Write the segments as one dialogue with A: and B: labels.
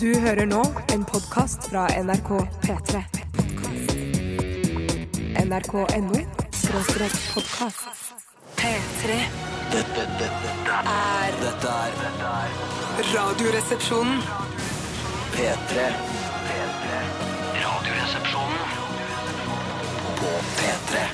A: Du hører nå en podkast fra NRK P3. NRK.no skråstrek podkast. P3
B: Dette, dette, dette,
A: er
B: dette er dette er
A: Radioresepsjonen.
B: P3. P3. Radioresepsjonen på P3.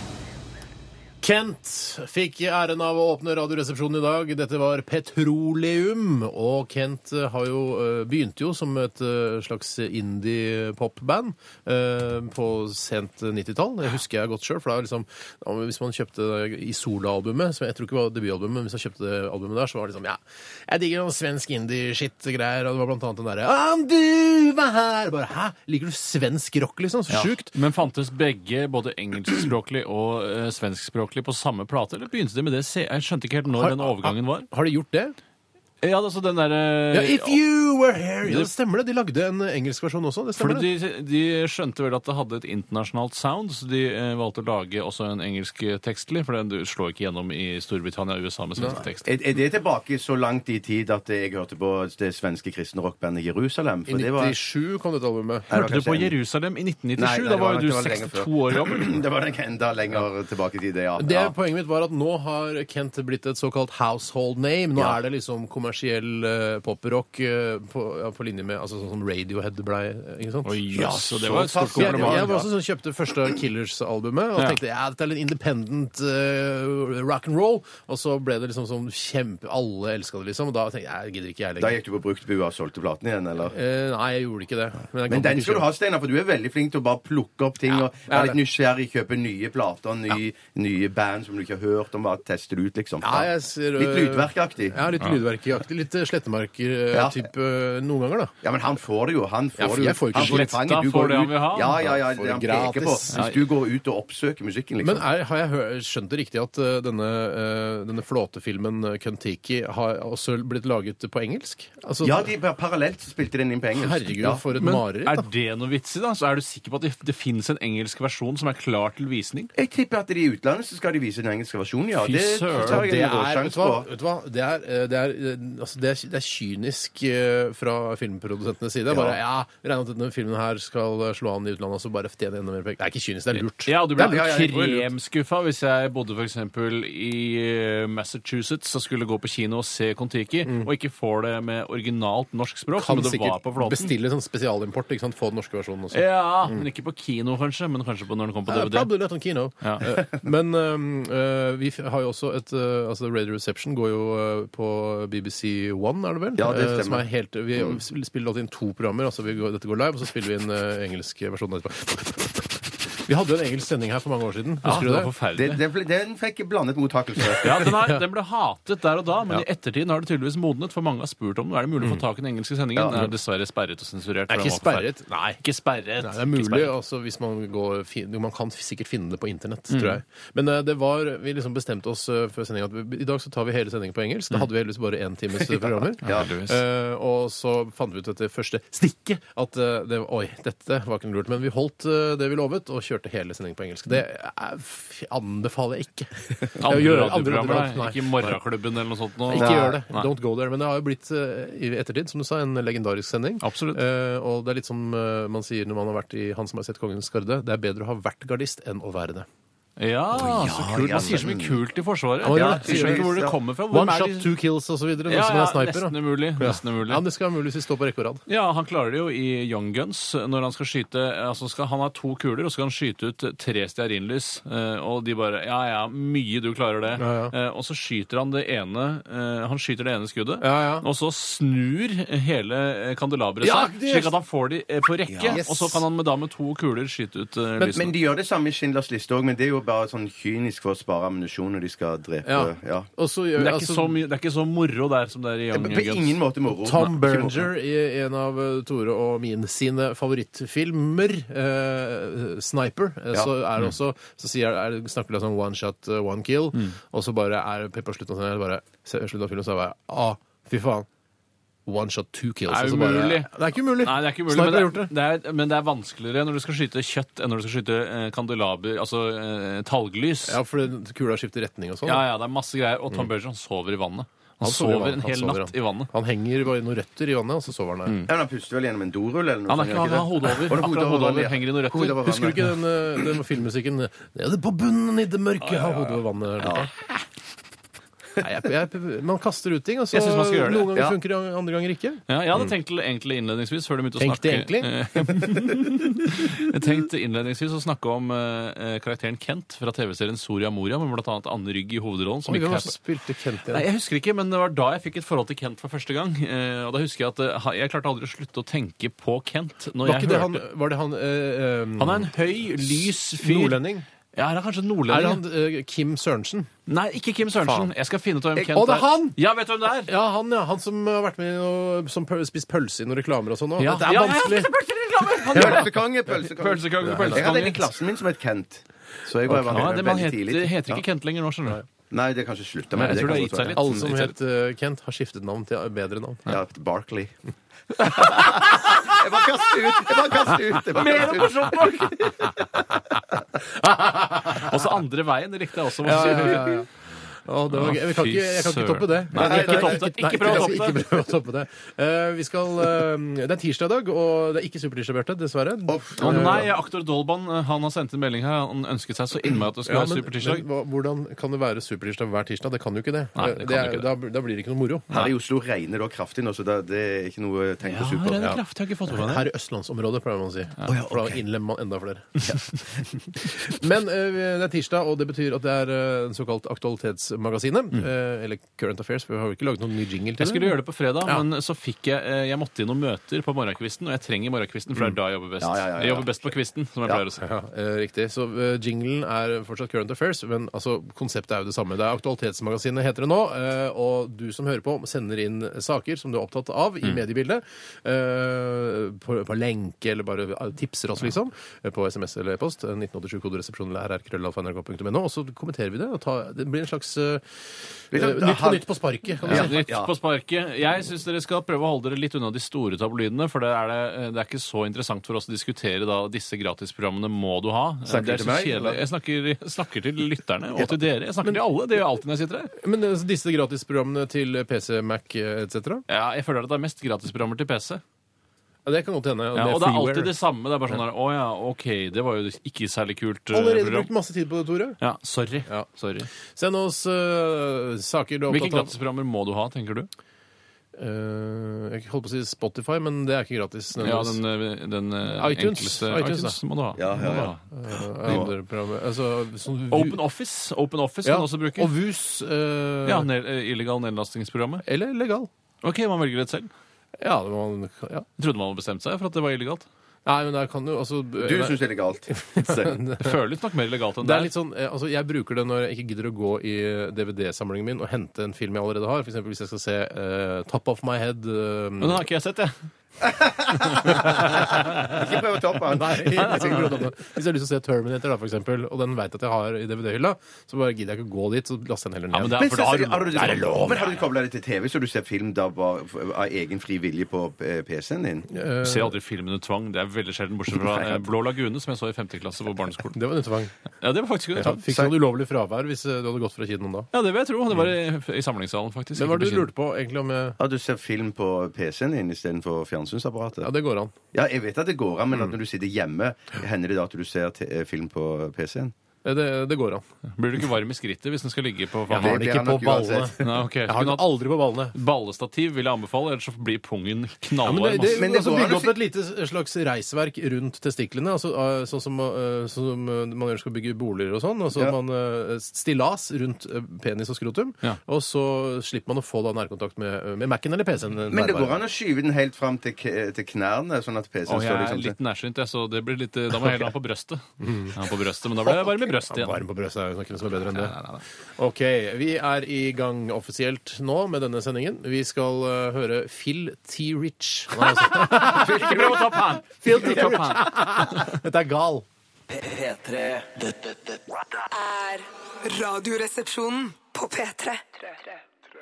C: Kent fikk æren av å åpne Radioresepsjonen i dag. Dette var Petroleum. Og Kent eh, har jo, eh, begynte jo som et eh, slags indie-popband eh, på sent 90-tall. Det husker jeg godt sjøl. For det er liksom, ja, men hvis man kjøpte Isola-albumet, som jeg tror ikke var debutalbumet, men hvis man kjøpte det albumet der, så var det liksom Ja, jeg digger noe svensk indie-shit-greier. Og det var blant annet den derre Om du var her Bare hæ? Liker du svensk rock, liksom? Så sjukt.
D: Men fantes begge, både engelskspråklig og eh, svenskspråklig, på samme plate? Eller begynte de med det? Se, jeg skjønte ikke helt når
C: Har-
D: den overgangen var.
C: Har de gjort det?
D: Ja, altså den derre
C: Ja, If You Were Here. Ja, Eh, det stemmer det. De lagde en engelsk versjon også. Det stemmer
D: Fordi
C: det.
D: de, de skjønte vel at det hadde et internasjonalt sound, så de eh, valgte å lage også en engelsk tekstlig, for den du slår ikke gjennom i Storbritannia og USA med svensk tekst.
E: Er, er det tilbake så langt i tid at jeg hørte på det svenske kristne rockbandet Jerusalem? For
C: I
E: det var,
C: 97 kom dette albumet.
E: Nei, det var
D: Hørte du
E: kanskje
D: på
E: en-
D: Jerusalem i 1997?
E: Nei, nei,
D: da
E: det
D: var
E: nok-
D: jo
E: det
D: du
E: var lenger
D: 62 år gammel.
E: Det var nok enda lenger tilbake i tid, det, ja.
C: Det
E: ja.
C: Poenget mitt var at nå har Kent blitt et såkalt household name. Nå
E: Ja.
C: er det liksom kommersiell eh, poprock eh, på, ja, på linje med altså, sånn som Radiohead blei. eh, Ikke sant?
D: Oi, ja, så det
E: så
D: var et stort
E: tass, ja,
C: Jeg,
E: det
D: kompliment.
E: var-
C: jeg var også sånn, som kjøpte første Killers-albumet og
D: Ja.
C: tenkte ja, dette er litt independent eh, rock and roll. Og så ble det liksom sånn kjempe Alle elska det, liksom. Og da tenkte jeg jeg gidder ikke jeg
E: Da
C: lenger.
E: gikk du på bruktbua og solgte platen igjen, eller?
C: Eh, nei, jeg gjorde ikke det. jeg
E: Men
C: kan
E: den
C: ikke
E: skal du
C: kjøpe.
E: ha, Steinar, for du er veldig flink til å bare plukke opp ting og
C: jeg er
E: være litt nysgjerrig, kjøpe nye plater, ny, nye band som du ikke har hørt om, bare teste det ut, liksom.
C: Ja, jeg ser,
E: Litt
C: øh,
E: lydverkaktig.
C: Ja, litt lydverkaktig. Litt øh,
E: Ja.
C: slettemarker-type øh, noen ganger, da.
E: Ja, men han får det jo. Han får
C: Ja, for
E: det jo.
C: jeg får ikke
E: han
D: slett,
E: det i fanget,
D: da
E: du
D: får
E: går
D: det han
E: ut-
D: vil ha.
E: Ja, ja, ja,
C: Han får
E: det han
C: det
E: peker på.
C: gratis.
E: Hvis du går ut og oppsøker musikken, liksom.
C: Men er, har jeg hør, skjønt det riktig at eh, denne, eh, denne flåtefilmen eh, Kentucky har også blitt laget på engelsk? Altså,
E: ja, de parallelt spilte den inn på engelsk.
C: Herregud,
E: ja.
C: for et
D: Men
C: mareritt.
D: er
C: da.
D: det noe vits i, da? Så er du sikker på at det, det finnes en engelsk versjon som er klar til visning?
E: Jeg tipper at de i utlandet så skal de vise den engelske versjonen, ja.
D: Fy
E: Det
D: søren,
E: tar
C: Ja,
E: jeg
C: det
E: en
C: er, vet
E: råsjanse
C: du hva,
E: på.
C: vet du hva? Det, er, eh, det, er, eh, altså det, er, det er kynisk eh, fra filmprodusentenes side. Bare, ja, Vi regner med at denne filmen her skal eh, slå an i utlandet og så bare tjene enda mer penger. Det er ikke kynisk, det er lurt.
D: Ja, du ble
C: Det er lurt.
D: kremskuffa hvis jeg bodde for eksempel i eh, Massachusetts og skulle gå på kino og se Kon-Tiki, og ikke får det med originalt norsk språk,
C: Mm. Kan
D: som det var
C: sikkert
D: på flåten.
C: bestille sånn spesialimport. Ikke sant? Få den norske versjonen også.
D: Ja, men ikke på kino, kanskje, men kanskje på når den kom på
C: Mm. Ja,
D: DVD.
C: Probably not on kino.
D: Ja.
C: Eh, Men um, eh, vi f- har jo også et eh, Altså Radio Reception går jo eh, på BBC One, er det vel?
E: Ja, det
C: Eh,
E: stemmer.
C: Som er helt, vi sp- spiller alltid inn to programmer. Altså vi går, dette går live, og så spiller vi inn eh, engelsk versjon etterpå. Vi hadde jo en engelsk sending her for mange år siden.
D: Ja,
C: Husker
D: det var
C: du det?
E: Det,
D: forferdelig.
E: det, ble- den fikk blandet mottakelse.
D: Ja, den, er, den ble hatet der og da, men i ettertid har det tydeligvis modnet, for mange har spurt om det. Er det mulig å få tak i den engelske sendingen? Den er dessverre sperret og sensurert.
C: Det er
D: for den
C: ikke
D: var forferdelig.
C: sperret. Mm. Nei.
D: Ikke sperret.
C: Nei, det er
D: Ikke
C: mulig,
D: sperret.
C: altså, hvis man går fin- jo, Man kan sikkert finne det på internett,
E: Mm.
C: tror jeg. Men eh, det var Vi liksom bestemte oss eh, før sendinga at vi, i dag så tar vi hele sendingen på engelsk. Da hadde vi heldigvis bare én times eh, programmer.
E: Mm. Ja.
D: Heldigvis.
C: Eh, og så fant vi ut etter første stikket at eh, det, Oi, dette var ikke noe lurt. Men vi holdt eh, det vi lovet, og kjørte hele sendingen på engelsk. Det er, f- anbefaler jeg ikke.
D: Andre
C: Å gjøre-
D: radioprogrammer,
C: radioprogram,
D: da.
C: nei.
D: Ikke Morgenklubben eller noe sånt. Nå.
C: Ikke
E: Nei.
C: gjør det.
D: Nei.
C: Don't go there. Men det har jo blitt eh, i ettertid, som du sa, en legendarisk sending.
D: Absolutt.
C: Eh, og det er litt som eh, man sier når man har vært i Han som har sett kongens garde. Det er bedre å ha vært gardist enn å være det.
D: Ja, så kult. Man sier så mye kult i Forsvaret.
C: man gjør
D: Ja,
C: det.
D: sier jo ikke hvor det kommer fra. Hvor
C: One
D: er
C: shot,
D: de-
C: two kills osv. når
D: Ja,
C: man er
D: ja,
C: sniper.
D: nesten
C: da.
D: umulig. Nesten
C: Ja,
D: umulig.
C: det skal muligvis stå på rekke og rad.
D: Ja, han klarer det jo i Young Guns. Når han skal skyte altså skal, Han har to kuler, og så skal han skyte ut tre stearinlys. eh, Og de bare Ja ja, mye du klarer det.
C: Ja,
D: Eh, Og så skyter han det ene eh, Han skyter det ene skuddet,
C: Ja, ja.
D: og så snur hele eh, kandelaberet
C: Ja,
D: seg,
C: det-
D: slik at han får de eh, på rekke.
C: Yes.
D: Og så kan han med, da med to kuler skyte ut eh,
E: Men, men
D: lysene.
E: de gjør det samme i Schindlers liste òg, men det er jo bare sånn kynisk for å spare ammunisjon når de skal drepe
C: Ja.
E: Ja.
C: Og så
D: Men
C: gjør
D: det er, ikke
C: altså,
D: så mye, det er ikke så moro der som det er i Young,
E: På
D: Young
E: på
D: Guns.
E: ingen måte moro.
C: Tom
E: Nei, ikke moro.
C: Berger i en av eh, Tore og min sine favorittfilmer, eh, 'Sniper', eh,
E: Ja.
C: så
D: Mm.
C: er det også Så sier, er, det- snakker de sånn one shot, eh, one kill,
D: Mm.
C: og så bare er på slutten av filmen bare, se- slutten av filmen, så er det bare ah, fy faen. One shot, two kills.
D: Det er
C: og så bare-
D: umulig.
C: det er ikke umulig.
D: Nei, det er ikke mulig,
C: Sniper
D: men,
C: har
D: det,
C: gjort det.
D: det er, men det er vanskeligere når du skal skyte kjøtt enn når du skal skyte eh, kandelaber, altså eh, talglys.
C: Ja, for det- kula skifter retning og sånn.
D: Ja, ja, det er masse greier. Og Tom Berger, han sover i vannet.
C: sover
D: Han
C: i
D: sover
C: vannet.
D: en
C: Han
D: hel
C: sover,
D: natt
C: han.
D: i vannet.
C: Han henger bare i noen røtter i vannet, og så sover han
D: Mm.
C: der.
E: Ja, men Han puster vel gjennom en dorull eller noe?
D: Han er ikke- han
E: sånt,
D: har hodet over.
E: Å, det er
D: Akkurat hodet over
E: ja.
D: henger i noen røtter.
E: Hodet over
C: Husker du
E: vannet.
C: ikke den, eh, den filmmusikken Nede på bunnen i det mørke har hodet over vannet. Nei, jeg, jeg, man kaster ut ting, og så
D: Jeg synes man skal gjøre det.
C: noen ganger
E: Ja.
C: funker det, andre ganger ikke.
D: Ja, jeg hadde tenkt til- egentlig innledningsvis før du begynte å
C: Tenk
D: snakke.
C: det
D: Eh, jeg tenkte innledningsvis å snakke om eh, karakteren Kent fra TV-serien Soria Moria, med blant annet Anne Rygg i hovedrollen. som
C: Oi,
D: ikke
C: hvem
D: er-
C: var det som spilte Kent
D: Nei,
C: igjen?
D: jeg husker ikke, men det var da jeg fikk et forhold til Kent for første gang. Eh, og da husker Jeg at eh, ha- jeg klarte aldri å slutte å tenke på Kent. når
C: Var,
D: jeg
C: ikke det
D: hørte...
C: han, var det han eh, eh,
D: Han er en høy, lys fyr.
C: Nordlending?
D: Ja, han er kanskje
C: Er
D: nordlending.
C: det han eh, Kim Sørensen?
D: Nei, ikke Kim Sørensen.
C: Faen.
D: Jeg skal finne ut hvem Kent
C: Å, det er han!
D: Ja, vet du hvem det er?
C: Ja, han ja, han som har vært med i noe, som pøl- spist pølse i noen reklamer og sånn òg.
D: Ja.
C: Dette er
D: Ja,
C: vanskelig.
D: ja, pølsereklame! Han gjør det.
E: Pølsekonge, pølsekonge.
D: Pølsekonge,
E: Jeg hadde en i
D: pølsekonge.
E: klassen min som het Kent. Så jeg var
D: Ja,
E: var
D: det, man
E: veldig
D: heter,
E: tidlig.
D: heter ikke Kent lenger nå, skjønner du.
E: Nei, det er kanskje slutta
D: Nei,
E: med
D: jeg tror det har
E: kan
D: gitt seg
E: godt være.
C: Alle som het eh, Kent, har skiftet navn til eh, bedre navn.
E: Ja, Barkley. Jeg bare kaster ut! Jeg bare kaster ut! Jeg bare kaster ut.
D: Også andre veien det likte jeg også.
C: Ja, ja, ja, ja. Å, det var gøy. Vi kan
D: Fy
C: ikke, jeg kan ikke toppe det.
D: Nei,
E: Nei,
D: ikke
E: nei,
D: topp det.
C: Nei,
D: Ikke prøv å
C: jeg
D: toppe
C: skal
D: det.
C: Ikke prøv å toppe det. Eh, vi skal, eh, det er tirsdag i dag, og det er ikke Supertirsdag, Bjarte, dessverre.
E: Uff.
D: Å nei, aktor Dolban eh, han har sendt en melding her. Han ønsket seg så innmari at det
C: Ja,
D: skulle være
C: men, men
D: supertirsdag.
C: hva- hvordan kan det være Supertirsdag hver tirsdag? Det kan jo ikke det.
D: Nei, det kan
C: er,
D: jo ikke det.
C: Da, da blir det ikke noe moro.
E: Her i Oslo regner det kraftig nå, så det, det er ikke noe å tenke
D: Ja,
E: på super.
D: det er kraftig. Jeg har ikke fått med meg
C: Her i
D: det.
C: østlandsområdet, pleier man å si. For da innlemmer man enda flere. Men eh, det er tirsdag, og det betyr at det er eh, en såkalt Aktualitetsmagasinet. eh, eller Current Affairs, for vi har jo ikke laget noen ny jingle til
D: Mm. Jeg skulle gjøre det på fredag,
C: Ja.
D: men så fikk jeg eh, Jeg måtte i noen møter på morgenkvisten, og jeg trenger morgenkvisten, for det er da jeg jobber best.
E: Ja, ja, ja, ja.
D: Jeg jobber best på kvisten, som jeg pleier å si.
C: Ja, eh, riktig. Så eh, jinglen er fortsatt Current Affairs, men altså, konseptet er jo det samme. Det er Aktualitetsmagasinet heter det nå, eh, og du som hører på, sender inn saker som du er opptatt av i mediebildet, eh, på, på lenke eller bare eh, tipser oss, liksom, eh, på SMS eller e-post. eh, 1987-koderesepsjon eller rrkrøllalfa.nrk.no, og så kommenterer vi det. Og tar, det blir en slags eh,
E: Litt
C: eh,
E: sånn,
C: Nytt på
E: halv-
C: nytt på sparket. Kan du
D: Ja,
C: si.
D: Nytt
E: Ja.
D: på sparket. Jeg syns dere skal prøve å holde dere litt unna de store tabloidene, for det er, det, det er ikke så interessant for oss å diskutere da disse gratisprogrammene må du ha. det
E: Snakker du
D: er
E: til
D: så
E: meg,
D: kjedelig.
E: eller?
D: Jeg snakker, snakker til lytterne og til dere. Jeg snakker til alle. Det gjør jeg alltid når jeg sitter her.
C: Men eh, disse gratisprogrammene til PC, Mac eh, etc.?
D: Ja, jeg føler at det er mest gratisprogrammer til PC.
C: Ja, det kan godt hende.
D: Ja, og det er
C: freeware.
D: alltid det samme. Det er bare sånn her Å ja, OK, det var jo ikke særlig kult eh,
C: Allerede brukt
D: program.
C: masse tid på det, Tore.
D: Ja, sorry.
C: Ja.
D: sorry.
C: Send oss eh, saker du er
D: Hvilke
C: opptatt av.
D: gratisprogrammer må du ha, tenker du?
C: Eh, jeg holdt på å si Spotify, men det er ikke gratis.
D: Ja,
C: nødvendigvis.
D: den, eh, den eh,
C: iTunes.
D: enkleste
C: iTunes,
D: iTunes må du ha.
E: Ja, ja, ja.
D: Må du ha.
C: Eh, andre programmer. altså, sånn-
D: Open Office Open Office
C: Ja,
D: kan du også bruke.
C: Og VUS. eh,
D: Ja, ned, eh, Illegal nedlastingsprogrammet.
C: Eller legal.
D: Ok, man velger det selv.
C: Ja, det må man, ja.
D: Jeg trodde man hadde bestemt seg for at det var illegalt.
C: Nei, men der kan du altså eh,
E: Du syns det er legalt. Så-
D: Det føles nok mer illegalt enn
C: det
D: det
C: er
D: er.
C: litt sånn, eh, altså Jeg bruker det når jeg ikke gidder å gå i DVD-samlingen min og hente en film jeg allerede har. For eksempel hvis jeg skal se eh, Top of My Head. eh,
D: Men den har ikke jeg sett, jeg.
E: Ikke prøv å toppe han.
C: Nei, jeg skal ikke prøve å toppe det. Hvis jeg har lyst til å se Terminator, da, for eksempel, og den veit at jeg har i DVD-hylla, så bare gidder jeg ikke å gå dit, så laster jeg den heller ned.
D: Ja, men det er,
E: Men
D: for
E: så-
D: da har,
E: så- har du,
D: det er lov.
E: men har du kobla det til TV, så du ser film da bare f- av egen fri vilje på eh, PC-en din?
D: Du ser aldri filmen under tvang. Det er veldig sjelden, bortsett fra eh, Blå lagune, som jeg så i 5. klasse på barneskolen.
C: Det var en utvang.
D: Ja, det var faktisk under
C: Ja,
D: tvang.
C: fikk du noe ulovlig fravær hvis eh, du hadde gått fra kinoen da?
D: Ja, det vil jeg tro. Det var i, i samlingssalen, faktisk.
C: Mm. Men hva er det
D: Ikke
C: du lurte på egentlig om eh,
E: At du ser film på PC-en din istedenfor fjernsynsapparatet?
C: Ja, det går an.
E: Ja, jeg vet at det går an, men
D: Mm.
E: at når du sitter hjemme, hender det da at du ser te- eh, film på
C: Eh,
E: PC-en?
C: Det, det går an.
D: på kino. Blir du ikke varm i skrittet hvis den skal ligge på
C: Jeg har
E: det
C: det
E: blir
C: ikke
E: han
C: på
E: nok
C: ballene.
E: uansett.
D: Nei, ok,
C: Jeg
D: så
C: har
D: kunne
C: det
D: hatt
C: aldri på ballene.
D: Ballestativ vil jeg anbefale, ellers så blir pungen
C: Ja, men det,
D: knallvarm.
C: det,
D: ass.
E: Men det
C: altså,
E: går an
C: bygge
E: å
C: opp et lite slags reisverk rundt testiklene, altså, eh, sånn som, eh, sånn som eh, man gjør skal bygge boliger og sånn. Og så
E: Ja.
C: man eh, stillas rundt eh, penis og skrotum,
D: Ja.
C: og så slipper man å få da nærkontakt med, med Mac-en eller PC-en.
E: Men det går an å skyve den helt fram til, k- til knærne, sånn at PC-en
D: Og jeg
E: står
D: er
E: liksom
D: litt
C: sånn-
D: nærsynt, jeg, så det blir litt, da må jeg heller ha på brøstet. Ja, på brøstet, Men da ble jeg varm i brøstet igjen.
C: Mm. Varm på brøstet er jo ikke noe som er bedre enn det. Ok, vi er i gang offisielt nå med denne sendingen. Vi skal eh, høre Phil T. Rich. Nei, altså,
D: Ikke prøv å ta pan! Ikke ta pan.
C: dette er gal.
B: P3. Dette, dette, dette
A: Er Radioresepsjonen på P3.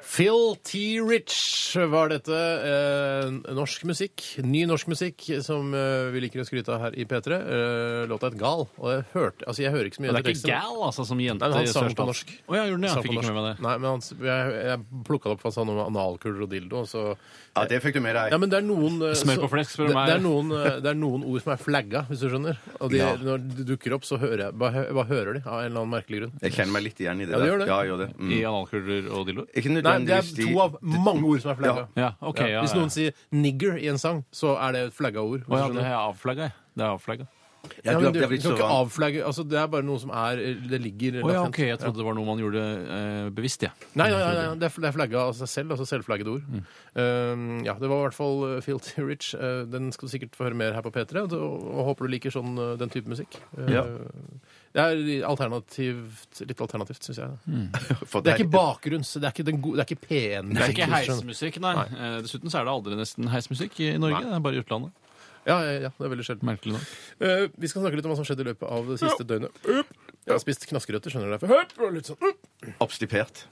C: Phil T. Rich var dette. Eh, norsk musikk. Ny norsk musikk som eh, vi liker å skryte av her i P3. Eh, låta het Gal. Og jeg hørte Altså, jeg hører ikke så mye
D: Men det
C: etter
D: er ikke
C: teksten.
D: gal, altså, som jente
C: Nei, men han sang
D: sørst,
C: på
D: altså.
C: norsk.
D: Å ja, gjorde han det?
C: Sang på
D: Jeg fikk ikke
C: norsk.
D: med meg det.
C: Nei, men han, jeg, jeg plukka det opp for han sa noe om analkuler og dildo, så
E: Ja, det fikk du med deg.
C: Ja, men det er noen eh,
D: Smør på
C: så-
D: flesk, spør du
C: det,
D: meg.
C: det, er noen, eh, det er noen ord som er flagga, hvis du skjønner. Og de,
E: Ja.
C: når de dukker opp, så hører jeg Bare, hø- bare hører de, av en eller annen merkelig grunn.
E: Jeg kjenner meg litt igjen i det.
C: Ja, du
E: der.
C: gjør det.
E: Ja, jeg gjør det. Mm.
D: I analkuler og dildoer?
E: Ikke
C: Nei, det er
E: nødvendigvis de-
C: to av mange ord som er flagga.
D: Ja, ok. Ja,
C: Hvis
D: ja.
C: noen sier 'nigger' i en sang, så er det et flagga ord. hvis
D: Å ja,
C: du skjønner.
D: det er avflagga, jeg. Det er avflagga.
C: Ja,
E: Ja, du
C: men
E: har-
C: du
E: det har
C: du
E: blitt
C: kan
E: så
C: ikke
E: vant.
C: avflagge altså, Det er bare noe som er eh, Det ligger
D: Å ja,
C: latent.
D: ok, jeg trodde det var noe man gjorde eh, bevisst, jeg.
C: Nei, nei, nei, nei, det er fl- det er flagga av seg selv. Altså selvflagget ord. Um, ja, det var i hvert fall uh, Filthy Rich. Uh, den skal du sikkert få høre mer her på P3, og, og håper du liker sånn uh, den type musikk. Uh,
E: Ja.
C: Det er alternativt, litt alternativt, syns jeg.
E: For
C: Mm. Det er
E: deg.
C: ikke bakgrunns... Det er ikke, den gode- det er ikke P1-musikk.
D: Det er ikke heismusikk, nei. Eh, Dessuten så er det aldri nesten heismusikk i Norge. Det er bare i utlandet.
C: Ja, ja, ja, det er veldig sjelden.
D: Merkelig nok.
C: Eh, vi skal snakke litt om hva som skjedde i løpet av det siste døgnet. Jeg har spist knaskerøtter, skjønner du derfor. Høp, og litt sånn.
E: Obstipert,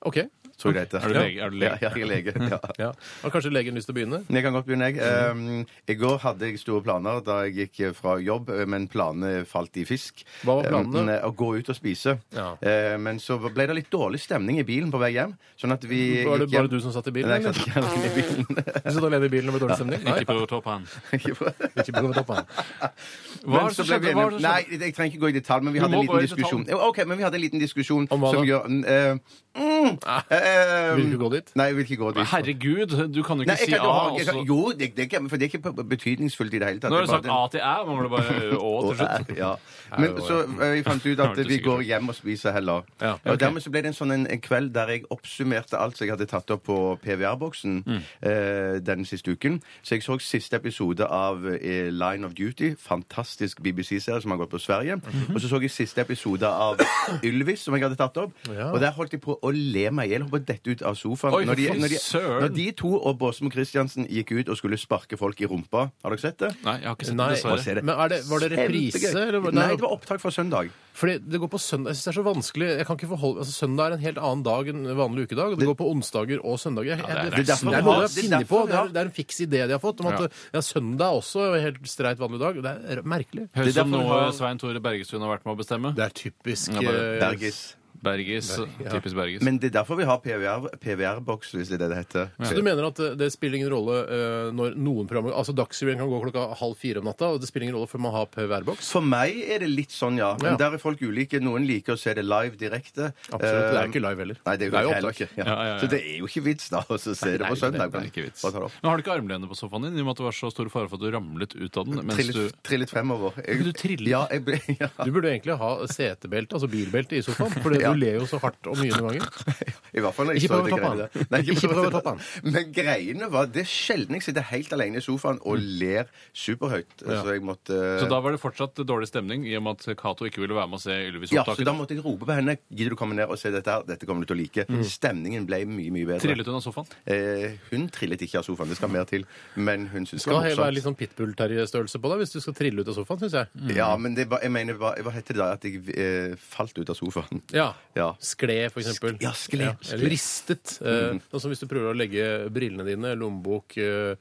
C: OK.
E: tror jeg det heter.
D: Er du lege? Er du lege?
E: Ja, jeg er lege. Ja.
C: Ja. Har kanskje legen lyst til å begynne?
E: Men Jeg kan godt begynne, jeg.
C: Mm.
E: Um, I går hadde jeg store planer da jeg gikk fra jobb, men planene falt i fisk.
C: Hva var planene?
E: Um, Å gå ut og spise.
C: Ja.
E: Eh, Men så ble det litt dårlig stemning i bilen på vei hjem. Sånn at vi
C: Var det
E: gikk
C: bare
E: hjem.
C: du som satt i bilen?
E: Nei, jeg
C: eller?
E: satt ikke alene i bilen.
C: Du satt alene i bilen med dårlig stemning? Nei.
D: Ikke på toppen.
E: Ikke på-
C: Ikke på toppen.
D: Hva
E: Men
D: er det
E: så
D: som
E: ble vi
D: skjedde?
E: enige
D: Hva
E: om-
D: er det som
E: Nei,
D: skjedde?
E: jeg trenger ikke gå i detalj, men vi
D: Du
E: hadde en
D: må
E: liten
D: gå i
E: diskusjon. Jo, Ok, men vi hadde en liten diskusjon
C: Om hva
E: som
C: da?
E: gjør eh, mm, eh,
C: Vil du ikke gå dit?
E: Nei, jeg vil ikke gå dit.
D: Herregud, du kan jo
E: Nei,
D: ikke
E: jeg
D: si
E: kan
D: A.
E: ikke ha, jeg kan,
D: også.
E: jo, det, det, kan- for det er ikke betydningsfullt i det hele tatt.
D: Nå har
E: Det
D: du
E: er
D: sagt A
E: bare
D: til Æ, mangler bare Å
E: den-
D: til slutt.
E: Ja. Men så eh, vi fant ut
D: Nå er
E: at
D: det
E: vi
D: sikkert.
E: går hjem og spiser heller.
C: Ja,
E: Og dermed så ble det en sånn en, en kveld der jeg oppsummerte alt som jeg hadde tatt opp på PVR-boksen eh, den siste uken. Så jeg så siste episode av eh, Line of Duty, fantastisk BBC-serie som har gått på Sverige. Og så så jeg siste episode av Ylvis, som jeg hadde tatt opp.
C: Ja.
E: Og der holdt jeg på å le meg i hjel, hoppet dette ut av sofaen.
D: Oi,
E: når, de,
D: for
E: når, de,
D: søren.
E: når de to og Båsmo Christiansen gikk ut og skulle sparke folk i rumpa, har dere sett det?
D: Nei, jeg har ikke sett det,
C: Nei,
D: dessverre.
C: men er det, var det reprise?
E: Kjempegøy.
C: Eller? var-
E: Nei, Eh, det var opptak fra søndag.
C: Fordi det går på søndag. Jeg synes det er så vanskelig. Jeg kan ikke forholde, altså, søndag er en helt annen dag enn vanlig ukedag. Og det går på onsdager og søndager. Jeg,
D: det er-
C: jeg,
D: det er derfor
C: det
D: vi
C: er noe
E: har-
C: jeg
E: det er
C: finner på.
E: derfor vi
C: Det
E: har-
C: er, det er en fiks idé de har fått. Om at
D: Ja.
C: ja, søndag er også en helt streit vanlig dag. Det er merkelig.
D: Høres ut
E: Det er
D: som
E: derfor vi
D: noe
E: har-
D: Svein Tore Bergestuen har vært med å bestemme.
C: Det er typisk
D: Ja, bare
C: eh,
E: Bergis.
D: Bergis.
C: ja.
D: Typisk Bergis.
E: Men det er derfor vi har PVR PVR-boks, hvis det er det det heter.
C: Så du mener at eh, det spiller ingen rolle eh, når noen programmer Altså Dagsrevyen kan gå klokka halv fire om natta, og det spiller ingen rolle for man har PVR-boks?
E: For meg er det litt sånn, ja. Men
C: Ja.
E: der er folk ulike. Noen liker å se det live direkte.
C: Absolutt. Det er
E: Eh,
C: ikke live heller.
E: Nei, det er jo, heller
C: opptak.
E: ikke. Ja.
D: Ja, ja, ja.
E: Så det er jo ikke vits, da, å se det på søndag.
D: det
E: men
D: er ikke vits.
E: bare ta det opp.
D: Men har du ikke armlene på sofaen din i og med at det var så stor fare for at du ramlet ut av den? mens du...
E: Trillet, trillet fremover. Jeg-
D: Du trillet?
E: Ja, jeg ble, ja.
C: Du burde egentlig ha setebelte, altså bilbelte, i sofaen. For det-
E: Ja.
C: du ler jo så hardt og mye noen ganger.
E: I hvert fall når jeg
C: Ikke prøv
E: så
C: å
E: det
C: toppe
E: greiene
C: han.
E: der. Nei,
C: Ikke prøv å toppe han.
E: Men greiene var Det er sjelden jeg sitter helt alene i sofaen og ler superhøyt. Så jeg måtte
D: Så da var det fortsatt dårlig stemning i og med at Cato ikke ville være med å se
E: ja, så
D: Ylvis-opptaket?
E: da måtte jeg rope på henne. Gidder du komme ned og se dette her? Dette kommer du til å like. Stemningen ble mye, mye bedre.
D: Trillet hun av sofaen?
E: Eh, hun trillet ikke av sofaen, det skal mer til. Men hun syntes det
C: Skal
E: var
C: he- være litt
E: morsomt.
C: sånn pitbull-Terje-størrelse på deg hvis du skal trille ut av sofaen, syns jeg.
E: Ja, men det var, jeg mener, hva, hva heter det da? At jeg eh, falt ut av sofaen?
C: Ja.
E: Ja.
C: Skle, for eksempel.
E: Sk- ja, skle. Mm.
C: eller ristet. Eh, Noe som hvis du prøver å legge brillene dine, lommebok eh,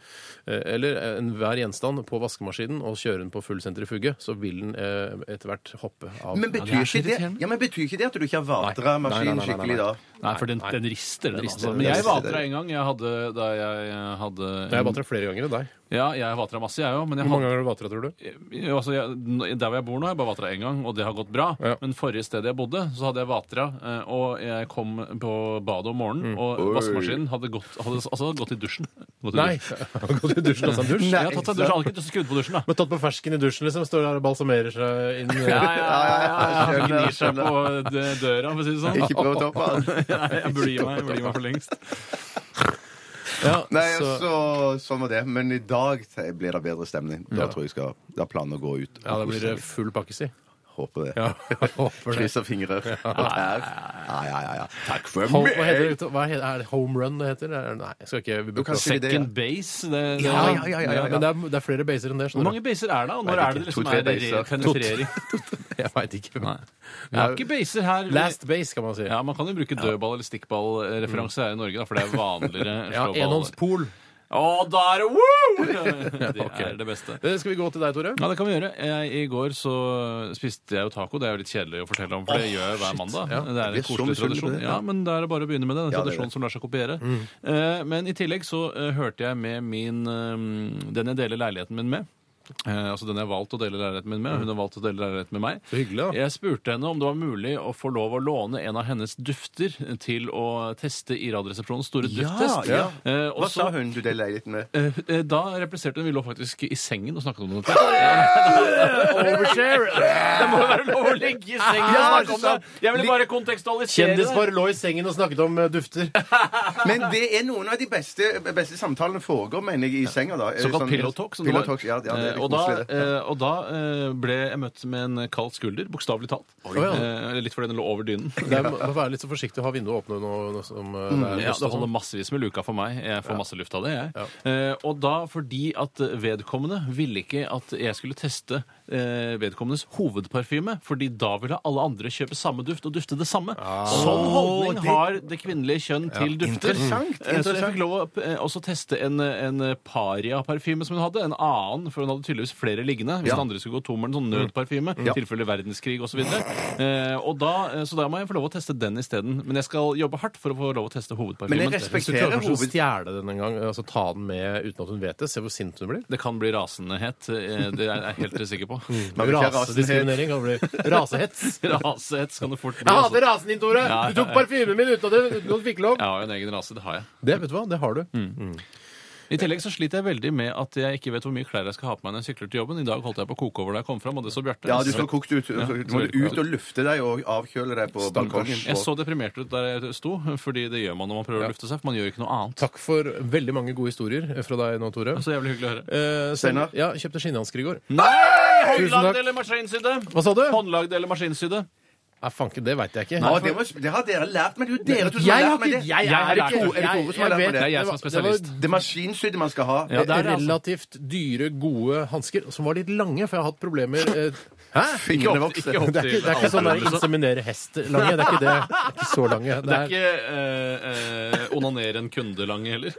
C: eh, eller eh, enhver gjenstand på vaskemaskinen og kjøre den på full sentrifuge, så vil den eh, etter hvert hoppe av.
E: Men betyr,
D: det er så
E: ikke det,
D: irriterende.
E: ja, men betyr ikke det at du ikke har vatra
C: Nei. Nei, nei, nei,
E: maskinen
C: nei, nei.
E: skikkelig da?
D: Nei, for den, den rister, den.
E: rister,
D: Altså.
E: den
D: Men jeg
E: rister,
D: vatra
E: den.
D: en gang. Jeg hadde, da jeg eh, hadde
C: Jeg har vatra flere ganger enn deg.
D: Ja, jeg vatra masse, jeg òg. Men jeg
C: Hvor mange ganger
D: hadde,
C: har du vatra, tror du?
D: altså, jeg, n- der hvor jeg bor nå, har jeg bare vatra én gang, og det har gått bra.
C: Ja.
D: Men forrige sted jeg bodde, så hadde jeg vatra, eh, og jeg kom på badet om morgenen,
C: Mm.
D: og
E: Oi.
D: vaskemaskinen hadde gått, hadde, altså, hadde gått i dusjen. Gått i
C: Nei.
D: dusjen.
C: Har du gått i dusjen og tatt en dusj?
D: Jeg har tatt seg en dusj, jeg hadde ikke skrudd på dusjen, da.
C: Men tatt på fersken i dusjen, liksom. Står der og balsamerer seg inn.
D: Ja, ja, ja, ja, ja.
E: Skjønner,
D: Gnir seg på eh, døra, for å si det sånn.
E: Ikke prøv å ta på han.
D: Nei, jeg burde gi meg, jeg burde gi meg for lengst.
C: Ja,
E: Nei,
C: så,
E: så, sånn var det. Men i dag blir det bedre stemning. Da tror jeg skal, da er planen å gå ut.
D: eh,
C: ja, da blir det full pakke, si.
E: Håper det.
C: Ja, håper det.
E: Krysser fingrer og tær. Ja, ja, ja, ja. Takk for
C: Home,
E: meg!
C: hva heter det? Hva heter, er det home run det heter? Er- Nei, jeg skal ikke vi bruker-
E: kan si- det, ja.
D: Second base? Det, det,
E: Ja, ja, ja, ja, ja.
C: Men det er, det er flere baser enn det.
D: Hvor
C: skjønner
D: mange baser er det, og når
E: Nei,
D: er det det liksom
E: to-tre
D: er
E: baser.
D: re- penetrering?
C: du? Jeg veit ikke.
D: Nei. Vi har ikke baser her.
C: Last base, kan man si.
D: Ja, Man kan jo bruke dødball- eller stikkballreferanse her i Norge, da, for det er vanligere. enn
C: Ja,
D: slåball.
C: Enhåndspol.
D: Å, da er det woo! Det
C: Ok.
D: er det beste.
C: Eh, Skal vi gå til deg, Tore?
D: Ja, det kan vi gjøre. Jeg, I går så spiste jeg jo taco. Det er jo litt kjedelig å fortelle om, for det gjør jeg hver mandag.
C: Ja,
D: det er
E: vi
D: en
E: er så
D: koselig
E: misunnelige på
D: tradisjon.
E: det, ja.
D: Ja, men da er det bare å begynne med det. Det er En
E: Ja, det er
D: tradisjon
E: det.
D: som lar seg kopiere. Eh, men i tillegg så eh, hørte jeg med min eh, Den jeg deler leiligheten min med. Eh, altså den jeg har valgt å dele leiligheten min med. og Hun har valgt å dele leiligheten med meg.
C: Så hyggelig, da.
D: Jeg spurte henne om det var mulig å få lov å låne en av hennes dufter til å teste i Radioresepsjonens store dufttest.
E: ja.
D: Eh, og
E: Hva sa
D: så-
E: hun du delte leiligheten med?
D: Eh, eh, Da repliserte hun. Vi lå faktisk i sengen og snakket om det. Overshare! Det må jo være lov å ligge i sengen og snakke om det! Jeg ville bare kontekstualisere det.
C: Kjendispar lå i sengen og snakket om eh, dufter.
E: Men det er noen av de beste, beste samtalene foregår, mener jeg, i senga, da. Eh,
D: Såkalt
E: sånn-
D: pillow talk. Som
E: Pillow
D: det var.
E: talk, ja, ja, det er
D: Eh, og, da,
E: koselig, det.
D: eh, og da eh, ble jeg møtt med en kald skulder, bokstavelig talt.
C: ja.
D: Eh, eller litt fordi den lå over dynen.
C: Det er, må må være litt så forsiktig å ha vinduet åpne nå. nå Som, eh,
E: Mm.
C: det er,
D: Ja,
C: høst
D: det
C: og sånn.
D: holder massevis med luka for meg. Jeg får masse luft av det, jeg. Eh, og da fordi at vedkommende ville ikke at jeg skulle teste eh, vedkommendes hovedparfyme, fordi da ville alle andre kjøpe samme duft og dufte det samme. Sånn holdning
E: Ah. det-
D: har det kvinnelige kjønn til dufter.
E: Interessant,
D: Eh, Så jeg fikk lov å eh, også teste en, en paria-parfyme som hun hadde, en annen, for hun hadde tydeligvis flere liggende, hvis
E: Ja. Mm.
D: den andre skulle gå tom, eller en sånn nødparfyme, i tilfelle verdenskrig osv. Så Eh, da må jeg få lov å teste den isteden. Men jeg skal jobbe hardt for å få lov å teste
E: Men jeg
D: hovedparfymen.
C: Hvis du klarer
E: respekterer
C: kanskje å
E: hoved...
C: stjele den en gang, altså ta den med uten at hun vet det, se hvor sint hun blir.
D: Det kan bli rasende het. eh, Det er jeg helt sikker på.
E: Man vil ikke ha
C: Rasediskriminering kan bli rasehets.
D: Rasehets kan det fort bli.
C: Jeg
D: altså.
C: hater rasen din, Tore!
D: Ja, ja,
C: Du tok
D: ja.
C: parfymen min uten at du, uten at du fikk lov.
D: Jeg har jo en egen rase. Det har jeg.
C: Det vet du hva, det har du.
D: I tillegg så sliter jeg veldig med at jeg ikke vet hvor mye klær jeg skal ha på meg når jeg sykler til jobben. I dag holdt jeg på å koke over da jeg kom fram, og det så Bjarte.
E: Ja, du så kokt ut. så Du må
D: så-
E: ut og lufte deg og avkjøle deg på balkongen.
D: Jeg så deprimert ut der jeg sto, fordi det gjør man når man prøver å lufte seg. For man gjør ikke noe annet.
C: Takk for veldig mange gode historier eh, fra deg nå, Tore.
D: Så jævlig hyggelig å høre.
C: Eh, så-
E: Steinar?
C: Ja, kjøpte skinnhansker i går. Tusen takk.
D: Håndlagd eller maskinsydde?
C: Hva sa du?
D: Håndlagd eller maskinsydde?
C: Nei, fanken, det veit jeg ikke.
E: Å, det, var, det har dere lært meg. Det er jo dere to som har
C: Jeg har
E: lært meg
C: ikke
E: det.
C: jeg
E: Er det
C: er
E: Tore-
C: ikke-
E: er det Tore som har
C: jeg vet-
E: lært meg det?
D: Det er jeg som er
C: det var-
D: spesialist.
E: Det er maskinsydde man skal ha.
D: Ja, det er det, altså.
C: relativt dyre, gode hansker som var litt lange, for jeg har hatt problemer eh, Hæ?
E: Fingrene
D: opp-
E: vokser.
D: ikke opp
C: Det er ikke, det er ikke sånn der inseminere hest-lange. Det er ikke det. Det er ikke så lange.
D: Det er ikke eh, eh, onanere en kunde lange heller.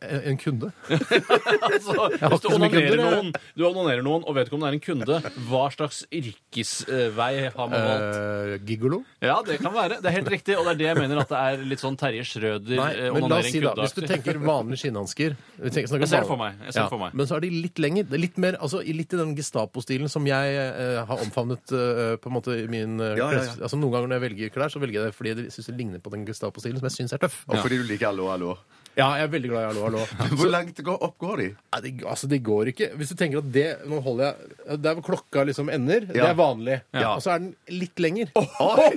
C: eh, en kunde.
D: Altså,
C: har
D: hvis du
C: ikke så mye
D: onanerer,
C: kunder, jeg.
D: noen, du onanerer noen, og vedkommende er en kunde, hva slags yrkesvei har man valgt?
C: Eh, gigolo.
D: Ja, det kan være. Det er helt riktig, og det er det jeg mener at det er litt sånn Terje Schrøder
C: Nei,
D: eh,
C: men la oss
D: onanere
C: si
D: en
C: da, hvis du
D: kunde-aktig.
C: tenker vanlige skinnhansker vi tenker- snakker
D: Jeg ser det
C: vanlig-
D: for meg, jeg ser det for meg.
C: Men så er de litt lenger. Det er litt mer, altså i- litt i den Gestapo-stilen som jeg eh, har omfavnet eh, på en måte i min eh,
E: Ja, ja, ja.
C: kles- Altså Noen ganger når jeg velger klær, så velger jeg det fordi jeg syns det ligner på den Gestapo-stilen som jeg syns er tøff.
E: Og fordi du liker hallo, hallo.
C: Ja, jeg er veldig glad i hallo, hallo.
E: Hvor langt går, opp går de?
C: Nei, det, altså, det går ikke. Hvis du tenker at det Nå holder jeg Der hvor klokka liksom ender, det
E: Ja.
C: er vanlig.
E: Ja.
C: Og så er den litt lenger.
E: Oi!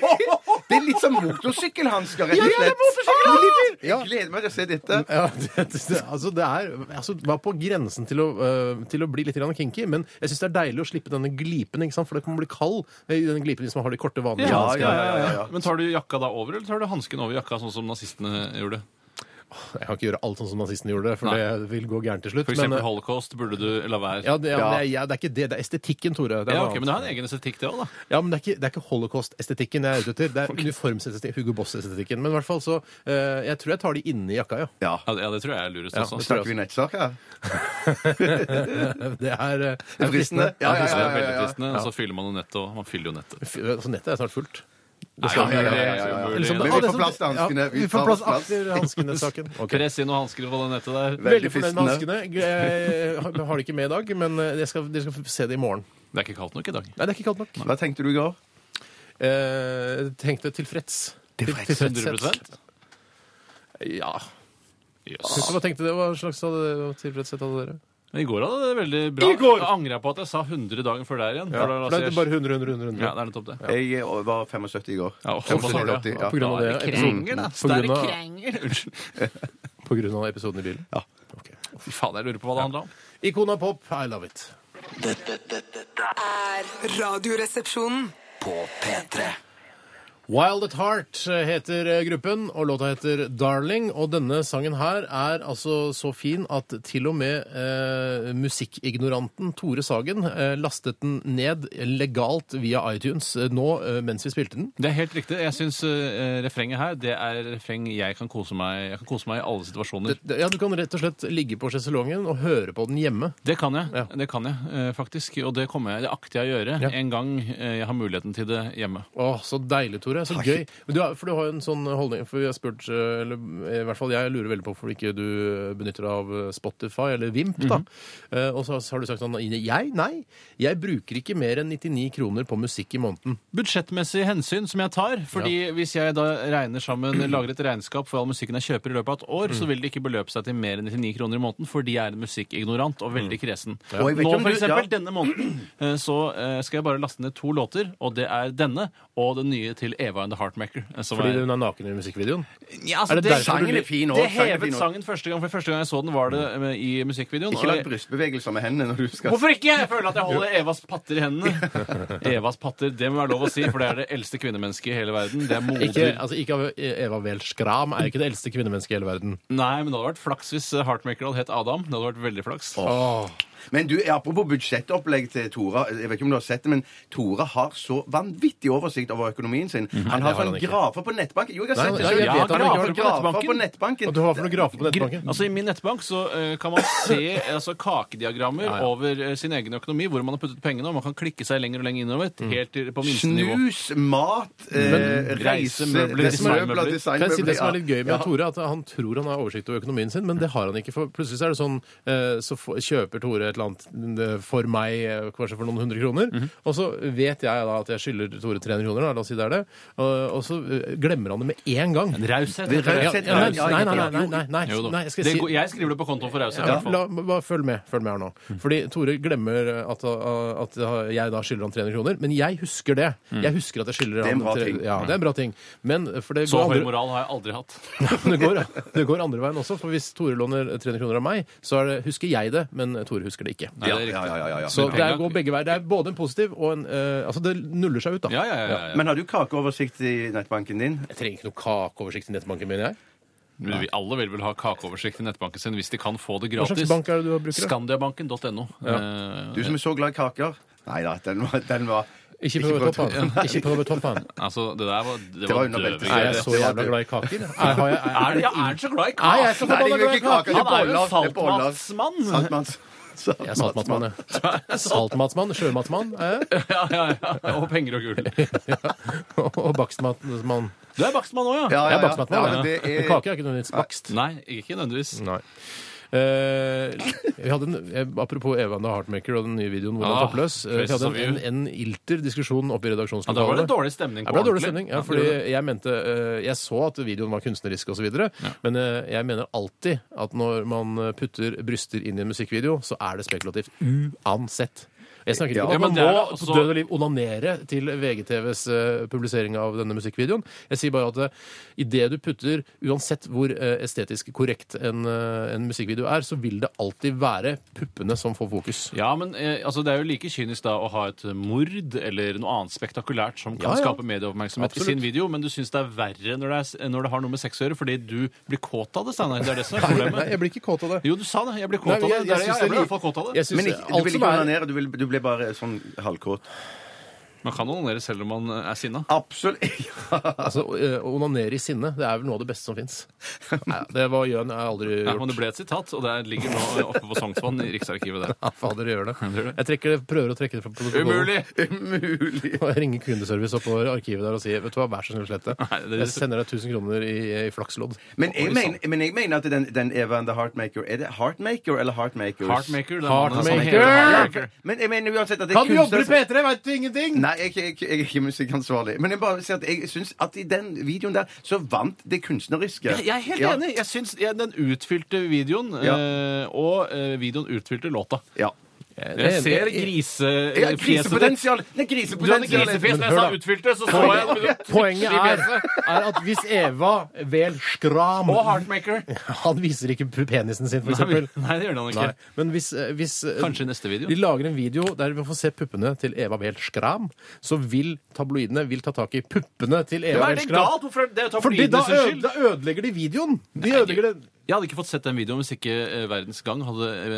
E: Det er litt som motorsykkelhansker, rett og slett.
C: Ja.
E: Jeg gleder meg til å se dette.
C: Ja, det, det, altså det er altså, det var på grensen til å, øh, til å bli litt grann kinky, men jeg syns det er deilig å slippe denne glipen, ikke sant? for det kan bli kald i den glipen hvis man har de korte, vanlige
E: Ja,
C: hanskene.
E: ja, ja, ja, ja.
D: Men tar du jakka da over, eller tar du hansken over jakka, sånn som nazistene gjorde?
C: Jeg kan ikke gjøre alt sånn som nazistene gjorde det, for det vil gå gærent til slutt.
D: For eksempel
C: men, øh,
D: holocaust burde du la være.
C: ja, det, ja, men
E: Ja.
C: jeg- jeg- det er ikke det. Det er estetikken, Tore. Det er
D: Ja,
C: noe
D: ok,
C: annet.
D: Men det har en egen estetikk, det òg, da.
C: Ja, men det er ikke, det er ikke holocaust-estetikken jeg er ute etter. Det er uniformsestetikken, Hugo Boss-estetikken. Men i hvert fall så øh, Jeg tror jeg tar de inni jakka, ja.
E: Ja.
D: Ja, det- Ja, det tror jeg er lurest
C: Ja,
D: også.
C: det tror jeg
E: Snakker vi nettsak her?
C: Det er, øh, det er
E: Fristende?
C: fristende.
E: Ja,
D: Ja,
E: ja, ja.
D: det er
E: ja,
D: veldig
E: ja.
D: fristende. Og så fyller man jo nettet, og man fyller jo nettet.
C: Fy- Altså, nettet er snart fullt.
E: ja, ja, ja, ja, ja.
D: Umulig.
E: Men vi får plass til hanskene.
C: Ja, vi
E: Vi
C: får
E: tar
C: plass
E: oss plass.
C: til hanskene-saken.
D: Press inn noen hansker på det nettet der.
E: Veldig
C: Veldig fornøyd med
E: fristende.
C: hanskene. Jeg har- har det ikke med i dag, men eh, jeg skal, dere skal få se det i morgen.
D: Det er ikke kaldt nok i dag.
C: Nei, det er ikke kaldt nok.
E: Hva tenkte du i går?
C: Eh, tenkte tilfreds.
E: Tilfreds.
C: Til-
D: 100
C: Ja.
D: Jøss.
C: Synes du, hva tenkte dere? Hva slags hadde, tilfredshet hadde dere?
D: I går hadde det veldig bra.
C: I går!
D: Jeg angrer på at jeg sa 100 dagen før der igjen. For
C: For
D: da, altså,
C: det er
D: jeg-
C: bare 100, 100, 100.
D: ja, det er nettopp det.
E: Jeg eh, var 75 i går.
D: Ja, og såpass var det,
E: 75,
D: ja.
E: ja.
C: På grunn av
D: Ja,
C: det, På
D: Krenger, da.
C: grunn av-
D: Stærre krenger. Unnskyld.
C: På grunn av episoden i bilen?
E: Ja.
C: Ok.
D: Fy faen, jeg lurer på hva det handla om.
C: Ikona Pop, I love it.
B: Dette, dette, dette
F: er Radioresepsjonen.
B: på P3.
C: Wild at Heart heter eh, gruppen, og låta heter Darling. Og denne sangen her er altså så fin at til og med eh, musikkignoranten Tore Sagen eh, lastet den ned legalt via iTunes eh, nå eh, mens vi spilte den.
D: Det er helt riktig. Jeg syns refrenget her det er refreng jeg kan kose meg Jeg kan kose meg i alle situasjoner.
C: Det-
D: Det,
C: det- Ja, Du kan rett og slett ligge på sjeselongen og høre på den hjemme.
D: kan jeg,
C: Ja.
D: det kan jeg eh, faktisk. Og det kommer jeg, det akter jeg å gjøre
C: Ja.
D: en gang eh, jeg har muligheten til det hjemme.
C: Åh, så deilig, Tore. Så gøy. Men du har, for du har jo en sånn holdning For vi har spurt, eh, eller i hvert fall jeg lurer veldig på hvorfor ikke du benytter deg av eh, Spotify eller Vimp, da. Eh, Og så har du sagt sånn Ine, jeg? Nei. Jeg bruker ikke mer enn 99 kroner på musikk i måneden.
D: budsjettmessige hensyn som jeg tar. Fordi hvis jeg da regner sammen, lager et regnskap for all musikken jeg kjøper i løpet av et år,
E: Mm.
D: så vil det ikke beløpe seg til mer enn 99 kroner i måneden, fordi jeg er en musikk-ignorant og veldig kresen.
E: Mm. Og jeg vet
D: Nå,
E: om
D: for
E: du-
D: eksempel,
E: ja.
D: denne måneden, eh, så eh, skal jeg bare laste ned to låter, og det er denne og den nye til Eva and the Heartmaker. eh, som
C: Fordi
D: er-
C: hun er naken i musikkvideoen.
D: ja, altså,
C: Er det
D: det,
C: derfor du-
E: Sangen er fin også,
D: det
E: sangen er fin
D: hevet
E: også.
D: sangen første gang, for første gang jeg så den, var det eh, i musikkvideoen.
E: Ikke
D: og-
E: lag brystbevegelser med hendene når du skal
D: Hvorfor ikke? Jeg føler at jeg holder Evas patter i hendene. Evas patter, det må være lov å si, for det er det eldste kvinnemennesket i hele verden. Det er moder.
C: Ikke, altså, ikke av Eva Wehl Skram er jo ikke det eldste kvinnemennesket i hele verden.
D: Nei, men det hadde vært flaks hvis eh, Heartmaker hadde hett Adam. Det hadde vært veldig flaks.
C: Åh.
E: Men du, apropos budsjettopplegg til Tora. Jeg vet ikke om du har sett det, men Tora har så vanvittig oversikt over økonomien sin. Han
C: Mhm. Nei,
E: har
C: det har han
E: sånn
C: ikke.
E: grafer på nettbanken. Jo,
C: Nei,
E: jeg har sett det
C: nei,
E: selv.
C: jeg vet han ikke har
E: grafer,
C: det på
E: grafer
D: nettbanken.
E: på nettbanken.
C: Og du har for noen grafer på nettbanken?
D: Altså I min nettbank så eh, kan man se altså, kakediagrammer over eh, sin egen økonomi, hvor man har puttet pengene, og man kan klikke seg lenger og lenger innover, helt til, på minste nivå.
E: Snus, mat, eh,
D: reisemøbler,
E: reisemøbler,
D: designmøbler.
E: designmøbler
C: Kan jeg si det som er litt gøy med
E: ja.
C: Tore, at Han tror han har oversikt over økonomien sin, men det har han ikke. for Plutselig så er det sånn, eh, så få- kjøper Tore et eller annet eh, for meg, eh, kanskje for noen hundre kroner, og så vet jeg da at jeg skylder Tore 300 kroner, da, la oss si det er det, og, og så eh, glemmer han det med en gang.
D: Raushet.
E: Det er
C: Ja,
E: raushet,
C: ja, nei,
E: ja,
C: nei,
E: ja,
C: nei,
E: ja.
C: nei, nei, nei,
D: Jo da.
C: nei, jeg skal
D: det,
C: si...
D: går- jeg skriver det på kontoen for raushet. i
C: Ja,
D: hvert fall.
C: la, bare følg med, følg med her nå. Fordi Tore glemmer at, at jeg da skylder han 300 kroner, men jeg husker det. Jeg husker at jeg skylder
E: er
C: han
E: en bra
C: 300
E: ting.
C: Ja, det er en bra ting. Men for det
D: Så
C: går
D: høy
C: andre-
D: moral har jeg aldri hatt.
C: Men det går, det går andre veien også, for hvis Tore låner 300 kroner av meg, så er det, husker jeg det, men Tore husker det ikke.
D: Nei, det er
E: Ja,
D: riktig.
E: ja, ja, ja, ja.
C: Så det er,
D: penger-
C: går begge veier. Det er både en positiv og en eh, Altså, det nuller seg ut, da.
D: Ja, ja, ja, ja, ja.
E: Men har du kakeoversikt i nettbanken din?
C: Jeg trenger ikke noe kakeoversikt i nettbanken min, jeg.
D: Men vi alle vil vel ha kakeoversikt i nettbanken sin hvis de kan få det
C: Hva
D: gratis.
C: slags bank er det du bruker? da?
D: Skandiabanken.no. Eh,
E: Du som er så glad i kaker. Nei da, den var, den var
C: Ikke prøv
E: prøv
C: å toppe han. Ikke prøv å toppe han.
D: altså, det der var, det
E: Det
D: var
E: var under beltet.
C: Er
D: døvegreier.
C: jeg så jævla glad i kaker? Er, har jeg,
D: Er, det- ja, er han så glad i
C: Er jeg så
D: kake?
E: Nei, det
C: forbanna
E: er jo
C: glad i
E: ikke
C: kaker?
E: kaker. det er
D: Han er jo
E: boller, det er boller.
D: saltmatsmann.
E: Saltmanns-
C: Jeg er saltmatsmann, jeg. Saltmatsmann, sjømatsmann er jeg.
D: Ja, ja, ja. Og penger og gull.
C: Og bakstmatsmann.
D: Du er bakstmann òg, ja.
E: Ja, ja,
C: Jeg
E: ja.
C: er bakstmatsmann,
E: Ja, men
C: jeg.
E: det er-
C: Men kake er ikke noe nytt. Bakst.
D: Nei, ikke nødvendigvis.
C: Nei. Eh, vi hadde en, eh, apropos Evan the Heartmaker og den nye videoen hvor han
D: Ah,
C: er toppløs. eh, vi
D: Faces
C: hadde
D: of
C: en,
D: you.
C: en, en ilter diskusjon oppe i
D: Ja, da
C: redaksjonslokalet.
D: var det dårlig stemning.
C: Det
D: på
C: ble dårlig
D: ordentlig.
C: stemning, ja,
D: Ja,
C: fordi
D: det var det.
C: jeg mente eh, Jeg så at videoen var kunstnerisk osv., videre men eh, jeg mener alltid at når man eh, putter bryster inn i en musikkvideo, så er det spekulativt. Uansett. Jeg snakker ikke om
D: Ja,
C: at
D: men
C: man
D: det
C: må
D: er det altså, også-
C: på død og liv onanere til VGTVs eh, publisering av denne musikkvideoen. Jeg sier bare at eh, i det du putter, uansett hvor eh, estetisk korrekt en, eh, en musikkvideo er, så vil det alltid være puppene som får fokus.
D: ja, men eh, altså, Det er jo like kynisk da å ha et mord eller noe annet spektakulært som kan
C: Ja, ja.
D: skape medieoppmerksomhet i
C: Absolutt.
D: sin video, men du syns det er verre når det, er, når det har noe med sex å gjøre, fordi du blir kåt av det, Steinar. Det er det som er
C: Nei,
D: problemet.
C: jeg blir ikke kåt av det.
D: Jo, du sa det. Jeg ble
C: Nei,
D: kåt av det.
C: jeg-
D: Det er
C: jeg synes
D: det. Jeg
C: det
D: ble i
C: er
D: hvert fall kåt av det.
C: Jeg
E: Men
C: synes
E: ikke, du
C: alt
E: vil
C: som
E: ikke
C: er-
E: onanere, du, vil- du ble bare sånn halvkåt.
D: Man kan onanere selv om man eh, er sinna.
E: Absolutt.
C: Altså, eh, Å onanere i sinne det er vel noe av det beste som fins. Det var Jøn jeg har aldri
D: Ja, men det
C: gjort.
D: ble et sitat, og det ligger nå oppe på Sognsvann i Riksarkivet der.
C: Ja, fader, gjør det.
D: gjør det.
C: Jeg trekker det, prøver å trekke det fra protokollen.
D: Umulig!
E: Umulig.
C: Og jeg ringer kundeservice oppover arkivet der og sier vet du hva, vær så snill å slette.
D: Nei, det-
C: Jeg sender deg 1000 kroner i, i flakslodd.
E: Men jeg, mener, men jeg mener at den, den Eva and the Heartmaker Er det Heartmaker eller Heartmakers? Altså,
D: Heartmaker. den
C: Heartmaker!
D: mannen som heter Heartmaker.
E: Men jeg mener uansett at det er
C: Kan du jobbe i
E: kunstner-
C: P3? Veit du ingenting?
E: Nei, jeg, er ikke- jeg er ikke musikkansvarlig. Men jeg bare sier at jeg syns at i den videoen der så vant det kunstneriske.
D: Jeg er helt
E: Ja.
D: enig. Jeg syns ja, den utfylte videoen
E: Ja.
D: eh, og eh, videoen utfylte låta.
E: Ja.
D: Jeg ser
E: Ja,
D: grisefjeset ditt.
E: grisepotensial! Nei,
D: Du hadde
E: grisepotensial!
D: grisefjes
C: Men
D: da jeg sa
C: hør da.
D: utfylte, så så jeg
C: Poenget er, er at hvis Eva vel skram
D: Og Heartmaker.
C: Han viser ikke penisen sin, for
D: Nei,
C: eksempel.
D: nei, det gjør han
C: Nei,
D: ikke.
C: men hvis, eh, hvis eh,
D: Kanskje i neste video.
C: de lager en video der vi får se puppene til Eva Behl Skram, så vil tabloidene vil ta tak i puppene til Eva
D: Hva
C: Behl
D: er det
C: Skram.
D: galt? Hvorfor er det- det er jo
C: Fordi da,
D: tabloidenes
C: øde,
D: skyld?
C: da ødelegger de videoen! De ødelegger det.
D: Jeg hadde ikke fått sett den videoen hvis ikke eh, Verdens Gang hadde eh,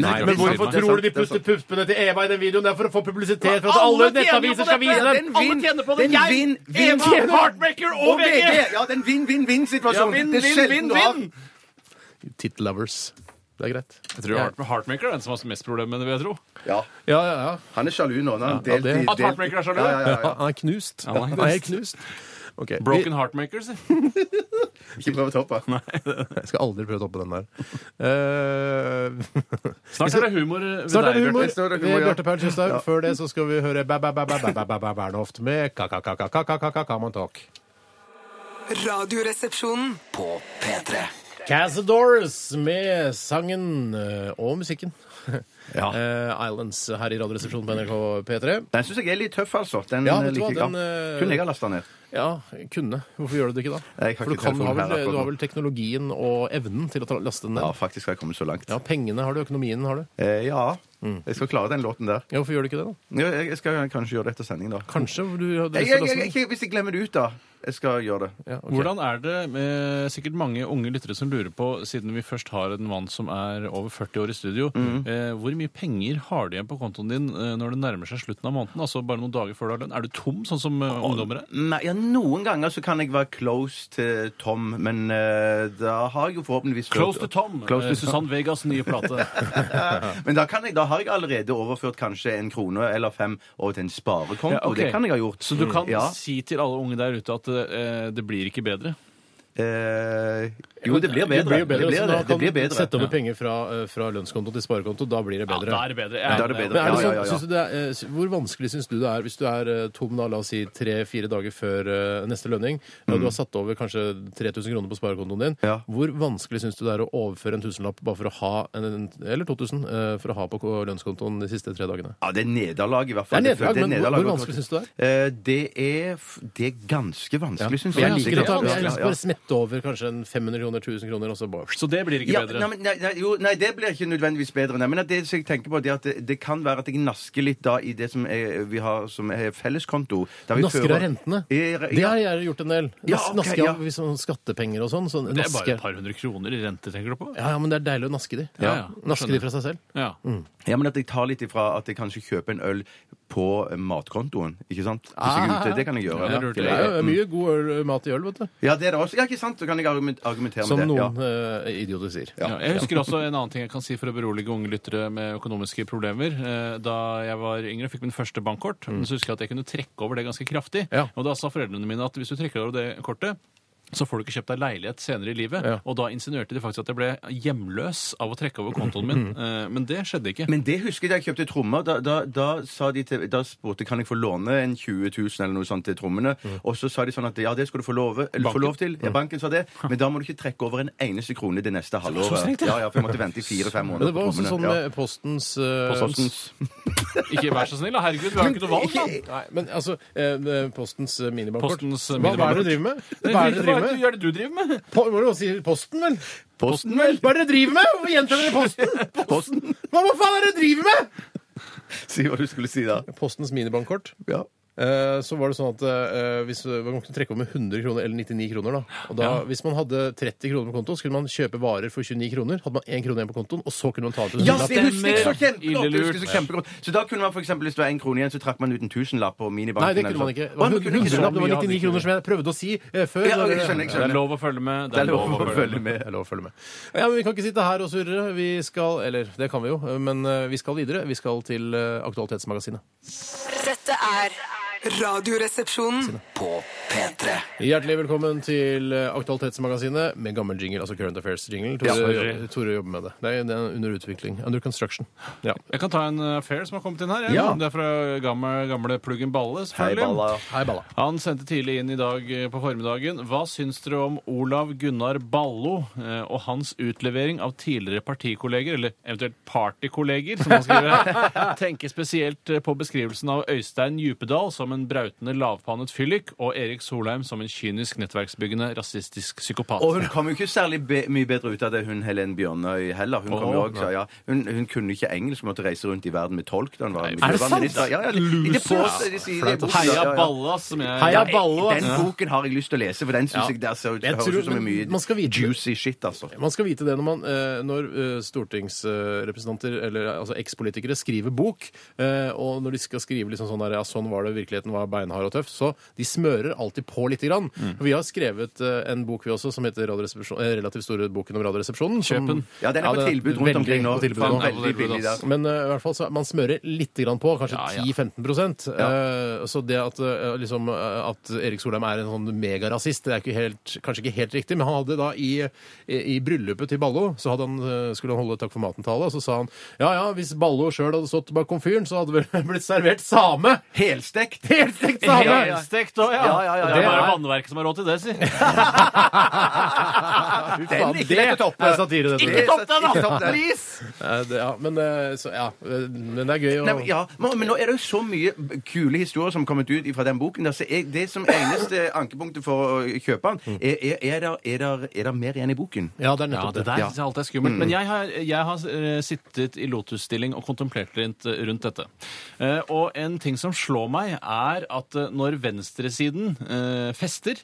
C: Men
D: den
E: Nei, men
D: grafiske
C: hvorfor
E: hvorfor
D: filmen.
C: tror
E: tror
C: du de
E: du de
C: putter puppene til Eva i den videoen? Det er for å få publisitet, for at
D: Alle
C: alle
D: tjener jo på
C: nettaviser skal
D: dette!
C: vise
E: Den
C: den!
D: Alle
E: vinn-
D: tjener på det.
E: den
D: Jeg,
E: vinn-
D: Eva,
E: vinn-
D: Heartbreaker og Sånn, VG!
E: Ja, den
D: Ja,
E: vinn-vinn-vinn-situasjonen.
D: vinn,
E: Det er
D: vinn,
E: sjelden
D: vinn,
E: du har-
D: vinn!
C: Tit lovers. Det er greit.
D: Jeg tror Heart- Heartmaker er den som har mest problemer med det, vil jeg tro.
E: Ja,
C: Ja, ja, ja.
E: han er sjalu nå. Han har
C: Ja,
E: delt
C: det-
E: i-
D: At Heartbreaker er sjalu?
E: Ja, ja, ja,
C: Ja,
E: ja.
C: han er knust.
D: Ja, han er
C: Han er helt knust. Ok, vi-
D: Broken Heartmaker, si.
E: Ikke prøv å toppe.
C: Jeg skal aldri prøve å toppe den der. Eh,
D: Snart er det humor eh, ved
C: Snart er det
D: deg,
C: humor.
D: Bjarte.
E: Snart er det
C: Med
E: humor, ja.
C: Bjarte Paul Tjøstheim. Før det så skal vi høre Bæ, bæ, bæ, bæ, bæ, bæ, bæ, bæ, Bernhoft med ka-ka-ka-ka-ka-ka-ka-ka-man-talk.
F: Radioresepsjonen.
B: På P3.
C: Cazadores med sangen eh, og musikken.
E: Ja.
C: Eh, Islands her i Radioresepsjonen på NRK P3.
E: Den syns jeg er litt tøff, altså. Den
C: Ja,
E: eh,
C: vet du hva,
E: liker jeg.
C: den, eh,
E: Kunne jeg ha lasta ned.
C: Ja, kunne. Hvorfor gjør du det ikke da?
E: Jeg har
C: For du,
E: ikke
C: kan, har
E: telefonen her
C: vel,
E: akkurat
C: du har
E: nå.
C: vel teknologien og evnen til å ta- laste den
E: Ja,
C: ned?
E: faktisk har jeg kommet så langt.
C: Ja, Mm. pengene har du, økonomien har du.
E: Eh, ja. Jeg skal klare den låten der.
C: Ja, hvorfor gjør du ikke det, da?
E: Ja, Jeg skal kanskje gjøre det etter sending, da.
C: Kanskje du hadde lyst til
E: Jeg,
C: å
E: jeg,
C: laste
E: jeg,
C: den?
E: jeg, hvis jeg glemmer det ut, da. Jeg skal gjøre det.
C: Ja, ok.
D: Hvordan er det med sikkert mange unge lyttere som lurer på, siden vi først har en mann som er over 40 år i studio, eh, hvor mye penger har du igjen på kontoen din eh, når det nærmer seg slutten av måneden? Altså bare noen dager før du har lønn. Er du tom, sånn som eh, ungdommer er?
E: Nei, ja, Noen ganger så kan jeg være close til Tom, men eh, da har jeg jo forhåpentligvis
D: Close to Tom.
E: Close to
D: eh, Susann Vegas nye plate.
E: Men da, kan jeg, da har jeg allerede overført kanskje en krone eller fem over til en sparekonto.
D: Ja, ok.
E: Det kan jeg ha gjort.
D: Så du kan
E: ja.
D: si til alle unge der ute at eh, det blir ikke bedre.
E: Eh, Jo, det blir bedre.
C: Det blir jo bedre.
E: det.
C: så da
E: Det
C: kan
E: blir
C: du
E: bedre.
C: sette over penger fra, eh, fra lønnskonto til sparekonto. Da blir det
D: Ja,
C: bedre.
D: da er det bedre.
E: Da er det
C: Men er det
E: bedre. Ja,
C: sånn,
E: ja, ja.
C: synes du det er, eh, s- Hvor vanskelig syns du det er hvis du er eh, tom da, la oss si tre-fire dager før eh, neste lønning, og du har satt over kanskje 3000 kroner på sparekontoen din,
E: Mm. Ja.
C: hvor vanskelig syns du det er å overføre en tusenlapp bare for å ha en, en- eller 2000 eh, for å ha på ko- lønnskontoen de siste tre dagene?
E: Ja, det er nederlag, i hvert fall.
C: Det er nederlag, men hvor-
E: nederlag.
C: hvor vanskelig synes du det
E: Eh, Det er, f- det er ganske vanskelig, synes
C: For
E: jeg.
C: jeg liker å ta,
D: det er
C: jeg
E: Ja,
C: liker
E: ja.
C: bare smette over kanskje en 500 kroner, 1000 kroner, og så bare
D: Så det blir ikke
E: Ja,
D: bedre.
E: nei, men- nei, nei, jo, nei, det blir ikke nødvendigvis bedre. Nei, men at det som jeg tenker på, det er at det, det kan være at jeg nasker litt da i det som er, vi har som er felleskonto. der vi
C: Nasker
E: fører-
C: av rentene.
E: Eh,
C: Det har jeg gjort en del. Nas,
E: Ja, ok,
C: naske
E: ja.
C: av sånn skattepenger og sånn. sånn
D: Det er bare
C: naske.
D: et par hundre kroner i rente, tenker du på?
C: Ja, ja, men det er deilig å naske de.
D: Ja, ja,
C: Naske de
D: skjønner.
C: fra seg selv.
D: Ja.
E: Ja, men at jeg tar litt ifra at jeg kanskje kjøper en øl på eh, matkontoen, ikke sant? Hvis jeg er ute, det kan jeg gjøre.
D: Ja, det er Mm. lurt.
C: Det er jo mye god øl, eh, mat i øl, vet du.
E: Ja, det er det også. Ja, ikke sant? Så kan jeg argument- argumentere
C: Som
E: med det.
C: noen eh, idioter sier.
D: Ja, jeg husker også en annen ting jeg kan si for å berolige unge lyttere med økonomiske problemer. Eh, Da jeg var yngre og fikk min første bankkort,
E: Mm.
D: så husker jeg at jeg kunne trekke over det ganske kraftig.
C: Ja.
D: Og da sa foreldrene mine at hvis du trekker over det kortet, så får du ikke kjøpt deg leilighet senere i livet.
C: Ja.
D: Og da insinuerte de faktisk at jeg ble hjemløs av å trekke over kontoen min.
E: Mm.
D: Eh, Men det skjedde ikke.
E: Ja. Men det husker jeg da jeg kjøpte trommer. Da, da, da, sa de til, da spurte kan jeg få låne en 20 000 eller noe sånt til trommene. Og så sa de sånn at ja, det skal du få, love, eller, få lov til. Ja, banken sa det. Men da må du ikke trekke over en eneste krone det neste halvåret.
D: strengt, ja.
E: ja, ja, for jeg måtte vente i fire-fem
C: Men
E: måneder
C: det var
E: på
C: også sånn
E: trommene.
C: med postens eh,
E: Postens-
D: Ikke vær så snill, da. Herregud, vi har ikke noe valg, da.
C: Nei, men altså eh, Postens eh, minibankkort.
D: Postens, eh,
C: hva, hva er det du driver med? Hva er det du driver med?
D: er det du driver med?
C: Po må du jo si Posten, vel?
E: Posten, vel?
C: Hva er det dere driver med? Hvorfor gjentar dere Posten?
E: Posten?
C: Hva, hva faen er det dere driver med?
E: Si hva du skulle si da.
C: Postens minibankkort.
E: Ja.
C: Eh, så var det sånn at eh, hvis man kunne trekke over med 100 kroner eller 99 kroner, da. Og da, Hvis man hadde 30 kroner på konto, så kunne man kjøpe varer for 29 kroner. Hadde man 1 krone igjen på kontoen, og så kunne man ta ut en
E: Ja,
C: hundrelapp.
E: det husker jeg så
D: Ille
E: kjempegodt!
D: lurt.
E: det husker jeg Så, kjempegodt. så da kunne man for eksempel hvis det var én krone igjen, så trakk man ut en tusenlapp på minibanken.
C: Nei, det kunne
E: eller
C: man ikke.
E: sånn.
C: Det var
E: Å, man kunne
C: 100
E: ikke det.
C: lapp, det var 99 kroner, som jeg prøvde å si eh, før.
E: Ja, jeg skjønner, jeg
D: Det er
E: skjønner.
D: lov å følge med.
E: Det er lov å følge med.
C: Det er lov å følge med. Ja, men Vi kan ikke sitte her og surre. Vi skal Eller, det kan vi jo, men eh, vi skal videre. Vi skal til eh, Aktualitetsmagasinet.
G: Dette er
F: Radioresepsjonen.
B: På P3
C: Hjertelig velkommen til eh, Aktualitetsmagasinet med gammel jingle, altså Current Affairs-jingle.
D: Ja,
C: Tore,
D: sorry.
C: Tore jobber med det. Det er, det er under utvikling. Under construction. Ja.
D: Jeg kan ta en eh, affair som har kommet inn her. jeg.
E: Ja.
D: Det er fra gamle, gamle Pluggen Balle.
E: Hei,
D: selvfølgelig.
E: Balla.
C: Hei, Balla.
D: Han sendte tidlig inn i dag eh, på formiddagen. Hva syns dere om Olav Gunnar Ballo eh, og hans utlevering av tidligere partikolleger, eller eventuelt partykolleger, som han skriver her? Tenker spesielt eh, på beskrivelsen av Øystein Djupedal som en brautende lavpannet fyllik, og Erik Solheim som en kynisk, nettverksbyggende, rasistisk psykopat.
E: Og hun kom jo ikke særlig be mye bedre ut av det, hun Helen Bjørnøy heller. Hun, kom jo også, ja, hun, hun kunne ikke engelsk, måtte reise rundt i verden med tolk. Da hun var
D: er det sant?
E: miljøvernminister. Ja, ja, de, de påstår, de sier det i boken, ja, ja,
D: Heia
E: ja.
D: Ballas, som jeg
C: Heia
E: Ja,
C: Ballo,
E: Den
C: altså.
E: boken har jeg lyst til å lese, for den syns jeg der ser ut,
C: Jeg
E: høres
C: tror-
E: ut som en
C: men
E: mye
C: man skal vite-
E: juicy shit, altså.
C: Man skal vite det når, man, eh, når eh, stortingsrepresentanter, eller altså ekspolitikere, skriver bok, eh, og når de skal skrive liksom sånn der, ja, sånn var det, virkeligheten var beinhard og tøff, så de smører alltid på lite grann. Vi har skrevet eh, en bok vi også, som heter Radioresepsjon- eh, relativt store boken om radioresepsjonen. som-
D: Kjøp den.
E: Ja, den er på tilbud rundt
C: veldig
E: omkring nå.
C: på tilbud
E: Faen,
C: nå.
E: Veldig billig der.
C: Men eh, i hvert fall så man smører litt grann på, kanskje
D: Ja, ja.
C: 10-15 Eh, Så det at, eh, liksom, eh, at Erik Solheim er en sånn megarasist, det er ikke helt, kanskje ikke helt riktig. Men han hadde da i, i, i bryllupet til Ballo, så hadde han, eh, skulle han holde takk for maten-tale, og så sa han ja ja, hvis Ballo sjøl hadde stått bak komfyren, så hadde vel blitt servert same!
E: Helstekt!
C: Helt stekt same!
E: Ja, ja.
D: Helstekt òg, ja.
E: Ja, ja, ja, ja.
D: Det er bare
C: Det er-
D: vannverket som har råd til det, si.
C: Fy
E: Den
C: faen,
E: likte
C: det
E: jeg ikke toppe.
C: er satire, dette.
E: Ikke topp den, da!
C: Eh, det- Ja, men, eh, så, ja, eh, men det er gøy å
E: Nei, men ja, men men nå er det jo så mye b- kule historier som har kommet ut fra den boken. Der, så jeg, det som eneste ankepunktet for å kjøpe den, er, er, er, der, er, der, er der mer igjen i boken?
C: Ja, det er
D: Ja,
C: nettopp
D: det
C: det.
D: der synes jeg alltid er skummelt. Men jeg har, jeg har eh, sittet i lotusstilling og kontemplert litt eh, rundt dette. Eh, og en ting som slår meg, er at eh, når venstresiden eh, fester,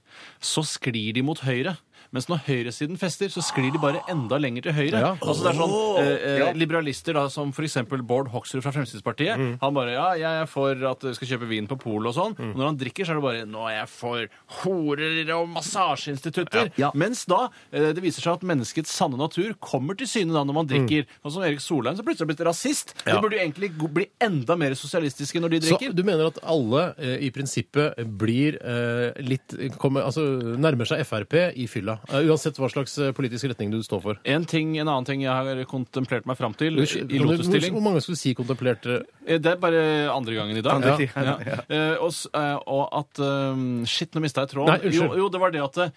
D: så sklir de mot høyre. Mens når høyresiden fester, så sklir de bare enda lenger til høyre.
C: Ja.
D: Altså det er sånn eh, eh, Liberalister da, som f.eks. Bård Hoksrud fra Fremskrittspartiet.
C: Mm.
D: Han bare Ja, jeg er for at du skal kjøpe vin på polet og sånn. Og når han drikker, så er det bare Nå er jeg for horer og massasjeinstitutter. Mens da eh, det viser seg at menneskets sanne natur kommer til syne da når man drikker.
C: Mm.
D: Sånn som Erik Solheim, som plutselig har blitt rasist. De burde jo egentlig go- bli enda mer sosialistiske når de
C: Så
D: drikker.
C: du mener at alle eh, i prinsippet blir eh, litt kommer, Altså nærmer seg Frp i fylla? eh, uansett hva slags eh, politisk retning du står for.
D: En ting, En annen ting jeg har kontemplert meg fram til eh, i
C: Hvor-
D: lotusstilling
C: Hvor mange skulle si kontemplerte
D: Eh, Det er bare andre gangen i dag.
E: Andre
D: Ja.
E: tiden,
D: Ja. Eh, og, s- eh, og at eh, Shit, nå mista
C: Nei,
D: jeg tråden.
C: unnskyld.
D: jo, jo, det var det at eh,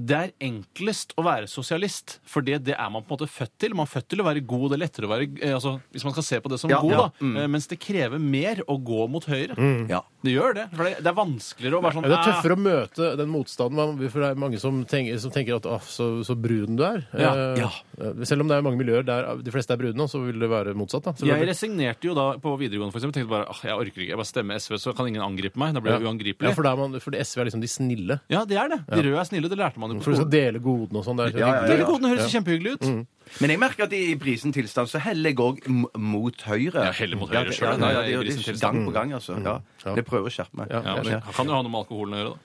D: det er enklest å være sosialist, for det, det er man på en måte født til. Man er født til å være god. Det er lettere å være eh, altså, Hvis man skal se på det som
E: Ja,
D: god,
E: ja,
D: da.
C: Mm.
D: eh, Mens det krever mer å gå mot høyre.
E: Ja.
D: Det gjør det. For det, det er vanskeligere å være sånn
C: Det er
D: "Ah,
C: tøffere å møte den motstanden, man- for det er mange som tenker, som tenker at «Åh, så, så brun du er.
D: Ja,
C: Eh, eh, Selv om det er mange miljøer der eh, de fleste er brune, så vil det være motsatt. da.
D: Jeg
C: selvfølgelig.
D: resignerte jo da på videregående, for eksempel. Tenkte bare ah, jeg orker ikke. Jeg bare stemmer SV, så kan ingen angripe meg. Da blir jeg
C: Ja,
D: uangripelig.
C: for, da er man, for SV er liksom de snille.
D: Ja, det er det. De røde er snille. Det lærte man jo på
C: For du skal
D: skolen.
C: dele godene og sånn. Det er
E: Ja, ja, ja.
D: Dere kodene høres kjempehyggelig ut.
C: Mm.
E: Men jeg merker at i brisen tilstand så heller jeg òg mot høyre.
D: Ja, heller mot høyre
E: det-
D: selv,
E: ja,
D: nei,
E: ja,
D: i
E: det er jo
D: brisen
E: det
D: tilstand. Mm.
E: gang på gang, altså. Ja. Jeg prøver å skjerpe meg.
C: Ja,
D: Ja, men
E: Ja,
D: det kan jo ha noe med alkoholen å gjøre, da.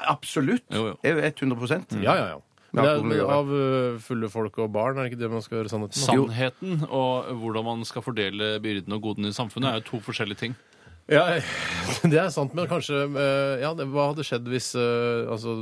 E: absolutt.
D: Jo, Mm. jo.
E: Jeg er 100
C: Ja, ja, ja. Men
E: Ja,
C: det
E: alkohol
C: er
E: gjør det.
C: av eh, fulle folk og barn, er det ikke det man skal gjøre sannheten? om?
D: Sannheten og hvordan man skal fordele byrdene og godene i samfunnet, er jo to forskjellige ting.
C: Ja, det er sant, men kanskje eh, Ja, det, hva hadde skjedd hvis eh, altså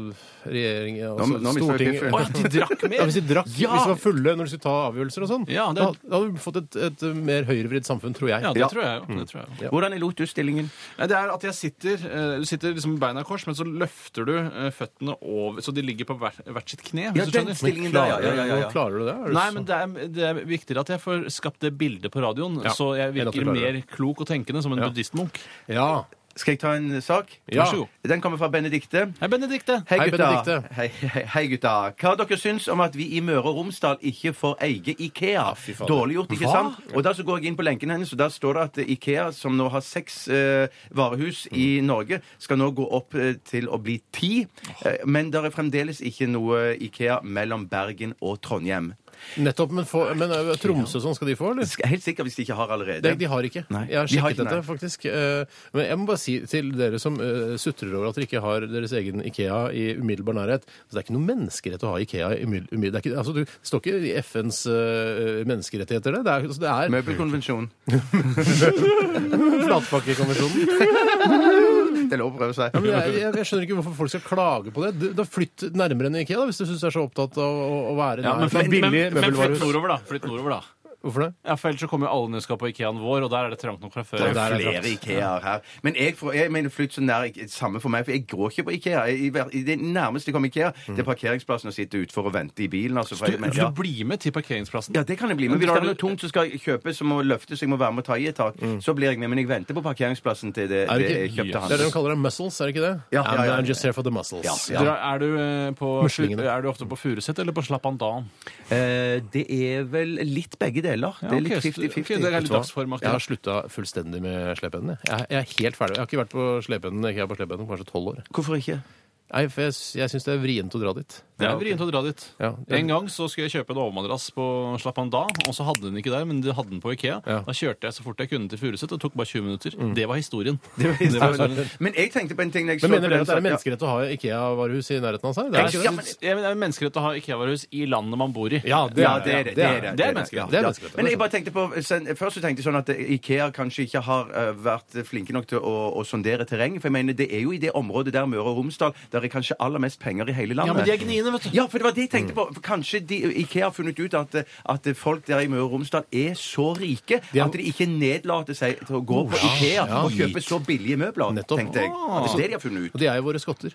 C: regjeringen altså,
E: Nå- nå mister vi
C: Stortinget
E: piffen.
D: Å ja, de drakk
C: ja,
D: mer!
C: Hvis de drakk,
D: Ja!
C: hvis de var fulle når de skulle ta avgjørelser og sånn,
D: Ja, det-
C: da, da hadde vi fått et, et eh, mer høyrevridd samfunn, tror jeg.
D: Ja, det
E: Ja.
D: tror jeg jo. Det, tror jeg. jo.
E: Hvordan er lotusstillingen?
D: Nei, det er at jeg sitter eh, Du sitter liksom med beina i kors, men så løfter du eh, føttene over Så de ligger på hvert, hvert sitt kne.
E: Ja,
D: Hvis du
E: den
D: skjønner.
E: stillingen der, ja.
C: Klarer,
E: ja, ja, ja,
C: Hvordan klarer du det? Er du
D: Nei,
C: så-
D: men det er, det er viktigere at jeg får skapt det bildet på radioen, så jeg
C: enn at du
D: virker
C: klarer
D: mer klok og tenkende som en buddhistmunk.
C: ja.
E: Skal jeg ta en sak?
C: Ja.
D: Vær så god.
E: Den kommer fra Benedikte.
D: Hei, Benedikte!
C: Hei,
E: Hei, gutta.
C: Benedikte.
E: Hei, hei, hei, gutta. Hva dere syns om at vi i Møre og Romsdal ikke får eie Ikea?
C: fader.
E: Dårlig gjort, ikke
D: Hva?
E: sant? Og da så går jeg inn på lenken hennes, og der står det at Ikea, som nå har seks eh, varehus i Norge, skal nå gå opp eh, til å bli ti. Eh, men det er fremdeles ikke noe Ikea mellom Bergen og Trondheim.
C: Nettopp, men, få- men eh, Tromsø og sånn, skal de få, eller?
E: Skal- Helt sikkert hvis de ikke har allerede.
C: Det, de har ikke.
E: Nei,
C: jeg har
E: de har
C: sjekket
E: ikke, nei.
C: dette, faktisk. Eh, Men jeg må bare si til dere som eh, sutrer over at dere ikke har deres egen Ikea i umiddelbar nærhet så Det er ikke noe menneskerett å ha Ikea i umiddelbar nærhet. Altså, du- det står ikke i FNs eh, menneskerettigheter, det. Det er, altså, det er
E: Møbelkonvensjon.
C: Flatpakkekonvensjonen.
E: Det er lov å prøve seg.
C: Ja, men jeg, jeg, jeg skjønner ikke hvorfor folk skal klage på det. Du, da Flytt nærmere enn IKEA, da, hvis du syns du er så opptatt av å, å være
D: Ja, men,
C: nær.
D: flytt-
C: Billig
D: men, men flytt
C: møbelvarehus.
D: nordover, da. Flytt nordover, da.
C: Hvorfor det?
D: Ja, for Ellers så kommer jo alle ned skal på Ikeaen vår, og der er det trangt nok fra før.
E: Det
C: der
E: er
C: er
E: flere
C: dratt.
E: Ikeaer her. Men jeg, får, jeg mener flytt så nær Ike- samme for meg, for jeg går ikke på Ikea. Jeg, i hver- i det nærmeste jeg kommer Ikea, det er parkeringsplassen og sitte utfor og vente i bilen. Altså, for
D: Du,
E: jeg- men,
D: du
E: ja.
D: blir med til parkeringsplassen.
E: Ja, det kan jeg bli. Men hvis
D: Drar
E: det er
D: du-
E: noe tungt som skal kjøpes, som må løftes, jeg må være med og ta i et tak, så blir jeg med. Men jeg venter på parkeringsplassen til det,
C: Er
E: det
C: det ikke-
E: jeg kjøpte
C: Det er det de
E: hans.
C: kaller det muscles, er det ikke det?
E: Ja, ja, ja, ja.
C: I'm just here for the muscles.
E: Ja.
D: Dra- Er, du, eh, på,
C: Muslingene.
D: er du ofte på Furuset eller på Slappandan?
E: Eh, det er vel litt begge deler. Det
D: Ja,
E: er litt
D: ok, så- ok,
E: 50-50.
D: det er litt
E: Vet du hva?
D: dagsformaktig.
C: Jeg har slutta fullstendig med slepehender. Jeg, jeg er helt ferdig. Jeg har ikke vært på slepehender jeg er på slepehender på kanskje tolv år.
E: Hvorfor ikke?
C: Nei, for jeg, jeg syns det er vrient å dra dit.
D: Det
E: Ja,
D: er
E: ok.
D: vrient å dra dit.
C: Ja.
D: En gang så skulle jeg kjøpe en overmadrass på Slappandan, og så hadde den ikke der, men de hadde den på Ikea.
C: Ja.
D: Da kjørte jeg så fort jeg kunne til Furuset. Det tok bare 20 minutter. Det var historien.
E: Men jeg tenkte på en ting når jeg
C: Men
E: sånn- så
C: mener dere
E: på
C: at det
E: den
C: er
E: saken-
C: menneskerett å ha Ikea-varehus i nærheten av seg? Det
D: Jeg
C: er ikke det?
D: synes- jeg mener, det er menneskerett å ha Ikea-varehus i landet man bor i.
C: Ja, det
E: Ja,
C: er
E: det er det. Det er det.
D: Det er menneskerett.
C: Det er menneskerett.
E: Men jeg bare tenkte på, sen, først så tenkte jeg sånn at eh, Ikea kanskje ikke har eh, vært flinke nok til å, å sondere terreng. For jeg mener, det er jo i det området der Møre og Romsdal der er kanskje aller mest penger i hele landet.
D: Ja, men de er gniene, vet du.
E: Ja, for det var det jeg tenkte på. For kanskje de, Ikea har funnet ut at, eh, at folk der i Møre og Romsdal er så rike
C: De er-
E: at de Oh, ikke nedlater seg til å gå på Ikea
C: ja.
E: og kjøpe så billige møbler,
C: Nettopp.
E: tenkte jeg. At det er det de har funnet
C: Og
E: ut.
C: de er jo våre skotter.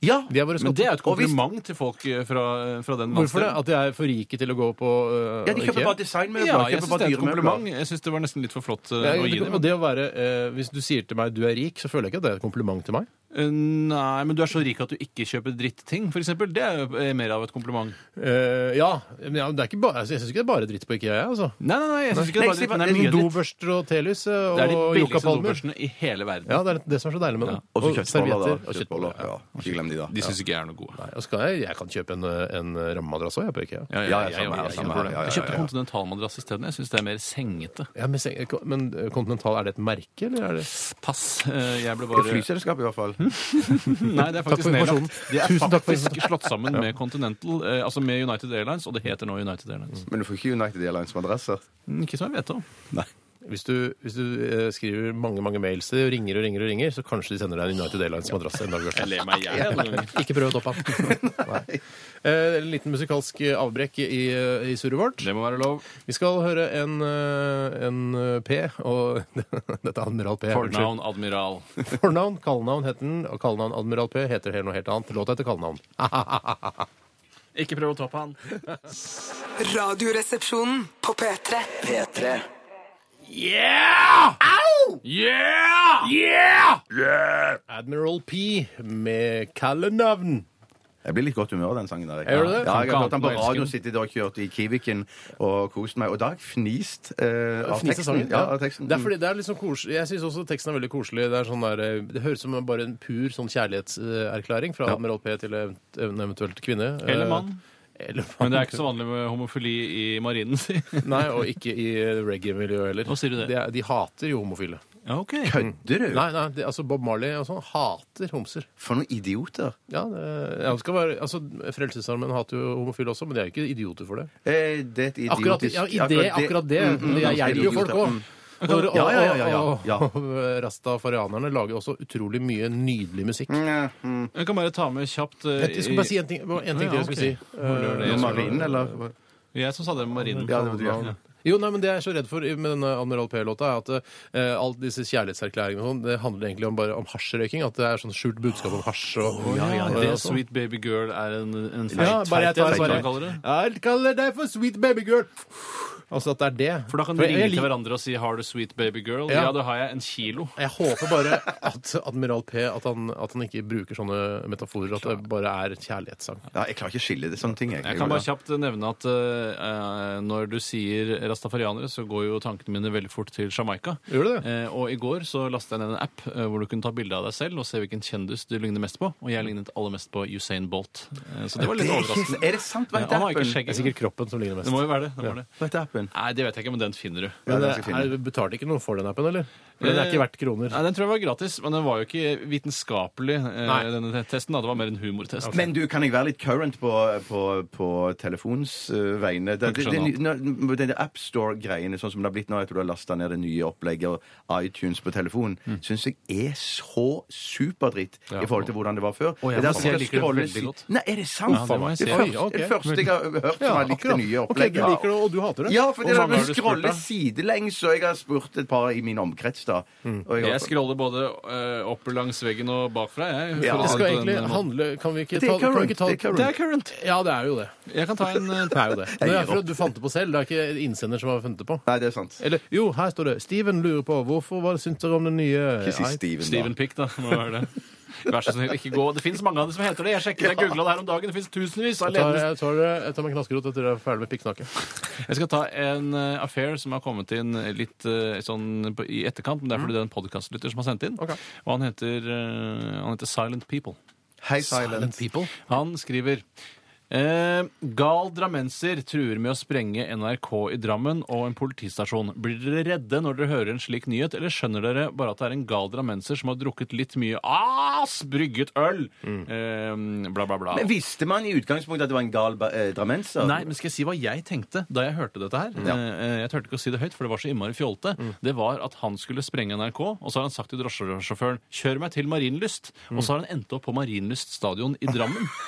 E: Ja,
C: De er våre
D: Men det
C: skotter.
D: er jo et
E: Og hvis-
D: kompliment til folk eh, fra, fra den
C: Hvorfor det?
D: landsdelen.
C: At de er for rike til å gå på øh,
E: ja de kjøper bare designmøbler.
D: Ja, jeg syns
E: kjøper
D: det
E: bare
D: er et
E: dyremøbler.
D: kompliment. Jeg syns det var nesten litt for flott eh,
C: Ja,
D: å gi
C: det, og
D: dem.
C: det å være, øh, Hvis du sier til meg du er rik, så føler jeg ikke at det er et kompliment til meg.
D: Eh, Nei, men du er så rik at du ikke kjøper drittting, f.eks. Det er jo eh, mer av et kompliment.
C: Eh, ja, men ja, men det er ikke bare, altså, Jeg syns ikke det er bare dritt på Ikea. jeg, Altså.
D: Nei, nei, nei, jeg syns ikke det
E: Nei,
D: er bare
E: si
D: dritt.
E: hva-
D: men Det er
E: det er
D: mye dritt.
C: Dobørster og telys øh,
D: Det er de
C: og
D: billigste
C: Yucapalmer.
D: dobørsene i hele verden.
C: Ja, det er det som er så deilig med det.
E: Og så kjøttboller, da.
C: Og kjøttboller, ja.
E: Ikke glem de, da.
D: De syns ikke jeg er noe gode.
C: Nei, og så kan jeg, jeg kan kjøpe en, øh, en rammemadrass òg, jeg, på Ikea.
D: Ja, jeg-
E: Ja, ja,
D: jeg-
E: samme her,
D: jeg-
E: samme
D: jeg-
E: her, ja, ja,
D: Jeg kjøpte
E: ja, ja.
D: kontinentalmadrass isteden. Jeg syns det er mer sengete.
C: Ja, men se- men øh, Continental, er det et merke, eller er det
D: Pass. eh, Jeg ble
E: Det er
D: bare
E: Flyselskap, i hvert fall.
D: Nei, det er
C: Takk
D: faktisk
C: for
D: nedlagt.
C: informasjonen.
D: Det er
C: Tusen takk for
D: faktisk slått sammen med Continental, eh, altså med United Airlines, og det heter nå United Airlines.
E: Men du får ikke United Airlines med adresser.
D: Mm, Ikke som jeg vet om.
C: Hvis du, hvis du eh, skriver mange mange mails til dem, ringer og ringer, og ringer, så kanskje de sender deg en United Airlines-madrass en dag. Bjørte.
D: Jeg ler meg i hjel. noen ganger.
C: Ikke prøv å toppe den. Nei. Eh, En liten musikalsk avbrekk i, eh, i surret vårt.
D: Det må være lov.
C: Vi skal høre en, eh, en eh, P, og dette er Admiral P. unnskyld.
D: Fornavn admiral.
C: Fornavn, kallenavn heter den, og kallenavn Admiral P heter helt noe helt annet. Låta heter kallenavn.
D: Ikke prøv å ta på han.
F: Radioresepsjonen på P3.
B: P3
D: Yeah! Au! Yeah! Yeah!
C: Admiral P med kallenavn.
E: Jeg blir litt godt humør av den sangen. der.
C: Gjør du det?
E: Ja, jeg har hørt den på
D: Kan ikke
E: radio,
D: elske
E: sittet og kjørt i Kiwiken og kost meg. Og da har jeg fnist eh, av
C: Fnise
E: teksten.
C: sangen,
E: Ja, av teksten.
C: Det er fordi det er liksom koselig. Jeg syns også teksten er veldig koselig. Det, er sånn der, eh, det høres ut som bare en pur sånn kjærlighetserklæring fra Admiral P til en eventuelt kvinne. Eh,
D: Eller mann.
C: Eller mann.
D: Men det er ikke så vanlig med homofili i marinen, si.
C: Nei, og ikke i reggae-miljøet heller.
D: Hva sier du det?
C: De, er- de hater jo homofile.
D: Ok.
E: Mm. Kødder du?
C: Nei, nei, det, altså Bob Marley og sånn hater homser.
E: For noen idioter.
C: Ja, det, ja, det skal være, altså Frelsesarmeen hater jo homofile også, men de er jo ikke idioter for det.
E: Eh, det er et idiotisk
C: Akkurat, ja, i det, akkurat det.
E: Mm, mm,
C: jeg
E: ganske
C: hjelper jo folk
E: idioter.
C: òg.
E: Mm. Ja, ja, ja, ja, ja. Ja.
C: rastafarianerne lager også utrolig mye nydelig musikk.
E: mm.
D: Jeg kan bare ta med kjapt eh,
C: Jeg skal bare si en ting, det var en ting
D: Ja,
C: til jeg skulle
D: ok.
C: si. Eh,
D: det jeg skulle-
E: Marinen, eller?
D: Jeg som sa det med marinen.
E: Ja, det var du, ja.
C: Eh, Jo, nei, men Det jeg er så redd for med denne Admiral P-låta, er at eh, alt disse kjærlighetserklæringene og sånn, det handler egentlig om bare om hasjrøyking. At det er sånn skjult budskap om hasj og
D: Ja, ja,
C: og-
D: det
C: og sånn.
D: Sweet Baby Girl er en, en feit,
C: Ja, bare jeg
D: feit,
C: tar
D: feit,
C: svaret.
D: hva kaller det.
C: Jeg kaller deg for sweet baby girl. Altså at det er det.
D: For da kan du
C: jeg-
D: ringe
C: jeg
D: til
C: lik-
D: hverandre og si 'Har du Sweet Baby Girl?'
C: Ja.
D: Ja, da har jeg en kilo.
C: Jeg håper bare at Admiral P at han, at han ikke bruker sånne metaforer. At det bare er kjærlighetssang.
E: Ja, jeg klarer ikke å skille det sånne ting. Jeg,
D: Jeg kan bare kjapt nevne at eh, når du sier rastafarianere, så går jo tankene mine veldig fort til Jamaica.
C: Gjør du det?
D: Eh, og i går så lastet jeg ned en app eh, hvor du kunne ta bilde av deg selv og se hvilken kjendis du ligner mest på. Og jeg lignet aller mest på Usain Bolt. Eh, så det var litt
E: Det er,
D: overraskende.
E: ikke, er det sant? Hva
D: Ja, han har
E: heter
D: ikke
E: appen?
D: skjegg.
C: Det er sikkert kroppen som ligner mest.
D: Det må jo være det. det, var det.
E: Hva heter spenn?
D: Nei, det vet jeg ikke, men den finner du.
E: Ja,
C: Men
E: den skal jeg
C: er,
E: finne.
C: betalte ikke noe for den appen, eller? For den er
D: Eh,
C: ikke verdt kroner.
D: Nei, Den tror jeg var gratis, men den var jo ikke vitenskapelig, eh, denne te- testen. da, Det var mer en humortest.
E: Men du, kan jeg være litt current på, på, på telefons eh, vegne? Det, det, det, nå- den AppStore-greiene, sånn som det har blitt nå etter du har lasta ned det nye opplegget og iTunes på telefonen, syns jeg er så superdritt
C: Mm. Ja.
E: i forhold til hvordan det var før.
D: Å, jeg
E: Det er
D: må si jeg
E: skal
D: liker det
E: scrolles-
D: veldig godt.
E: Nei, er det sant?
D: Ja, det må jeg si.
E: det, første,
C: Oi, ok.
E: det første jeg har hørt som har likt det nye
C: Ok,
E: opplegget.
C: du liker det, og du hater det.
E: Ja, for
C: Og
E: det
C: mange
E: er
C: har
E: å
C: du spurt, da?
E: scrolle sidelengs, og jeg har spurt et par i min omkrets, da.
C: Mm.
E: Og
D: Jeg scroller både eh, opp langs veggen og bakfra. Jeg,
E: Ja,
D: for å
C: Det
D: si
C: skal
D: på den eh,
C: egentlig
D: måten.
C: handle Kan vi ikke
E: Det er
C: ta kan vi
E: current,
C: ikke ta-
E: det er current.
C: Det er current. Ja, det er jo det.
D: Jeg kan ta en eh,
C: Det er jo det. Men det
E: gir
C: er for at du fant det på selv. Det er ikke innsender som har funnet det på.
E: Nei, det er sant.
C: Eller jo, her står det 'Steven lurer på hvorfor hva syns dere om den nye
E: Ikke si
C: iPhone?»
E: Steven, da.
D: Steven Pick, da. Må være det. Vær så snill, ikke gå. Det fins mange av dem som heter det. Jeg sjekket, jeg googla det her om dagen. Det fins tusenvis av
C: Jeg tar,
D: ledende
C: jeg, tar, det- jeg tar meg en knaskerot etter at dere er ferdig med pikksnakket.
D: Jeg skal ta en eh, affair som har kommet inn litt eh, sånn på, i etterkant, men det er fordi det er en podkastlytter som har sendt inn.
C: Mm. Ok.
D: Og han heter, eh, han heter Silent People.
E: Hei, Silent.
C: people.
D: Han skriver Eh, gal drammenser truer med å sprenge NRK i Drammen og en politistasjon. Blir dere redde når dere hører en slik nyhet, eller skjønner dere bare at det er en gal drammenser som har drukket litt mye ass brygget øl? Eh, bla, bla, bla.
E: Men Visste man i utgangspunktet at det var en gal ba- eh, drammenser?
D: Nei, men skal jeg si hva jeg tenkte da jeg hørte dette her? Eh, Jeg turte ikke å si det høyt, for det var så innmari fjolte.
C: Mm.
D: Det var at han skulle sprenge NRK, og så har han sagt til drosjesjåføren 'kjør meg til Marienlyst',
C: Mm.
D: og så har han endt opp på Marienlyst stadion i Drammen.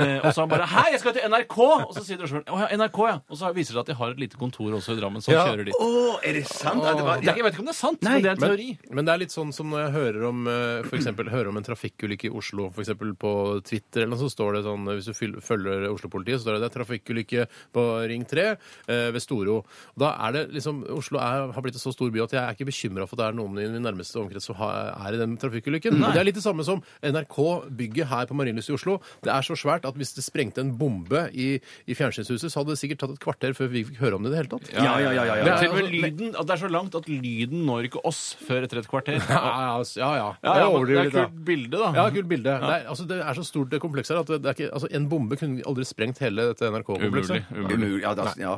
D: Eh, og så har han bare 'Hei, jeg skal til NRK!' Og så sier drosjesjåføren 'Å ja, NRK, ja'. Og så viser det seg at de har et lite kontor også i Drammen, så
C: Ja.
D: han kjører dit.
E: Å, er det sant? At det var,
D: Det er, jeg vet ikke om det er sant,
E: Nei,
D: men det er en
C: Men,
D: teori.
C: men det er litt sånn som når jeg hører om, eh, for eksempel, hører om en trafikkulykke i Oslo, f.eks. på Twitter, eller noe, så står det sånn eh, Hvis du fyl- følger Oslo-politiet, så står det det er trafikkulykke på Ring 3 eh, ved Storo. Og Da er det liksom Oslo er, har blitt en så stor by at jeg er ikke bekymra for at det er noen i min nærmeste omkrets som har- er i den trafikkulykken. Det er litt det samme som NRK-bygget her på Marienlyst i Oslo. Det er så svært at hvis det sprengte en bombe i, i fjernsynshuset, så hadde det sikkert tatt et kvarter før vi fikk høre om det i det hele tatt.
E: Ja, ja, ja, ja, ja.
D: Det er til og med
C: altså,
D: lyden, at det er så langt at lyden når ikke oss før etter et kvarter.
C: Ja, ja. altså, ja, ja.
D: Ja,
C: Jeg
D: ja, men det
C: overdriver
D: er
C: litt,
D: et
C: da.
D: kult bilde, da.
C: Ja, kult bilde. Det, er, altså, det er så stort det komplekset her at det er ikke, altså, en bombe kunne aldri sprengt hele dette
D: Umulig.
C: NRK-komplekset.
D: umulig.
E: Umulig. Ja, da, ja.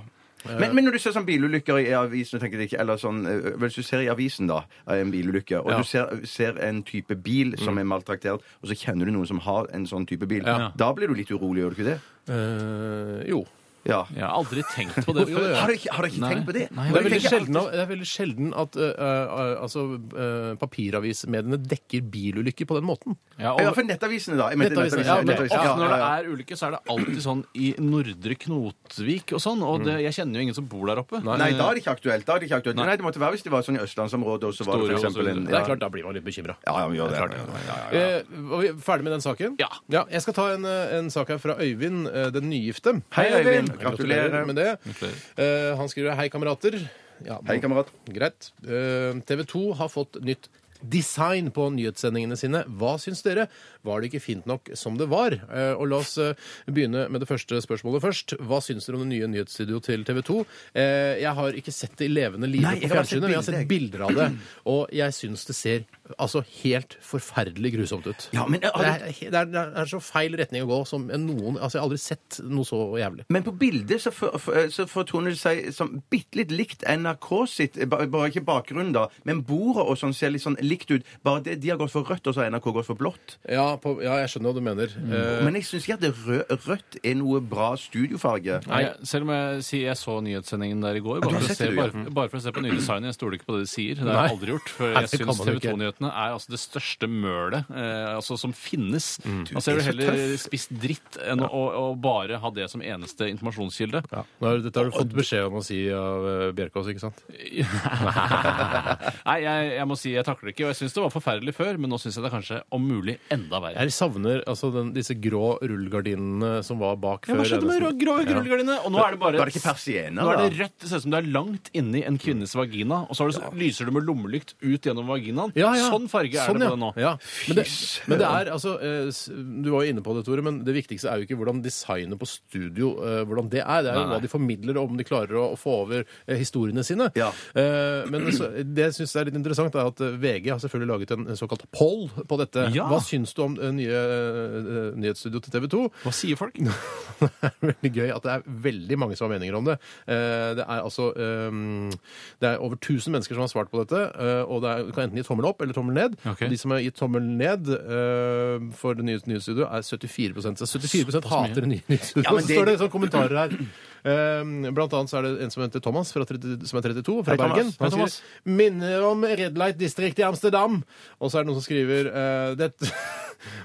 E: Men, men når du ser sånn bilulykker i avisen og tenker det ikke, eller sånn, eh, Hvis du ser i avisen da, eh, en bilulykke, og
C: Ja.
E: du ser, ser en type bil som er maltraktert, og så kjenner du noen som har en sånn type bil,
D: Ja.
E: da blir du litt urolig, gjør du ikke det?
C: Eh, jo.
E: Ja.
D: Jeg har aldri tenkt på det
C: Jo, det
D: før.
C: gjør jeg.
E: Har du ikke, har du ikke
D: Nei.
E: tenkt på det?
D: Nei,
C: Det er
E: Og jeg
C: veldig
E: tenker
C: sjelden, det er veldig sjelden at eh, eh, altså, eh, papiravismediene dekker bilulykker på den måten.
D: Ja,
E: alltid- Ja,
D: og
E: for nettavisene, da. Jeg mente
C: Nettavisene, ja,
E: nettavisene.
C: men-
E: nettavisene.
D: ofte altså, når det
E: ja, ja.
D: er ulykke, så er det alltid sånn i Nordre Knotvik og sånn. Og det, jeg kjenner jo ingen som bor der oppe.
E: Nei, da er det ikke aktuelt. Da er det ikke aktuelt. Nei, det måtte være hvis det var sånn i østlandsområdet, og så var det
D: Store og
E: for eksempel
D: så
E: en
D: videre.
C: Det er klart, Da blir man litt bekymra.
E: Ja, ja, vi gjør det. Ja, ja, ja.
C: Eh, var vi ferdig med den saken?
D: Ja.
C: jeg skal ta en, eh, en sak her fra Øyvind, eh, den nygifte.
E: Hei, Øyvind.
C: Gratulerer med det. Eh, han skriver 'Hei, kamerater'. Ja,
E: Hei, kamerat.
C: Greit. Eh, TV 2 har fått nytt design på nyhetssendingene sine. Hva syns dere? Var det ikke fint nok som det var? Eh, Og la oss eh, begynne med det første spørsmålet først. Hva syns dere om det nye nyhetsstudioet til TV 2? Eh, Jeg har ikke sett det i levende live
E: Nei, jeg
C: på
E: har bare sett
C: fjernsynet, men jeg har
E: bilder,
C: sett bilder av det. Og jeg syns det ser altså helt forferdelig grusomt ut.
E: Ja, men- eh,
C: det, er, det, er, det er så feil retning å gå som noen Altså, jeg har aldri sett noe så jævlig.
E: Men på bildet så, for, for, så fortoner det seg som bitte litt likt NRK sitt. eh, ba- Bare ikke bakgrunnen, da, men bordet og sånn ser litt sånn likt ut. Bare det, de har gått for rødt, og så har NRK gått for blått.
C: Ja, på, ja jeg skjønner hva du mener. Eh,
E: Men jeg syns ikke at det rød, rødt er noe bra studiofarge.
D: Nei, selv om jeg sier jeg så nyhetssendingen der i går,
E: du
D: bare,
E: har
D: for å,
E: sett
D: se,
E: det, du, ja.
D: bare, bare for å se på nyhetsdesignet. Jeg stoler ikke på det de sier. Det har jeg
C: Nei.
D: aldri gjort. For
C: Nei,
D: jeg
C: det kan
D: syns
C: man jo
D: TV
C: ikke.
D: 2-nyhetene er altså det største mølet eh, altså, som finnes. Da ser
E: Mm. er
D: du
E: så
D: heller
E: tøff.
D: spist dritt enn å, å, å bare ha det som eneste informasjonskilde.
C: Ja. Nå har, dette har du fått beskjed om å si av eh, Bjerkås, ikke sant?
D: Nei, jeg, jeg må si jeg takler det ikke. Og jeg syns det var forferdelig før, men nå syns jeg det er kanskje om mulig enda verre.
C: Jeg savner altså, den, disse grå rullegardinene som var bak
D: Ja,
C: før.
D: hva skjedde med rå-
C: Enesen.
D: grå rullegardinene? Og nå er det bare
E: Var det ikke persiener,
D: Nå er det
E: da?
D: rødt. Det ser ut som det er langt inni en kvinnes vagina, og så, har det, så lyser det med lommelykt ut gjennom vaginaen.
C: Ja, ja,
D: Sånn farge er
C: Sånn,
D: det
C: ja.
D: på den nå.
C: Ja. Men, det, men det er altså eh, s- Du var jo inne på det, Tore, men det viktigste er jo ikke hvordan designet på studio eh, hvordan det er. Det er jo
D: Nei, nei.
C: hva de formidler, og om de klarer å, å få over eh, historiene sine.
E: Ja.
C: Eh, men så, det jeg syns er litt interessant, er at eh, VG har selvfølgelig laget en, en såkalt poll på dette.
D: Ja.
C: Hva syns du om det nye eh, nyhetsstudio til TV 2?
D: Hva sier folk?
C: det er veldig gøy at det er veldig mange som har meninger om det. Eh, Det er altså eh, Det er over 1000 mennesker som har svart på dette, eh, og det er, du kan enten gi tommel opp eller tommel ned.
D: Ok.
C: Og De som har gitt tommel ned eh, for det nye, nye studioet, er 74 Så 74 hater det nye, nye studioet.
E: Ja, men
C: så
E: det-
C: står det sånne kommentarer her. Eh, Blant annet så er det en som heter Thomas, fra 30, som er 32, fra
E: Hei, Thomas.
C: Bergen.
E: Hei,
C: Han
E: Thomas.
C: sier 'Minner om Red Light District i Amsterdam'. Og så er det noen som skriver eh, det,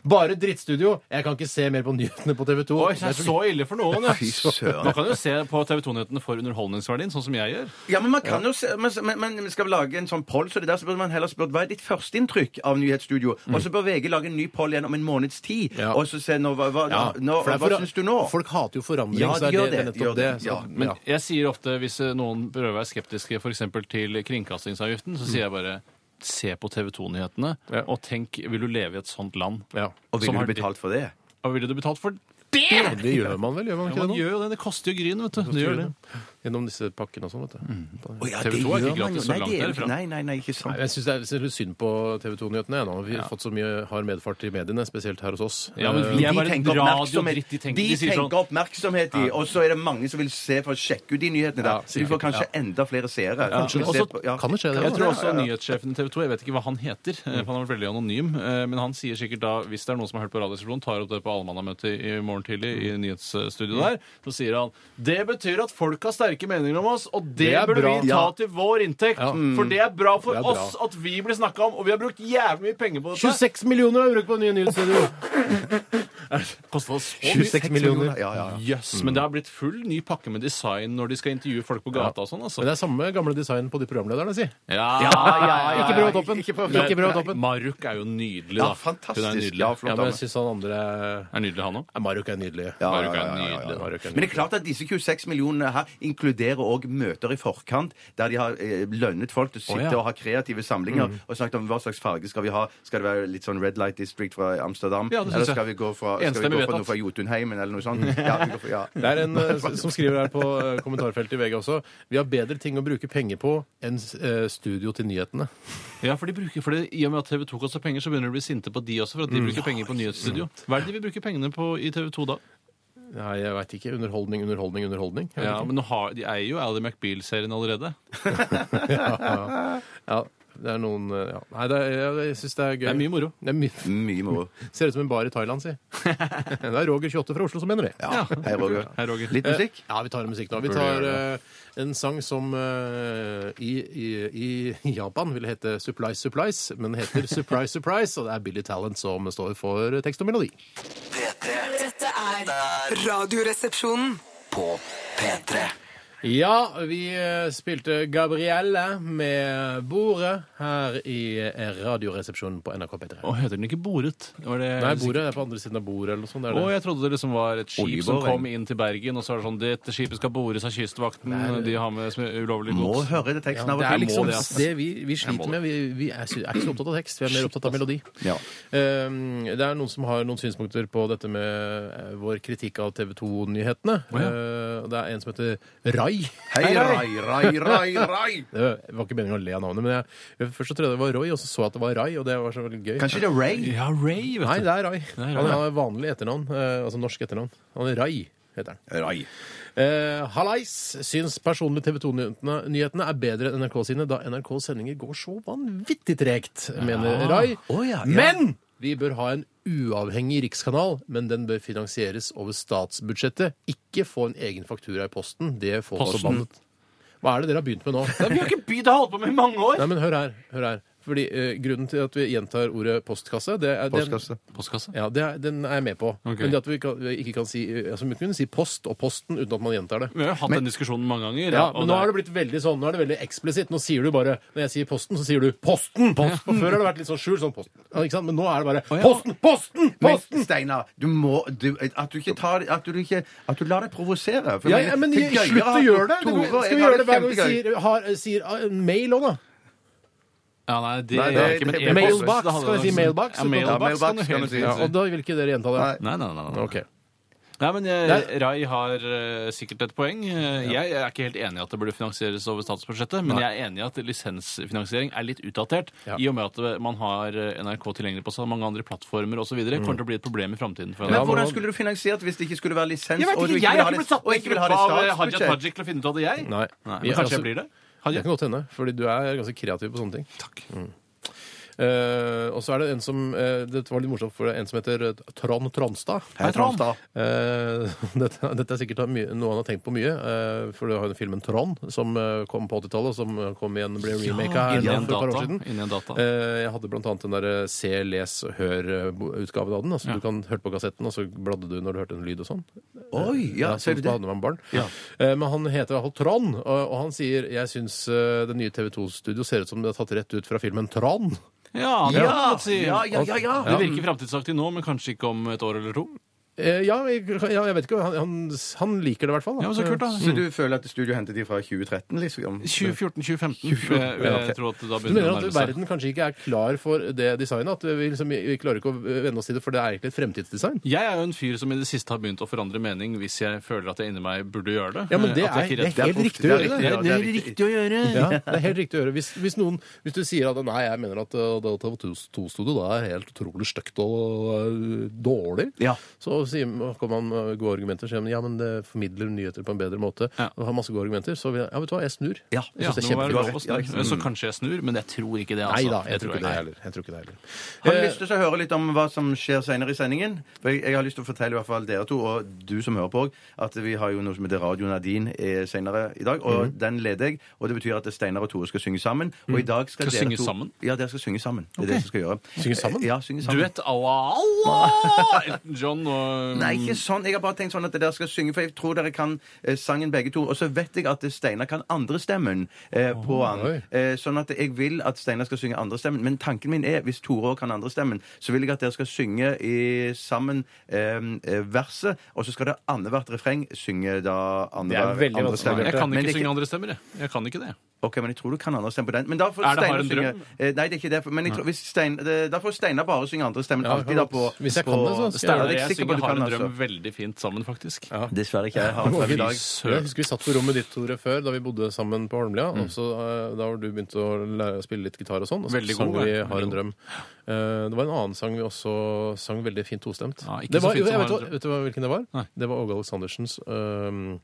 C: Bare drittstudio. Jeg kan ikke se mer på nyhetene på TV 2.
D: Oi, det er så ille for noen, ja.
E: Fy søren.
D: Man kan jo se på TV 2-nyhetene for underholdningsverdien, sånn som jeg gjør.
E: Ja, men man kan jo se, men, men, men skal vi lage en sånn poll, så det der så burde man heller spurt hva er ditt førsteinntrykk av nyhetsstudio? Og så bør VG lage en ny poll igjen om en måneds tid,
C: Ja.
E: og så se nå, hva, hva,
C: Ja,
E: nå,
C: for det er
E: hva
C: for-
E: syns du nå?
C: Folk hater jo forandring.
E: Ja,
C: så er
E: de gjør
C: det,
E: det,
C: nettopp
E: gjør det.
C: det. Så,
E: Ja,
C: men, ja.
D: Jeg sier ofte, hvis eh, noen prøver å være skeptiske for eksempel til kringkastingsavgiften, så sier jeg bare se på TV 2-nyhetene,
C: Ja.
D: og tenk, vil du leve i et sånt land?
C: Ja.
E: Og
D: Som
E: ville
D: har
E: du betalt for det?
D: Og ville du betalt for det?
C: Det gjør man vel, gjør man
D: Ja,
C: ikke
D: man
C: det nå?
D: gjør jo det. Det koster jo gryn, vet du. Det gjør det.
C: Gjennom disse pakkene og sånn, vet du.
E: Å ja,
D: TV 2 er ikke
E: gjør man
D: gratis
E: jo.
D: så
E: Nei,
D: langt
E: det er jo
D: derifra.
E: ikke- Nei, nei, nei, ikke
C: Nei,
E: sant.
C: Jeg syns det er- jeg synes det er litt synd på TV 2-nyhetene. Ja. Nå har vi fått så mye hard medfart i mediene, spesielt her hos oss.
D: Ja, men
C: Eh,
D: vi er
E: De
D: bare
E: tenker
D: radiodritt.
E: oppmerksomhet,
D: De tenker,
E: de
D: de sier sånn
E: tenker oppmerksomhet i, og så er det mange som vil se for å sjekke ut de nyhetene
C: Ja,
E: der. Så vi får
C: sikkert,
E: kanskje enda flere seere. Kanskje vi
C: Også-
E: ser på- ja.
C: Eh, Kan det skje, det?
D: Jeg
C: da?
D: tror også nyhetssjefen i TV 2, jeg vet ikke hva han heter, eh, for han har vært veldig anonym, eh, men han sier sikkert da, hvis det er noen som har hørt på Radioresepsjonen, tar opp det på allmannamøtet i morgen tidlig i nyhetsstudio der, så sier han det betyr at folk har sterke meninger om oss, og det,
C: Det er
D: burde
C: bra.
D: vi ta
C: Ja.
D: til vår inntekt,
C: Ja.
D: for det er bra for
C: Det er bra.
D: oss at vi blir snakka om, og vi har brukt jævlig mye penger på dette.
C: 26 millioner har vi brukt på nye nyhetsstudio!
D: Kostet oss så mye.
C: 26 millioner.
E: Ja, ja, ja.
D: Jøss, men det har blitt full ny pakke med design når de skal intervjue folk på gata og sånn,
C: Men
D: altså.
C: det er samme gamle design på de programlederne, si.
D: Ja,
C: Ikke prøv toppen.
E: Ikke prøv
C: Ikke prøv toppen.
D: Maruk er jo nydelig, da.
E: Ja, fantastisk.
D: Hun er nydelig.
E: Ja, flott
C: Ja, men jeg
E: dame.
C: syns han andre
D: Er nydelig, han òg.
C: Nei, Maruk er nydelig.
E: Ja,
D: Maruk
E: ja,
D: er
E: ja, ja, ja,
D: nydelig.
C: Maruk er
E: Men det
C: nydelig.
E: er klart at disse 26 millionene her inkluderer òg møter i forkant, der de har eh, lønnet folk til å sitte
D: Å, ja. Mm.
E: og ha kreative samlinger og snakket om hva slags farge skal vi ha. Skal det være litt sånn Red Light District fra Amsterdam?
D: Ja, det synes
E: eller
D: jeg.
E: skal vi gå fra, skal vi
D: Enstemmig
E: gå fra
D: vedtatt.
E: noe fra Jotunheimen, eller noe sånt? Ja, vi går for, ja.
C: Det er en eh, s- som skriver her på eh, kommentarfeltet i VG også. Vi har bedre ting å bruke penger på enn eh, studio til nyhetene.
D: Ja, for de bruker, for det, I og med at TV 2 koster penger, så begynner de å bli sinte på de også for at de bruker penger på nyhetsstudio. Hva er det de vil bruke pengene på i TV 2 da?
C: Nei, jeg veit ikke. Underholdning, underholdning, underholdning. Jeg vet
D: Ja,
C: ikke.
D: men nå har, De eier jo Ally McBeal-serien allerede.
C: ja, det er noen eh, ja. Nei, det er, jeg, jeg syns det er gøy.
D: Det er mye moro.
C: Det er mye-
E: Mye moro.
C: ser ut som en bar i Thailand, si. det er Roger 28 fra Oslo som mener det. Ja.
E: Ja. Hei, Roger.
D: Hei, Roger.
E: Litt musikk?
C: vi tar musikk nå. Vi
D: Burde
C: tar
D: gjøre
C: eh, en sang som eh, i, i, i Japan ville hete Supplies Supplies, men heter Surprise Surprise, og det er Billy Talent som står for tekst og melodi.
B: P3
F: Dette er Radioresepsjonen.
B: på P3.
C: Ja, vi eh, spilte Gabrielle med Bordet her i eh, Radioresepsjonen på NRK P3.
D: Og heter den ikke Boret? Var det,
C: Nei, Bordet er på andre siden av bordet eller noe sånt. Er
D: Å,
C: det.
D: jeg trodde det liksom var et skip som
E: Oljeboring.
D: kom inn til Bergen, og så er det sånn Dette skipet skal bores av Kystvakten, de har med sm- ulovlig
E: Må
D: gods.
E: høre det teksten av
C: det
E: og
C: er
E: til.
C: liksom
D: må Eh,
C: det,
D: det, ass.
C: vi, vi
D: må
C: sliter
D: det. altså.
C: med. Vi, vi er, sy- er ikke så opptatt av tekst, vi er mer opptatt av melodi.
E: Ja.
C: Um, det er noen som har noen synspunkter på dette med eh, vår kritikk av TV 2-nyhetene.
D: Å, ja.
C: Eh, det er en som heter Rai.
E: Hei, rai, rai, rai, rai!
C: Det var ikke meningen å le av navnet, men jeg, jeg først så trodde jeg det var Roy, og så så jeg at det var Rai, og det var så veldig gøy.
E: Kanskje det er Ray?
D: Ja, Ray, vet
C: Nei,
D: du.
C: det er Rai.
D: Nei, Rai,
C: Han
D: ja.
C: har vanlig etternavn, eh, altså norsk etternavn. Han er Rai, heter han.
E: Rai.
C: Eh, Hallais syns personlig TV 2-nyhetene er bedre enn NRK sine, da NRKs sendinger går så vanvittig tregt, mener Rai.
E: Å, ja, ja.
C: Men vi bør ha en uavhengig rikskanal, men den bør finansieres over statsbudsjettet. Ikke få en egen faktura i posten. Det får
D: Posten.
C: forbannet. Hva er det dere har begynt med nå?
D: Vi har ikke bydd og holdt på med i mange år!
C: Nei, men hør her. Hør her. Fordi eh, Grunnen til at vi gjentar ordet postkasse, det er, den,
E: Postkasse.
D: Postkasse?
C: ja, det er, den er jeg med på.
D: Ok.
C: Men det at vi, kan, vi ikke kan si altså, Vi kunne si post og posten uten at man gjentar det.
D: Vi har jo hatt den diskusjonen mange ganger.
C: Ja,
D: og
C: men nå har det blitt veldig sånn, nå er det veldig eksplisitt. Nå sier du bare Når jeg sier Posten, så sier du Posten! Og før har det vært litt sånn skjult sånn Posten. Ja, ikke sant? Men nå er det bare Posten! Posten! Posten!
E: Men Steinar, du må du, At du ikke tar At du, ikke, at du lar deg provosere. For
C: Ja,
E: jeg
C: ja, men
E: mener, det er gøyere
C: slutt å
E: at
C: gjøre det!
E: Tore,
C: Skal
E: jeg
C: vi
E: har
C: gjøre det hver gang vi
E: kjempegøy.
C: sier, har, sier ah, mail òg, da?
D: Ja, nei, det
E: Nei,
D: er
E: det-
D: ikke men
E: det-
D: e-post.
C: Mailbox,
D: Det
C: skal
D: hadde
C: vi si
D: vært- sånn-
C: mailbox?
D: Ja, mailbox kan du
E: mailbox kan
D: helt
E: du si.
D: sikkert si.
C: Og da vil ikke dere gjenta det?
E: Nei.
D: Nei, nei, nei. nei.
C: Ok.
D: Nei, men eh,
C: Nei.
D: Rai har eh, sikkert et poeng. Eh, Jeg er ikke helt enig i at det burde finansieres over statsbudsjettet, men jeg er enig i at lisensfinansiering er litt utdatert,
C: Ja.
D: i og med at man har eh, NRK tilgjengelig på så mange andre plattformer osv. Det kommer til å bli et problem i framtiden. for
E: Men
D: NRK.
E: hvordan skulle du finansiert hvis det ikke skulle være lisens?
D: Jeg vet
E: og du
D: ikke, jeg
E: ville ha
D: har ikke
E: det-
D: blitt satt
E: og
D: med i
E: ikke vil ha
D: gruppa
E: det
D: av eh, Hadia
E: statsbudsjett?
D: Tajik til å finne ut av det, jeg.
C: Nei.
D: men
C: Ja,
D: kanskje
C: altså-
D: jeg blir det.
C: Det
D: Hadia.
C: kan godt hende, fordi du er ganske kreativ på sånne ting. Takk. Mm. Eh, og så er det en som eh, Dette var litt morsomt, for det er en som heter eh, Trond Tronstad.
E: Hei, Trond.
C: Eh, dette, dette er sikkert mye, noe han har tenkt på mye, eh, for du har jo den filmen Trond som eh, kom på 80-tallet, og som eh, kom igjen ble remaka her
D: Inni
C: nå for
D: en
C: et par
D: data.
C: år siden.
D: Inni en data.
C: Eh, Jeg hadde blant annet den der eh, se, les, hør-utgaven av den. Altså, Du kan hørte på kassetten, og så bladde du når du hørte en lyd og sånn.
E: Oi, ja,
C: Ja, så
E: ser du
C: da
E: det?
C: hadde man barn. Eh, Men han heter i hvert fall Trond, og og han sier jeg syns eh, det nye TV 2-studio ser ut som det er tatt rett ut fra filmen Tran.
D: Ja, det
E: Ja,
D: kan man si.
E: ja, ja, ja, ja.
D: Det virker framtidsaktig nå, men kanskje ikke om et år eller to.
C: Eh, Ja, jeg, ja, jeg vet ikke. Han, han, han liker det i hvert fall. da.
D: Ja, men Så kult, da.
E: Så du føler at studio hentet de fra 2013, liksom?
D: 2014-2015. Jeg,
C: Ja, ok.
D: jeg tror at da
C: Du mener
D: begynner det å
C: at
D: nærme seg.
C: verden kanskje ikke er klar for det designet? At vi, liksom, vi klarer ikke å venne oss til det, for det er egentlig et fremtidsdesign?
D: Jeg er jo en fyr som i det siste har begynt å forandre mening hvis jeg føler at jeg inni meg burde gjøre det.
C: Ja, men
D: Eh,
C: det er,
D: at jeg
C: det er
D: ikke
E: er
C: helt
E: positivt.
C: riktig å
E: Det er
C: gjøre
E: riktig,
C: det.
E: ja. Det er riktig
D: å gjøre.
C: Ja, det er helt riktig å gjøre. Hvis, hvis, noen, hvis du sier at nei, jeg mener at uh, Delta 2-studio da er helt utrolig stygt og uh, dårlig,
E: Ja.
C: så sier, kan man uh, gode argumenter og si ja, men det formidler nyheter på en bedre måte.
D: Ja.
C: Og har masse gode argumenter, så vil jeg, ja, vet du hva, jeg snur.
E: Ja,
D: Ja,
C: jeg synes
D: det
C: det
D: må
C: er
D: være lov å
C: kjempebra.
D: snu. Så kanskje jeg snur, men jeg tror ikke det.
C: Nei
D: Altså.
C: da, jeg tror ikke det
D: jeg.
C: heller. Jeg tror ikke det heller.
E: Har
D: Eh,
E: du lyst til å høre litt om hva som skjer senere i sendingen? For jeg, jeg har lyst til å fortelle i hvert fall dere to, og du som hører på òg, at vi har jo noe som heter Radio Nadine eh, senere i dag. Og
D: Mhm.
E: den leder jeg, og det betyr at Steinar og Tore skal synge sammen. Og i dag skal,
D: Skal
E: dere
D: synge
E: to
D: sammen?
E: Ja, dere skal synge sammen. Det er det dere skal gjøre.
C: Synge sammen?
E: Eh, Ja, synge sammen.
D: Duett à la Allah! Elton John og
E: Nei, ikke sånn. Jeg har bare tenkt sånn at dere skal synge, for jeg tror dere kan eh, sangen begge to. Og så vet jeg at eh, Steinar kan andrestemmen eh, på han.
C: oi.
E: Eh, sånn at jeg vil at Steinar skal synge andrestemmen. Men tanken min er, hvis Tore òg kan andrestemmen, så vil jeg at dere skal synge i, sammen eh, eh, verset, og så skal dere annethvert refreng synge da
C: Det er
E: andre,
C: veldig
E: andre
C: vanskelig,
E: stemmer.
D: Jeg kan
E: Men
D: ikke
E: det er
D: synge andre stemmer, jeg. Jeg kan ikke det.
E: Ok, men jeg tror du kan andre stemme på den. Men da
D: Er
E: får
D: det
E: Steinar
D: bare en
E: synge-
D: drøm?
E: Eh, nei, det er ikke det. Men jeg tror, hvis Stein, eh, da får Steinar bare synge andre stemmen.
C: Ja,
E: alltid da på
C: hvis jeg
E: på,
C: kan det, så skal jeg
E: Steinar,
D: Steinar
C: det
D: og
E: jeg er
D: jeg
E: sikker på
D: synger
E: du
D: Har
E: kan,
D: en drøm
E: altså.
D: veldig fint sammen, faktisk.
E: Dessverre ikke. Jeg har en drøm i dag.
C: Jeg husker vi satt på rommet ditt, Tore, før, da vi bodde sammen på Holmlia.
D: Mm.
C: Og så, eh, da var du begynt å lære å spille litt gitar og sånn. Og så
D: Veldig
C: sang
D: god,
C: vi
D: ja.
C: 'Har
D: Veldig
C: en drøm'. Eh, Det var en annen sang vi også sang veldig fint tostemt.
D: Ja, ikke
C: det
D: så
C: var,
D: fint som
C: jeg vet,
D: Har en
C: hva-
D: drøm.
C: vet du hva- hvilken det var?
D: Nei.
C: Det var Åge Aleksandersens ehm,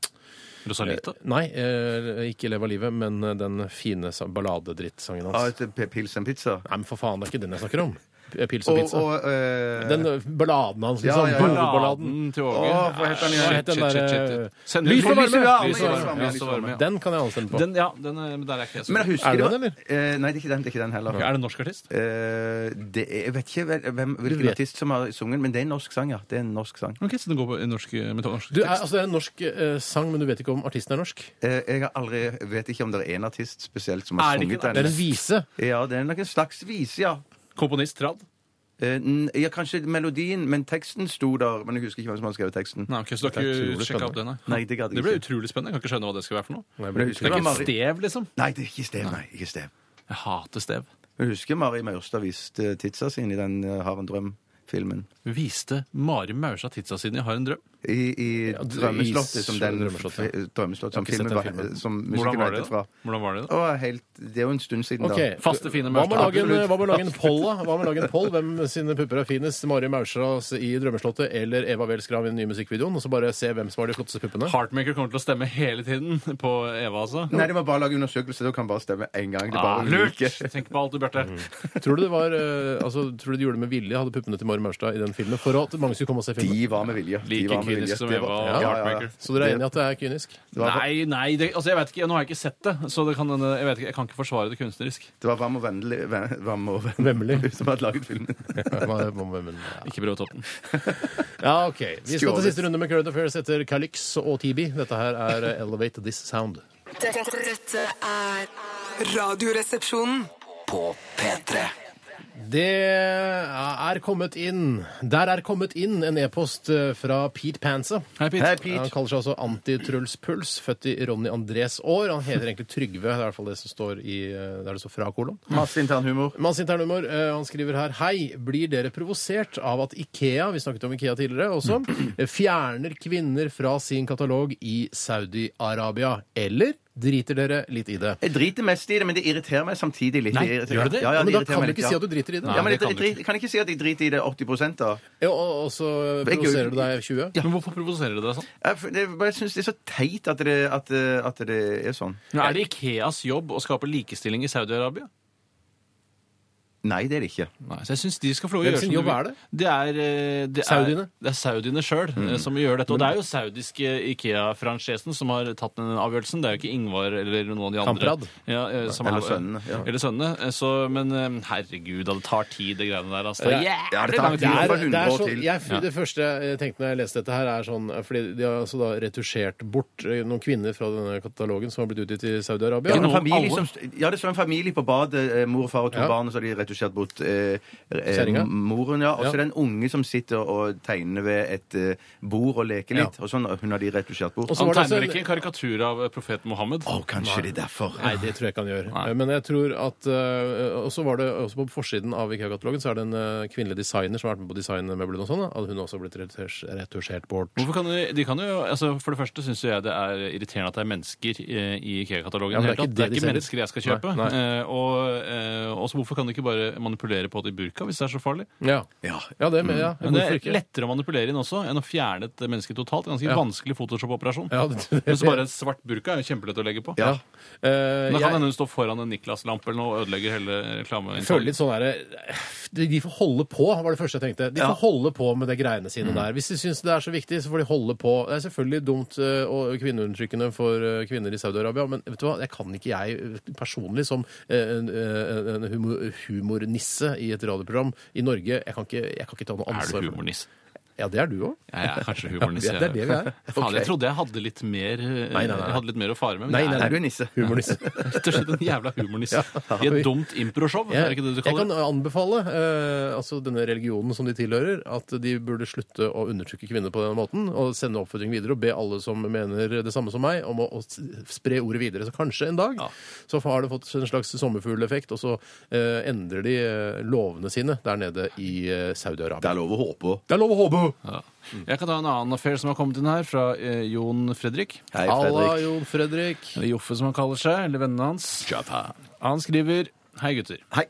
D: Rosalita.
C: Nei, eh, ikke 'Lev av livet', men eh, den fine sa- balladedrittsangen
E: Ja,
C: hans.
E: et p- Pils and pizza.
C: Nei, men for faen, det er ikke den jeg snakker om. P- Pils og
E: Og,
C: pizza.
E: og eh,
C: Den eh, balladen hans,
E: Ja,
C: liksom.
E: ja, ja.
C: Hovedballaden.
D: Balladen til Åge.
E: Åh, hva heter den
D: Shit,
E: igjen?
D: shit,
C: Den
D: shit,
C: der, eh,
D: shit, shit. Send
C: Lys
D: ut-
C: og varme!
D: Lys og varme!
E: Lys og varme,
D: Lys og varme, ja.
C: Den kan jeg anstemme på.
D: Den, ja, den, eh, men der er ikke jeg så
E: men jeg husker
C: Er det
E: var-
C: den, eller?
E: Eh, nei, det er ikke den, det er ikke den heller.
D: Er det en norsk artist?
E: Eh, det er, jeg vet ikke vel- hvem, hvilken
C: vet.
E: artist som har sunget, men det er en norsk sang, ja. Det er en norsk sang.
D: Ok, så den går på i norsk, eh, med norsk
C: Du, er,
D: tekst.
C: altså, det er en norsk eh, sang, men du vet ikke om artisten er norsk?
E: Eh, jeg har aldri, vet ikke om det er en artist spesielt som har
D: Er det ikke
E: sunget
D: en-
E: den.
C: Det er en vise.
E: Ja, det er nok en slags vise, ja.
D: Komponist Trad?
E: Eh, n- ja, kanskje melodien, men teksten sto der. Men jeg husker ikke hvem som har skrevet teksten.
D: Nei, ok, så du har ikke sjekket opp det, nei?
E: Nei, det gadd jeg
D: Det ble
E: ikke.
D: utrolig spennende. Jeg kan ikke skjønne hva det skal være for noe.
E: Men jeg
D: Det
E: husker det
D: er
E: var
D: ikke
E: Mari...
D: stev, liksom.
E: Nei, det er ikke stev. Nei, ikke stev.
D: Jeg hater stev.
E: Jeg husker Mari Maurstad viste titsa sin i den eh, Har en drøm-filmen.
D: Viste Mari Maurstad tidsa siden jeg har en drøm?
E: I, i
C: det- i
E: Drømmeslottet, som den
C: Drømmeslottet,
E: f- Drømmeslott, som
C: ikke sett
E: filmen
C: den
E: var
C: filmen.
E: som
D: Hvordan
E: musikken
D: var
E: var
D: det da?
E: fra.
D: Hvordan var det da?
E: Å, helt, det er jo en stund siden, da.
C: Ok.
D: Faste, fine
C: Hva med å
D: Maurstad.
C: lage en,
E: Absolutt.
C: hva med å lage en poll, da? Hva med å lage en poll? Hvem sine pupper er finest? Mari Maurstad i 'Drømmeslottet' eller Eva Wels Grav i den nye musikkvideoen? Og så bare se hvem som har de flotteste puppene.
D: Heartmaker kommer til å stemme hele tiden på Eva, altså.
E: Nei, det var bare å lage undersøkelse. Da kan bare stemme én gang. Det er
D: Ah,
E: bare å
D: lurt!
E: like. Mm.
D: Tenk på alt du, Bjarte.
C: Tror du det var, eh, altså, tror du de gjorde det med vilje, hadde puppene til Mari Maurstad i den filmen, for at mange skulle komme og se filmen?
E: De var med vilje. De
D: Like
E: var med vilje.
D: kynisk som
E: Det
D: Eva
E: var-
D: og
E: Ja, ja, ja.
D: Heartmaker.
C: Så dere er enig i at det er kynisk?
E: Det var-
D: Nei, nei, det, altså jeg vet ikke, nå har jeg ikke sett det, så det kan, hende- jeg, vet ikke, jeg kan ikke forsvare det kunstnerisk.
E: Det var Vam og Vennlig Vam- Vam og Vennlig
C: Vemmelig.
E: som hadde laget filmen.
C: Ja, hva- hva- men- ja.
D: Ikke prøv å toppe den.
C: Ja, OK. Vi skal til
E: Skålet.
C: siste runde med Current Affairs etter Calix og TB. Dette her er eh, Elevate This Sound.
F: Dette, dette er Radioresepsjonen.
B: På P3.
C: Det eh, er kommet inn Der er kommet inn en e-post eh, fra Pete Panza.
D: Hei, Pete.
E: Hei,
C: Han
E: Pete.
C: kaller seg altså Anti-Truls Puls, født i Ronny Andrés år. Han heter egentlig Trygve, det er i hvert fall det som står i, eh, der det står fra kolon.
E: Masse internhumor.
C: Masse internhumor. Eh, Han skriver her Hei, blir dere provosert av at Ikea vi snakket om Ikea tidligere også, eh, fjerner kvinner fra sin katalog i Saudi-Arabia? Eller driter dere litt i det?
E: Jeg driter mest i det, men det irriterer meg samtidig litt.
D: Nei,
E: irriterer-
D: gjør det det?
E: Ja, ja,
C: men da
E: irriterer
C: kan
E: meg
C: du
E: litt,
C: ikke
E: ja.
C: si at du driter i det.
D: Nei.
E: ja, men
D: det
E: jeg,
D: kan
E: jeg,
D: du ikke.
E: drit- kan jeg ikke si at jeg driter i det 80 da?
C: Ja, og og så
E: Jeg-
C: provoserer du deg 20?
D: Men hvorfor provoserer det deg sånn?
E: Jeg, for- det- jeg syns det er så teit at det, at, eh, at det er sånn.
D: Er det Ikeas jobb å skape likestilling i Saudi-Arabia?
E: Nei, det er det ikke.
D: Nei, så jeg synes de skal få lov
C: Hvem
D: å gjøre
C: sin
D: som de
C: jobb
D: vil.
C: er det?
D: Det er, eh, det er
C: Saudiene? Mm.
D: Det er saudiene sjøl som gjør dette. Og det er jo saudiske Ikea-franchisen som har tatt den avgjørelsen. Det er jo ikke Ingvar eller noen av de andre.
C: Kamprad.
D: Ja, eh, som
E: Eller
D: er-
E: sønnene, ja.
D: Eller sønnene. Eh, Så, men eh, herregud, da, det tar tid, det greiene der. Altså. Det
C: Ja,
D: er
E: Ja, det
D: jævlig
E: tar
D: lang
E: tid.
D: tid.
E: Det
C: Det,
E: var
C: er,
E: 100
C: det, er
E: år
C: så,
E: til.
C: jeg, det første jeg tenkte når jeg leste dette, her er sånn Fordi de har altså da retusjert bort eh, noen kvinner fra denne katalogen som har blitt utgitt i Saudi-Arabia.
E: Det er en
D: noen-
E: familie
D: alle?
E: som, ja, det står en familie på badet. eh, Mor, far og to
C: Ja.
E: barn. Og så har de retusjert bort eh, eh,
C: Kjerringa.
E: moren. ja. Og så
C: Ja.
E: er det en unge som sitter og tegner ved et eh, bord og leker litt. Og sånn, Hun har de retusjert bort.
C: Og så-
D: Han
C: var det
D: tegner
C: en-
D: ikke en karikatur av profeten Mohammed.
E: Å, kanskje det er derfor.
C: Nei, det tror jeg ikke han gjør.
D: Nei.
C: Men jeg tror at eh, Og så var det også på forsiden av IKEA-katalogen så er det en eh, kvinnelig designer som har vært med på designmøblene og sånn. da, At hun også har blitt retusj- retusjert bort.
D: Hvorfor kan de, de kan jo, altså For det første syns jeg det er irriterende at det er mennesker eh, i IKEA-katalogen.
C: Ja,
D: i
C: men
D: hele
C: det er
D: tatt.
C: ikke
D: det er
C: det de
D: ikke
C: selger.
D: mennesker jeg skal kjøpe.
C: Nei, nei.
D: Eh, og eh, også hvorfor kan de ikke bare manipulere på det i burka hvis det er så farlig?
C: Ja.
E: Ja.
C: ja, det med, ja.
D: Men Mm. det
C: Hvorfor
D: er
C: ikke?
D: lettere å manipulere inn også enn å fjerne et menneske totalt. Ganske
C: Ja.
D: vanskelig Photoshop-operasjon.
C: Ja, det, det,
D: Men så bare en svart burka er jo kjempelett å legge på.
C: ja. Eh,
D: Men Da kan
C: jeg-
D: hende hun står foran en Niklas-lampe eller noe og ødelegger hele
C: Jeg føler
D: reklameinntaket.
C: litt sånn der, de de får holde på, var det første jeg tenkte. De får holde på med de greiene
D: Mm.
C: sine der. Hvis de syns det er så viktig, så får de holde på. Det er selvfølgelig dumt eh, og kvinneundertrykkende for eh, kvinner i Saudi-Arabia, men vet du hva, det kan ikke jeg eh, personlig som eh, en, eh, en humo- humornisse i et radioprogram i Norge. Jeg kan ikke, jeg kan ikke ta noe
D: Er
C: ansvar.
D: du
C: for det.
D: humornisse?
C: Ja, det er du òg.
D: Ja, jeg er kanskje humornisse.
C: Ja, det er det vi er.
D: Faen, jeg
C: Ok.
D: trodde jeg hadde litt mer, eh,
C: nei, nei.
D: Jeg hadde litt mer å fare med. men
C: Nei,
D: jeg
C: nei,
D: er
E: Nei, du er nisse.
C: Humornisse.
D: Rett og slett en jævla humornisse. I et dumt improshow, er det ikke det du
C: jeg kan
D: kaller det?
C: anbefale eh, altså denne religionen som de tilhører, at de burde slutte å undertrykke kvinner på den måten, og sende oppfordring videre og be alle som mener det samme som meg, om å, å s- spre ordet videre. Så kanskje en dag
D: Ja.
C: så har det fått en slags sommerfugleffekt, og så eh, endrer de eh, lovene sine der nede i eh,
E: Det
C: Saudi-Arabia.
E: er lov å håpe.
C: Det er lov å håpe!
D: Ja. Jeg kan ta en annen affair som har kommet inn her, fra eh, Jon Fredrik.
E: Hei,
C: Halla,
E: Fredrik.
C: Jon Fredrik.
D: Eller Joffe, som han kaller seg. Eller vennene hans. Han skriver Hei, gutter.
E: Hei.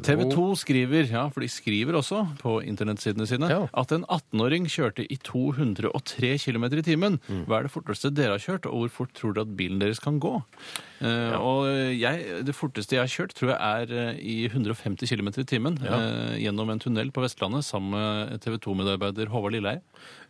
D: TV 2 skriver ja, for de skriver også på internettsidene sine,
C: Ja.
D: at en 18-åring kjørte i 203 km i timen.
E: Mm.
D: Hva er det forteste dere har kjørt, og hvor fort tror dere at bilen deres kan gå? Eh, og jeg, Det forteste jeg har kjørt, tror jeg er eh, i 150 km i timen eh, gjennom en tunnel på Vestlandet sammen med TV 2-medarbeider Håvard Lilleheie.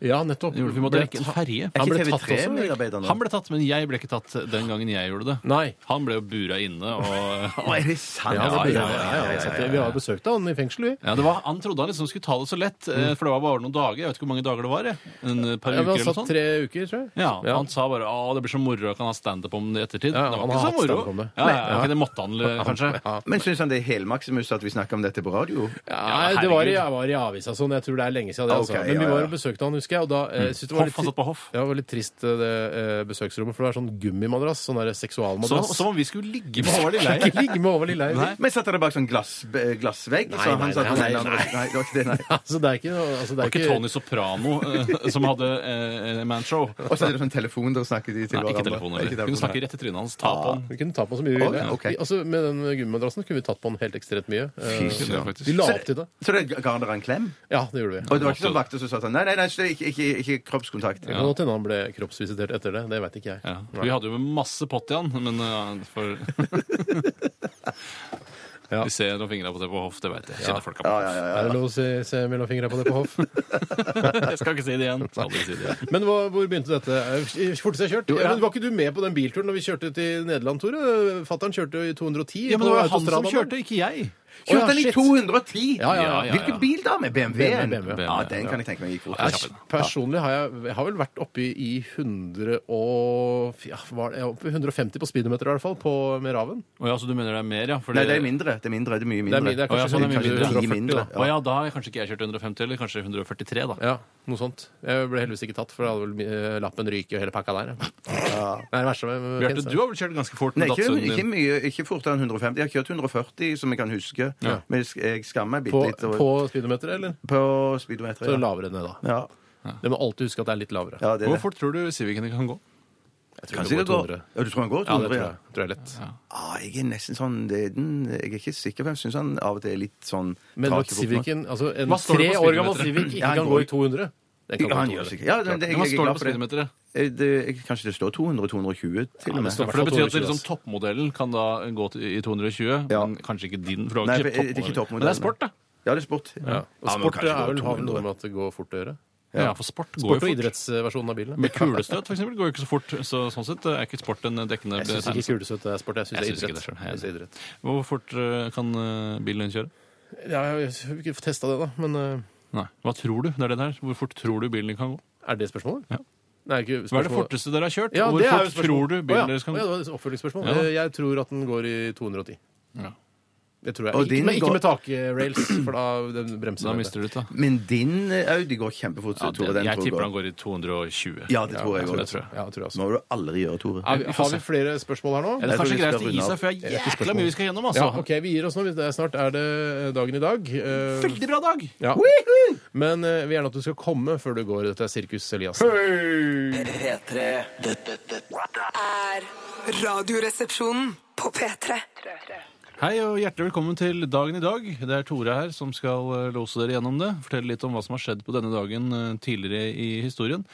C: Ja, nettopp.
D: Gjorde Vi måtte
C: Ble
D: rekke en
C: ta-
D: ferje.
E: Er
C: Han
E: ikke
C: ble tatt også, eller?
E: TV3-medarbeider nå?
D: Han ble tatt, men jeg ble ikke tatt den gangen jeg gjorde det.
C: Nei.
D: Han ble jo bura inne og
E: Å, er det sant?
C: Ja, det-
D: ja,
C: ja, ja, ja, ja, ja. Vi har besøkt han i fengsel, vi.
D: ja, det var, Han trodde han liksom skulle ta det så lett, eh, for det var bare noen dager. Jeg vet ikke hvor mange dager det var. jeg. En eh, par
C: Ja, vi har
D: uker eller noe
C: satt
D: sånt.
C: tre uker, tror jeg.
D: Ja, Han sa bare å, det blir så moro, jeg kan ha standup om det i ettertid.
C: Ja,
D: det
C: han
D: var ikke
C: har
D: så
C: hatt
D: moro.
C: standup om det.
D: Ja, ja, ok, det måtte han eh, kanskje.
E: Men syns han det er helmaksimus at vi snakker om dette på radio?
C: Ja,
D: Ja,
C: det var, i-
D: herregud.
C: jeg var i avisa sånn. Jeg tror det er lenge siden. Det, altså.
E: Ok,
C: Men vi
E: ja,
C: var
E: ja.
C: og besøkte han, husker jeg. Og da eh, synes det var
D: Hoff,
C: litt,
D: han satt Mm. på hoff.
C: ja, det var litt trist, eh, det eh, besøksrommet, for det er sånn gummimadrass. Sånn der
D: Som,
C: seksualmadrass.
D: som om vi skulle ligge med Håvard
C: Ikke
D: Lilleheie.
C: ligge med over lille Eivind.
E: Men satt dere bak sånn glass, eh, glassvegg?
C: Nei,
E: så
C: nei,
E: han satt
C: nei,
E: på den
C: nei,
E: andre-
C: nei.
E: nei, det var ikke det, nei.
C: Altså, det er ikke noe- altså, det er
D: Det var ikke
C: ikke-
D: Tony Soprano eh, som hadde eh, manshow.
E: Og så er det sånn telefon dere snakker til
D: Nei,
E: hverandre.
D: ikke telefonen.
E: Ikke
D: heller. Kunne
E: telefonen,
D: snakke rett i trynet hans. Ta på han.
C: Vi kunne ta på så mye vi ville.
E: Å, ja, ok.
C: Vi- altså, med den gummimadrassen kunne vi tatt på han helt ekstremt mye. Eh,
E: nei.
D: Kunne jeg faktisk.
C: vi la opp til det.
E: Så- Så det ga han dere en klem?
C: Ja, det gjorde vi.
E: Og det var ikke sånn vakter som sa sånn Nei, nei, nei, så det er ikke, ikke, ikke kroppskontakt.
C: Det kan godt hende han ble kroppsvisitert etter det. Det veit ikke jeg.
D: Ja. Vi hadde jo masse pott i han, men eh, for
C: Ja.
D: Vi ser noen fingre på det på hoff, det vet jeg. Kjenner folk av
E: Ja,
D: meg.
E: ja, ja, ja.
C: Er det lov å se, se mellom fingra på det på hoff?
D: Jeg skal ikke si det igjen. Skal aldri si det igjen.
C: Men hvor, hvor begynte dette? Eh, Fortest jeg kjørt?
D: Jo, ja.
C: Men var ikke du med på den bilturen når vi kjørte til Nederland, Tore? Fattern kjørte jo i 210.
D: Ja, men det
C: på
D: var jo han som
C: autostradaen.
D: kjørte, ikke jeg.
E: Kjørte
C: Å, ja,
E: han i
C: shit.
E: 210?
C: Ja, ja, ja,
D: ja,
E: Hvilken bil da? Med BMW-en?
C: BMW, BMW,
E: Ja,
D: ja.
E: den kan jeg tenke meg gikk fort.
C: Jeg, personlig har jeg, jeg har vel vært oppe i, i 100 og ja, var det, jeg var oppe i 150 på speedometer i hvert fall, på, med Raven.
D: Å ja, så du mener det er mer, ja? Fordi-
E: Nei, det er mindre. Det er mindre, det er mye
C: Det
E: mindre.
C: er, min- det er
D: Å, ja,
C: kanskje,
D: sånn er mye
C: kanskje
D: mindre.
C: 140,
E: Mindre.
C: da.
D: Å ja, da har jeg kanskje ikke jeg kjørt 150, eller kanskje 143, da.
C: Ja, noe sånt. Jeg ble heldigvis ikke tatt, for da hadde vel eh, lappen ryket og hele pakka der. Ja. Det er det verste med med
D: Bjarte,
C: Prince,
D: du har vel kjørt ganske fort
E: Nei,
D: med
E: ikke,
D: Datsunen
E: ikke,
D: din?
E: mye, ikke fortere enn 150. Jeg har kjørt 140, som jeg kan huske.
D: Ja.
E: Men jeg sk- jeg skammer meg
C: På,
E: bitte litt. over-
C: på speedometer, eller?
E: på
C: Så
E: speedometeret.
C: lavere ned, da.
E: Ja.
C: Det må alltid huske at det er litt lavere.
E: ja, det er
D: Hvor
E: det.
D: fort tror du Civicen kan gå?
C: Jeg tror
E: Kanskje det går.
C: 200.
E: Ja, du tror han går
C: Ja, det
E: 200?
C: tror
E: Ja,
C: jeg, tror jeg er lett.
E: ah, jeg er nesten sånn det er den, Jeg er ikke sikker, for jeg syns han av og til er litt sånn
C: Men
E: trak
C: at
E: i foten.
C: Civicen, altså en
D: Hva står det
C: tre
D: på
C: år gammel
D: speedometeret?
C: Civic ikke
E: Ja, han
C: kan gå
E: går
C: i
E: i-
C: 200? Det
E: Ja, han
C: gå i
E: gjør
C: 200.
E: sikkert ja, det, det, jeg,
D: Hva står
E: jeg er
D: det
E: glad
D: på
E: for det.
D: speedometeret?
E: Eh, det. jeg- Kanskje det står 200-220 til og med.
C: det står-
D: For det betyr at det
C: 220,
D: er liksom toppmodellen kan da gå til, i 220,
E: Ja.
D: men kanskje ikke din. For du
E: Nei,
D: har
E: for
D: ikke
E: jeg- det er ikke
D: toppmodellen. Men det er sport, da.
E: Ja, det er sport.
C: Ja. Og
E: Ja, men
C: sport
E: kanskje
C: er vel,
E: går
C: har vel
E: 200.
C: noe med at det går fort å gjøre.
D: Ja, for sport går
C: Sport og
D: jo fort.
C: idrettsversjonen av bilen.
D: Med kulestøt for eksempel, går jo ikke så fort. Så sånn sett er ikke sport en dekkende
C: Jeg syns ikke
D: betegnelse.
C: kulesøtt er sport. Jeg syns
D: Jeg
C: det
D: synes
C: er
D: ikke
C: idrett.
D: det selv.
C: Jeg synes det er idrett.
D: Hvor fort eh, kan eh, bilen din kjøre?
C: Ja, jeg har ikke testa det, da. Men eh,
D: Nei. Hva tror du? Det er det der. Hvor fort tror du bilen din kan gå?
C: er det spørsmålet?
D: Ja.
C: Nei, ikke
D: Hva er det
C: spørsmålet.
D: forteste dere har kjørt?
C: Ja,
D: og
C: det er jo
D: hvor fort tror
C: spørsmålet.
D: du
C: Å,
D: bilen
C: ja.
D: deres kan
C: Å,
D: gå?
C: ja, det var et oppfølgingsspørsmål.
D: Ja.
C: Eh, Jeg tror at den går i 210.
D: Ja.
C: Det tror jeg.
E: Og
C: Ikke
E: din
C: med, ikke
E: går-
C: med takrails, for da den bremser
D: Da
C: den.
D: mister du det, da.
E: Men din eh, Audi går kjempefort,
D: Ja,
E: Tore.
D: det,
E: Den
D: jeg
E: tror
D: tipper
E: jeg
D: han går i 220.
E: Ja, det tror jeg
D: tror det,
E: òg.
D: tror jeg.
C: Ja, jeg tror jeg også.
E: Nå må du aldri gjøre, Tore.
D: Ja,
C: Har vi- Har vi flere spørsmål her nå?
D: Er det
E: Jeg tror
D: kanskje
E: vi
D: greit
E: skal
D: å gi
E: runde
D: seg,
E: av.
D: for jeg har jækla mye vi skal gjennom, altså.
C: Ja, ok, Vi gir oss nå. Vi- det er- Snart er det dagen i dag. Eh,
D: Veldig bra dag!
C: ja. Men eh, vi vil gjerne at du skal komme før du går. Dette er Sirkus Eliassen.
B: P3 Dette, dette
F: Er radioresepsjonen på P3.
D: Hei og hjertelig velkommen til dagen i dag. Det er Tore her som skal eh, lose dere gjennom det. Fortelle litt om hva som har skjedd på denne dagen eh, tidligere i historien.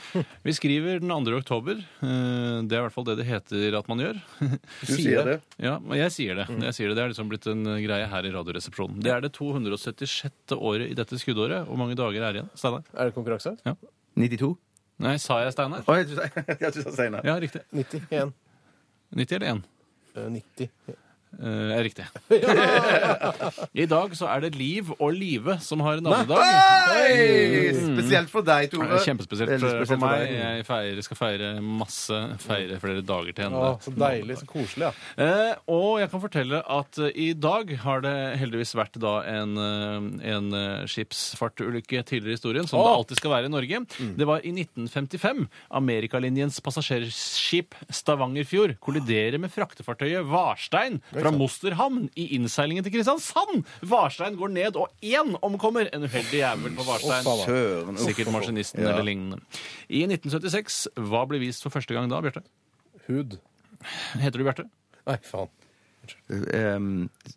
D: Vi skriver den 2. oktober. Eh, Det er i hvert fall det det heter at man gjør.
E: Du sier det. Mm.
D: Ja, men jeg sier det. Jeg sier det. det er liksom blitt en eh, greie her i Radioresepsjonen. Det er det 276. året i dette skuddåret. Hvor mange dager er det igjen? Steinar?
C: Er det konkurranse?
E: 92?
D: Nei, sa jeg Steinar?
E: Å, jeg tror- jeg tror du sa Steinar.
D: Ja, riktig.
C: 91.
D: 90 eller 1?
C: Eh, 90.
D: Eh, er riktig. I dag så er det Liv og Live som har navnedag.
E: Hei! Spesielt for deg, Tore.
D: Det er Mm. kjempespesielt
E: Veldig
D: for, for meg.
E: deg.
D: Jeg feirer, skal feire masse, feire flere dager til henne.
C: Å, så deilig. Så koselig. Ja.
D: Eh, og jeg kan fortelle at eh, i dag har det heldigvis vært da en, eh, en eh, skipsfartulykke tidligere i historien, som det
C: Å!
D: alltid skal være i Norge.
E: Mm.
D: Det var i 1955. Amerikalinjens passasjerskip Stavangerfjord kolliderer med fraktefartøyet Varstein fra Mosterhamn i innseilingen til Kristiansand. Varstein går ned, og én omkommer. En uheldig jævel på Varstein.
E: Søren. Uff.
D: Sikkert maskinisten eller lignende. I 1976, hva ble vist for første gang da, Bjarte?
C: Hud.
D: Heter du Bjarte?
C: Nei, faen.
E: Ehm,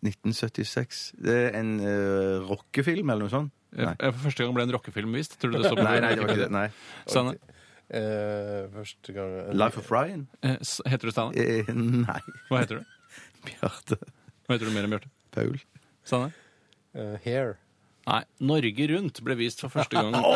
E: 1976 Det er en eh, rockefilm eller noe sånt? Nei.
D: Eh, For første gang ble en rockefilm vist. Tror du det står på
E: Nei, nei, det var ikke det. Nei.
D: Steinar?
C: Eh, første gang
E: Life of Ryan?
D: Eh, s- Heter du Steinar?
E: Eh, nei.
D: Hva heter du?
E: Bjarte
D: Hva heter du mer enn Bjarte?
E: Paul.
D: Steinar?
C: eh, Hair.
D: Nei, Norge Rundt ble vist for første gang eh, på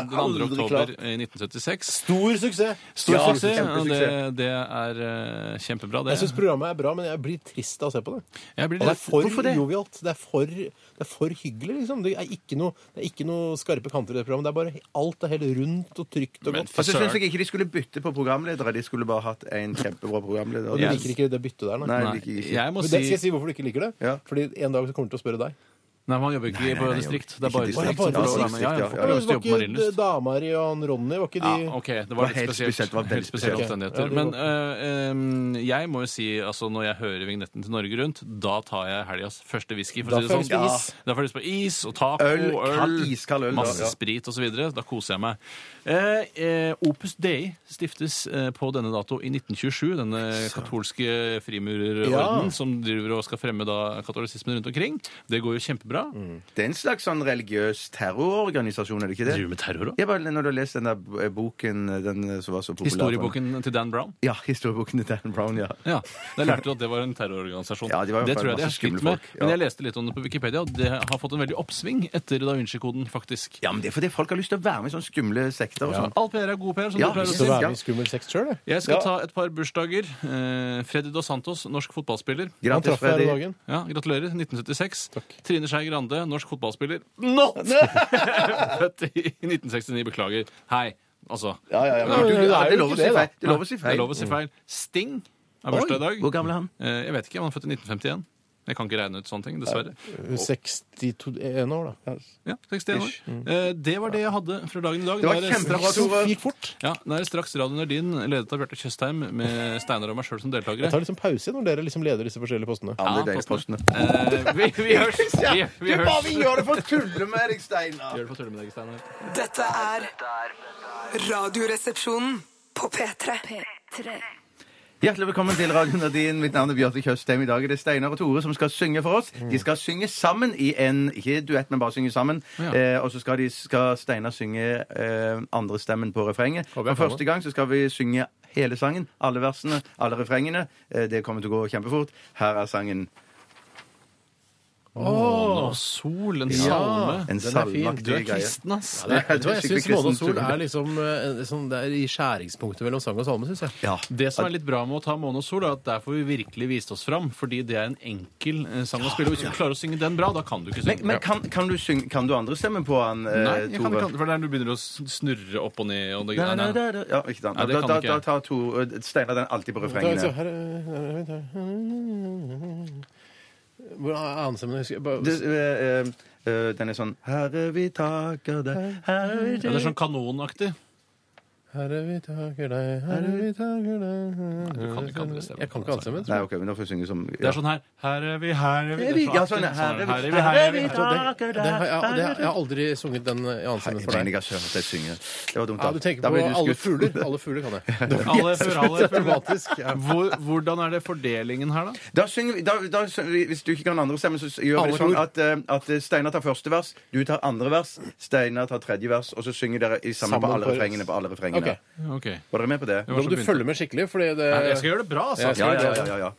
D: den 2.
E: aldri
D: oktober i 1976.
C: Stor suksess!
D: Stor
E: Ja,
D: suksess. og Det,
E: kjempesuksess.
D: det er eh, kjempebra, det.
C: Jeg syns programmet er bra, men jeg blir trist av å se på det.
D: Jeg blir
C: Og det er
D: litt-
C: for
D: Hvorfor det?
C: jovialt. Det er for, det er for hyggelig, liksom. Det er, ikke noe, det er ikke noe skarpe kanter i det programmet. Det er bare alt er helt rundt og trygt og
D: Men
C: godt.
E: Altså, jeg
D: Søren.
E: syns jeg ikke de skulle bytte på programledere. De skulle bare hatt en kjempebra programleder.
C: Og du liker ikke det byttet der,
E: Nei,
C: nei?
E: jeg
D: Nei,
E: liker ikke.
D: jeg må
C: Men det skal
D: si
C: jeg si hvorfor du ikke liker det.
E: Ja.
C: Fordi en dag så kommer han til å spørre deg.
D: Nei, man jobber ikke
E: Nei, nei,
D: på
E: nei,
D: distrikt.
E: jeg
D: Det er bare
E: jobber ikke
D: distrikt.
C: distrikt. Bare
D: som får lov til å være med. Ja,
E: distrikt,
D: ja,
E: ja,
D: får lov til å
C: var
D: jobbe på
C: ikke
D: Marienlyst.
C: Damari og han Ronny var ikke de
D: Ja, OK. Det var
E: var
D: litt
E: helt
D: spesielt.
E: spesielt, det var veldig
D: helt
C: spesielt.
D: spesielle
C: Ok,
D: omstendigheter.
C: ja,
D: Men
C: det
D: eh, eh, jeg må jo si, altså når jeg hører vignetten til Norge Rundt, da tar jeg helgas første whisky, for
C: Da
D: å si
C: får
D: det
C: jeg lyst
D: sånn.
C: på is.
D: Da får jeg lyst på is og taco,
E: Øl,
D: øl,
E: kald, iskald øl, da,
D: masse
E: ja.
D: sprit osv. Da koser jeg meg. Eh, eh, Opus Dei stiftes eh, på denne dato i 1927, denne katolske frimurerorden
C: Ja.
D: som driver og skal fremme da katolisismen rundt omkring. Det går jo kjempebra.
E: Det er en slags sånn religiøs terrororganisasjon, er det ikke det?
D: Driver med terror òg.
E: Ja, bare når du har lest den der boken den som var så populær
D: Historieboken til Dan Brown.
E: Ja, historieboken til Dan Brown. sånn, ja.
D: Ja, Da lærte du at det var en terrororganisasjon.
E: Ja, de var jo
D: det tror jeg
E: bare
D: de har
E: masse skumle
D: slitt med.
E: folk, ja.
D: Men jeg leste litt om det på Wikipedia, og det har fått en veldig oppsving etter Da Vinci-koden, faktisk.
E: Ja, men Det er fordi folk har lyst til å være med i sånne skumle sekter og sånn.
D: All PR er god PR, som
E: Ja,
D: du pleier å
E: visst.
D: si.
C: Skal være med i Skummel sex sjøl, jeg.
D: Jeg skal ta et par bursdager. Eh, Freddy Dos Santos, norsk fotballspiller.
C: Han
E: Gratis,
C: traff meg her
E: Freddy.
C: om dagen.
D: Ja, Gratulerer. 1976.
C: Takk.
D: Trine Skei Grande, norsk fotballspiller. Not! Født i 1969. Beklager. Hei. Altså
E: Ja, ja, ja.
C: Ja, men
E: Du,
C: det er jo
E: det er lov
C: ikke
E: å si
C: det, da.
E: feil. Det er lov å si
D: Det er
E: feil.
D: lov å si feil. Sting har bursdag i dag.
E: Hvor gammel er han?
D: Eh, Jeg vet ikke, han er født i 1951. Jeg kan ikke regne ut sånne ting, dessverre.
C: 61 Eh, år, da.
D: Ja, 61 år. Eh, Det var det jeg hadde fra dagen i dag.
E: Mm. Det var
D: Da er
E: kjempebra,
C: Så
E: Tore.
C: gikk fort.
D: Ja, Nå er det straks Radio Nardin, ledet av Bjarte Tjøstheim, med Steinar og meg sjøl som
C: Jeg
D: deltakere.
C: tar liksom pause når dere liksom leder disse forskjellige postene.
E: Ja, det er deilig,
D: postene.
E: postene.
D: Eh, Vi, vi hørs. Vi, vi
E: Du
D: hørs.
E: bare gjør det for å tulle med deg, Steinar!
D: Gjør det på tulle med deg, Steinar.
F: Dette er Radioresepsjonen på P3.
E: Hjertelig velkommen til Radio Nadine. Mitt navn er Bjarte Tjøstheim. I dag er det Steinar og Tore som skal synge for oss. De skal synge sammen i en Ikke duett, men bare synge sammen.
D: Ja.
E: Eh, og så skal, de- skal Steinar synge eh, andrestemmen på
C: Håper
E: refrenget.
C: jeg
E: For
C: kommer.
E: første gang så skal vi synge hele sangen. Alle versene, alle refrengene. Eh, det kommer til å gå kjempefort. Her er sangen.
D: Måne og sol, en salme.
C: den
E: En
C: er fin.
D: Du er
E: salmeaktig greie.
D: kristen, ass.
C: Ja, det er, vet du hva, jeg
E: skikkelig
C: syns Måne og
E: kristent,
C: sol
E: Tore.
C: er liksom eh, sånn, Det er i skjæringspunktet mellom sang og salme, syns jeg.
E: Ja.
D: Det som er litt bra med å ta Måne og sol, er at der får vi virkelig vist oss fram. Fordi det er en enkel eh, sang å spille. Og hvis du ikke klarer å synge den bra, da kan du ikke synge.
E: Men, men kan, kan du, synge- kan du andrestemmen på han, eh,
D: Nei, jeg kan
E: Tore?
D: ikke, for det er når du begynner å snurre opp og ned og det,
E: Nei, nei,
D: nei, nei.
E: nei, nei. Ja, ikke sant.
D: Nei, det
E: Da,
D: kan
E: da,
D: ikke
E: da
D: jeg.
E: tar to eh, Steinar den alltid på
C: Da, altså,
E: refrengene.
C: her, eh, Hvor er anstemmen? Jeg husker bare-
E: Du, eh, eh, eh, den er sånn Herre, vi takker deg, herre vi
D: Ja, det er
E: takker
D: sånn kanonaktig.
C: Herre, vi takker deg, herre, vi takker deg
D: du kan ikke andre stemmer.
C: Jeg kan ikke andre stemmer.
E: Nei, OK, men da får jeg synge som
D: Det er sånn her Her er vi, her er vi det er
E: Ja,
D: sånn
E: sånn,
D: aktig, sånn
E: herre, vi-
D: her er vi, her er vi.
E: herre, vi takker
C: Det har,
E: deg.
C: jeg, det har, jeg har aldri sunget den eh, i annen
E: Nei,
C: stemme
E: Jeg
C: for
E: mener
C: deg.
E: ikke at jeg har hørt deg synge. Det var dumt.
C: Ja,
E: da.
C: du tenker
E: Da
C: på
E: ble du
C: alle
E: skutt.
C: fugler. Alle fugler kan jeg.
D: Alle hører alle hører.
C: Dramatisk. Ja.
D: Hvor, hvordan er det fordelingen her, da?
E: Da synger vi, da, da, synger vi- hvis du ikke kan andre stemmer, så gjør vi
C: Alle
E: det sånn
C: tror.
E: at, eh, at Steinar tar første vers, du tar andre vers, Steinar tar tredje vers, og så synger dere i
C: Sammen
E: sammen, på alle
C: på-
E: refrengene. På alle refrengene.
C: Ok.
D: Ok.
E: Var dere med på det?
C: Nå må du følge med skikkelig, fordi det
D: Nei, Jeg skal gjøre det bra, altså.
C: Ja, jeg skal
E: Ja, ja, ja, ja, ja.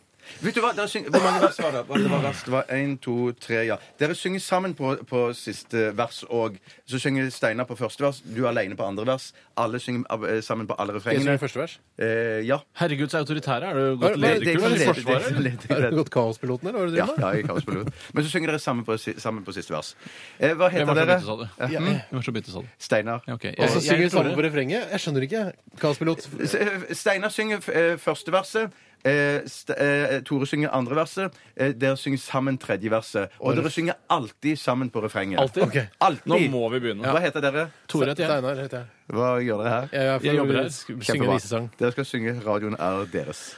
E: Vet du hva, da syng, Hvor mange vers var det? Var det, var vers? det var én, to, tre, ja. Dere synger sammen på, på siste vers òg. Så synger Steinar på første vers, du alene på andre vers. Alle synger eh, sammen på alle
C: Skal jeg
E: refrengene.
C: synge første vers?
E: Eh, ja.
D: Herreguds autoritære, er
C: Hva-
D: du gått
C: hva-
E: Det- det-
D: lederkurs i
E: det-
D: Forsvaret? eller?
E: det- det-
C: Har du
E: det-
C: gått Kaospiloten, eller hva er det
E: Ja,
C: du driver med?
E: ja, jeg kan spille ut. Men så synger dere sammen på, si- sammen på siste vers. Eh, hva
D: Jeg
E: heter
D: var så
E: dere?
D: bitte, sa du. Jeg Mm. var så bitte, sa du.
E: Steinar.
D: Ja, ok. Jeg-
C: Og så
D: jeg-
C: synger vi sånn
D: Tore.
C: sammen på refrenget. Jeg skjønner ikke. Kaospilot.
E: S- eh, Steinar synger f- eh, første verset. Eh, St eh, Tore synger andre verset. Eh, dere synger sammen tredje verset. Og dere synger alltid sammen på refrenget.
D: Alltid?
C: Ok.
E: Alltid.
D: Nå må vi begynne.
E: Hva heter dere?
D: Tore heter jeg.
C: Steinar heter jeg.
E: Hva gjør dere her?
C: Jeg, er for
D: Jeg jobber her.
C: å Synge visesang.
E: Dere skal synge 'Radioen er deres'.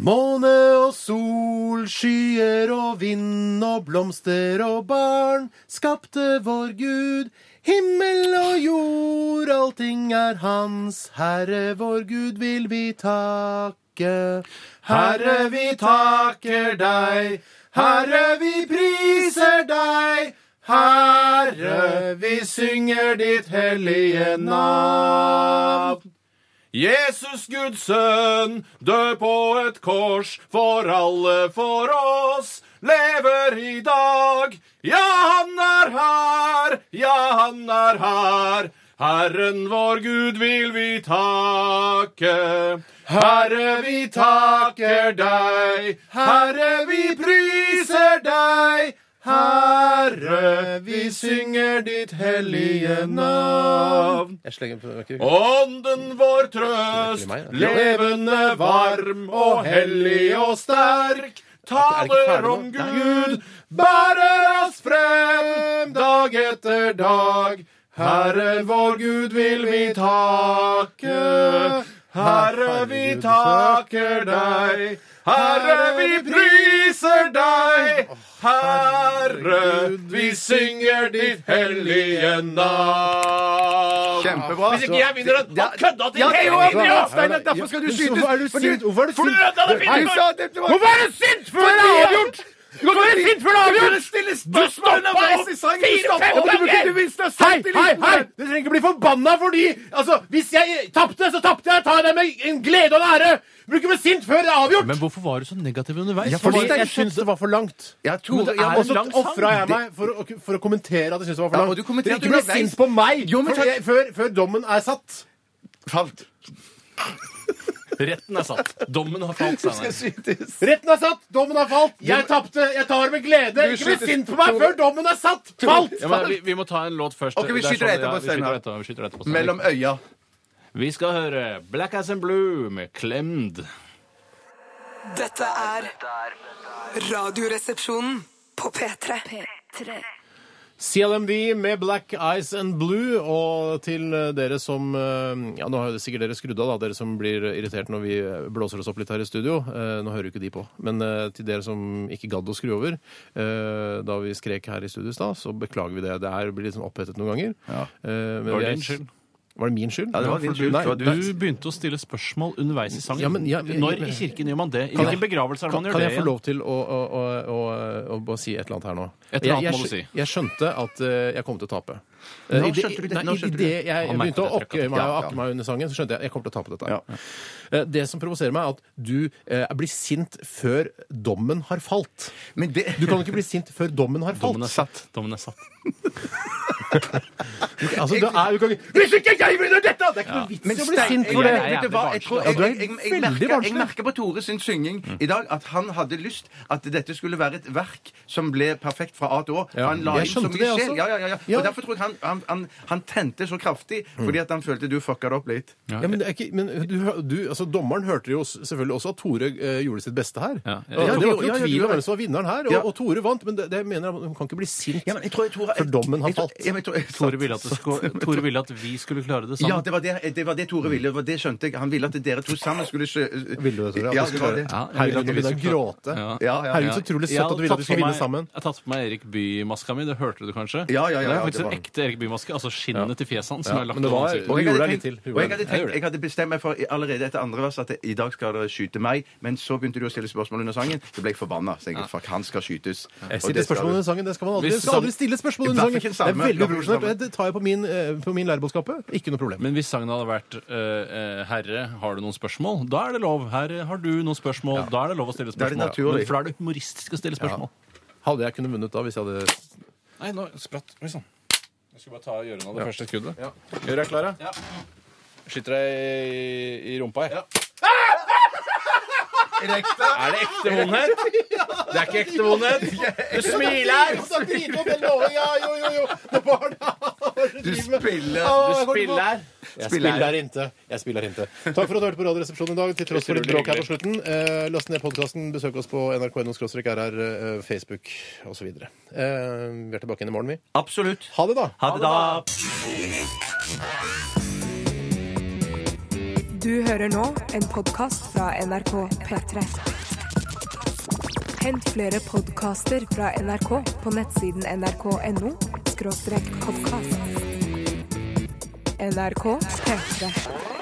C: Måne og sol, skyer og vind og blomster og barn skapte vår Gud. Himmel og jord, allting er hans. Herre vår Gud vil vi takke. Herre, vi takker deg. Herre, vi priser deg. Herre, vi synger ditt hellige navn. Jesus Guds sønn, død på et kors for alle for oss, lever i dag. Ja, han er her, ja, han er her. Herren vår Gud vil vi takke. Herre, vi takker deg. Herre, vi priser deg. Herre, vi synger ditt hellige navn. Jeg slenger på det.
G: Ånden vår trøst, levende, varm og hellig og sterk, taler om Gud, bærer oss frem dag etter dag. Herre vår Gud vil vi takke, Herre vi takker deg. Herre vi priser deg, Herre vi synger ditt hellige navn.
E: Kjempebra.
G: Hvis ikke jeg vinner den, han kødda til hele
E: Hva-
G: tiden!
E: Steinar, derfor skal du skytes!
C: Hvorfor er du
E: Fordi-
C: sint? Hvorfor er du
G: For du
C: sint?
G: ødela det fine
E: Du sa det- det var-
G: Hvorfor er du sint? For det er avgjort! Du kan være sint før du har avgjort! Du stoppa opp fire-fem ganger! Hei, hei, hei! Du trenger ikke bli forbanna fordi altså, Hvis jeg tapte, så tapte jeg. Ta det med en glede og en ære. Du blir ikke bli sint før det er avgjort.
D: Men hvorfor var du så negativ underveis?
C: Fordi jeg syns det var for langt.
E: Ja, Tore,
D: det
E: ja,
D: er
E: men
C: Og
E: også-
C: så
D: en lang sang.
C: ofra jeg meg for å, for å kommentere at jeg syns det var
E: Ja,
C: for
E: og du
C: langt.
E: kommenterte
C: Dere ikke bli
E: underveis.
C: sint på meg
E: Jo, men
C: for
E: takk.
C: jeg, før, før dommen er satt.
E: Falt.
D: Retten er satt. Dommen har falt. Steinar.
C: Retten er satt, dommen er falt. Jeg tapte, jeg tar det med glede.
E: Du
C: Ikke
E: skyter-
C: bli sint på meg før dommen er satt! Falt!
D: Ja, men vi, vi må ta en låt først.
E: Ok, vi
D: Det er sånn-
E: skyter etterpå,
D: ja, vi
E: Steinar.
D: skyter etterpå, vi skyter etterpå, Steinar.
E: Mellom øya.
D: Vi skal høre Black Ass and Blue med Klemd.
F: Dette er Radioresepsjonen på P3.
C: CLMD med Black Eyes and Blue. Og til dere som eh, Ja, nå har jo sikkert dere skrudd av, da, dere som blir irritert når vi eh, blåser oss opp litt her i studio. Eh, Nå hører jo ikke de på. Men eh, til dere som ikke gadd å skru over eh, da vi skrek her i studio i stad, så beklager vi det. Det her blir litt sånn opphetet noen ganger.
E: Ja.
C: Eh, men
D: Var
C: vi er-
D: det din skyld?
C: Var det min skyld?
E: Ja, det var din skyld.
C: Nei,
E: Det var
D: Du begynte å stille spørsmål underveis i sangen.
C: Ja, men- ja, men-
D: Når i kirken gjør man det? I
C: Kan
D: hvilken
C: jeg-
D: begravelse er det
C: Kan,
D: man gjør
C: kan
D: det?
C: jeg få
D: igjen?
C: lov til å, å, å, å, å, bare si et eller annet her nå?
D: Et eller annet
C: jeg, jeg,
D: må du si.
C: Jeg skjønte at eh, jeg kom til å tape. Eh,
E: Nå
C: i det-
E: skjønte du det,
C: nei,
E: nå
C: i
E: skjønte du
C: det
E: det.
C: jeg
D: Han merket
C: begynte å
D: det, trakk
C: oppgøye meg og
E: Ja, ja.
C: akke meg under sangen, så skjønte jeg jeg kommer til å tape dette. her. Eh, Det som provoserer meg, er at du eh, blir sint før dommen har falt.
E: Men det
C: Du kan ikke bli sint før dommen har falt.
D: Dommen er satt. Dommen er satt.
C: Altså, det er, du kan ikke
G: Hvis ikke jeg vinner dette! Det er ikke noe vits.
E: Men
C: Jeg blir sint
E: Stein-
C: for det.
E: Jeg- jeg- vet du hva, jeg tror-
C: Ja,
E: jeg-
C: du er
E: jeg- jeg- jeg
C: veldig
E: merker- Jeg
C: barnslig.
E: merker på Tore sin synging i dag at han hadde lyst at dette skulle være et verk som ble perfekt fra A til Å.
C: Ja,
E: Han la
C: jeg
E: inn så
C: skjønte
E: mye
C: det også.
E: sjel. Ja, ja, ja, ja.
C: Ja.
E: Og derfor tror jeg han, han, han, han tente så kraftig, fordi at han følte du fucka det opp litt.
C: Ja, men det er ikke, men du, hø- du, altså, dommeren hørte jo s- selvfølgelig også at Tore eh, gjorde sitt beste her.
D: Ja, ja,
C: Og
D: ja.
C: det var ikke
E: Ja,
C: noe
E: ja,
C: tvil
E: ja,
C: om hvem som var vinneren her, og,
E: Ja.
C: og Tore vant. Men det, det mener jeg, man kan ikke bli sint
E: Ja, men jeg tror, jeg tror, jeg,
C: før dommen har
E: jeg tror-
C: falt.
E: ja, men jeg tror-
D: Tore ville at, det skulle, Tore ville at vi skulle klare det sammen.
E: Ja, det var det, det var det Tore ville. Det var det skjønte jeg. Han ville at dere to sammen skulle sjø...
C: Ville du det, Tore?
E: Ja,
C: At vi
E: det var
C: skulle-
E: det.
D: Ja, jeg ville
C: Herregud,
D: at
C: du
D: vi
C: begynner å
D: skulle-
C: gråte.
D: Ja.
E: Ja, ja,
C: Herregud,
E: ja.
C: så utrolig søtt
D: Jeg
C: at
D: hadde
C: du ville at
D: tatt
C: vi skulle
D: på
C: vinne
D: meg-
C: sammen.
D: Jeg har tatt på meg Erik Bye-maska mi. Det hørte du kanskje?
E: Ja, ja, ja,
D: det er
E: ja, det
D: faktisk en
E: var den.
D: ekte Erik Bye-maske. Altså skinnet til fjeset hans.
C: Ja,
D: som er lagt
C: men det
D: over
C: var-
D: ansiktet.
E: Og
C: Hun
E: jeg
C: gjorde
E: hadde,
C: deg litt
E: tenkt,
C: til. Hun
E: og jeg
C: gjorde
E: hadde,
D: det. Jeg
E: tenkt,
D: gjorde
E: jeg hadde bestemt meg for i- allerede etter andre vers at i dag skal dere skyte meg, men så begynte du å stille spørsmål under sangen. Så ble jeg forbanna. Så tenkte jeg, fuck, han skal skytes.
C: Jeg
E: Og det
C: stiller
E: skal
C: spørsmål
E: du.
C: under sangen. Det skal man aldri,
D: Hvis
C: jeg skal aldri
D: sammen-
C: stille spørsmål
E: I hvert
C: under
E: fall
C: sangen. Det
E: ikke
C: er
E: sammen.
C: veldig
E: I hvert fall ikke
C: uprofesjonelt. Det tar jeg på min, eh, på min lærebåtskappe. Ikke noe problem.
D: Men hvis sangen hadde vært eh, eh, 'Herre, har du noen spørsmål?' Da er det lov. Herre, har du noen spørsmål? Da er det lov å stille
E: Da er det
D: spørsmål.
E: naturlig.
D: Men for da er det humoristisk å stille spørsmål.
C: Hadde jeg kunnet vunnet da, hvis jeg hadde
D: Nei, nå spratt Oi sånn. sann. Jeg skulle bare ta gjøre noe av det første skuddet.
C: Gjør deg klare?
D: Skyter deg i, i rumpa, jeg.
G: Er det ekte vondhet? Det er ikke ekte vondhet. Du smiler.
E: Du spiller
G: Spiller.
C: Jeg spiller inte. Jeg spiller inte. Takk for at du hørte på Radioresepsjonen i dag, til tross for litt bråk her på slutten. Eh, last ned podkasten, besøk oss på nrk.no rr, eh, Facebook osv. Eh, vi er tilbake igjen i morgen, vi.
E: Absolutt.
C: Ha det, da!
E: Ha det, da.
A: Du hører nå en podkast fra NRK P3. Hent flere podkaster fra NRK på nettsiden nrk.no podkast. NRK P3.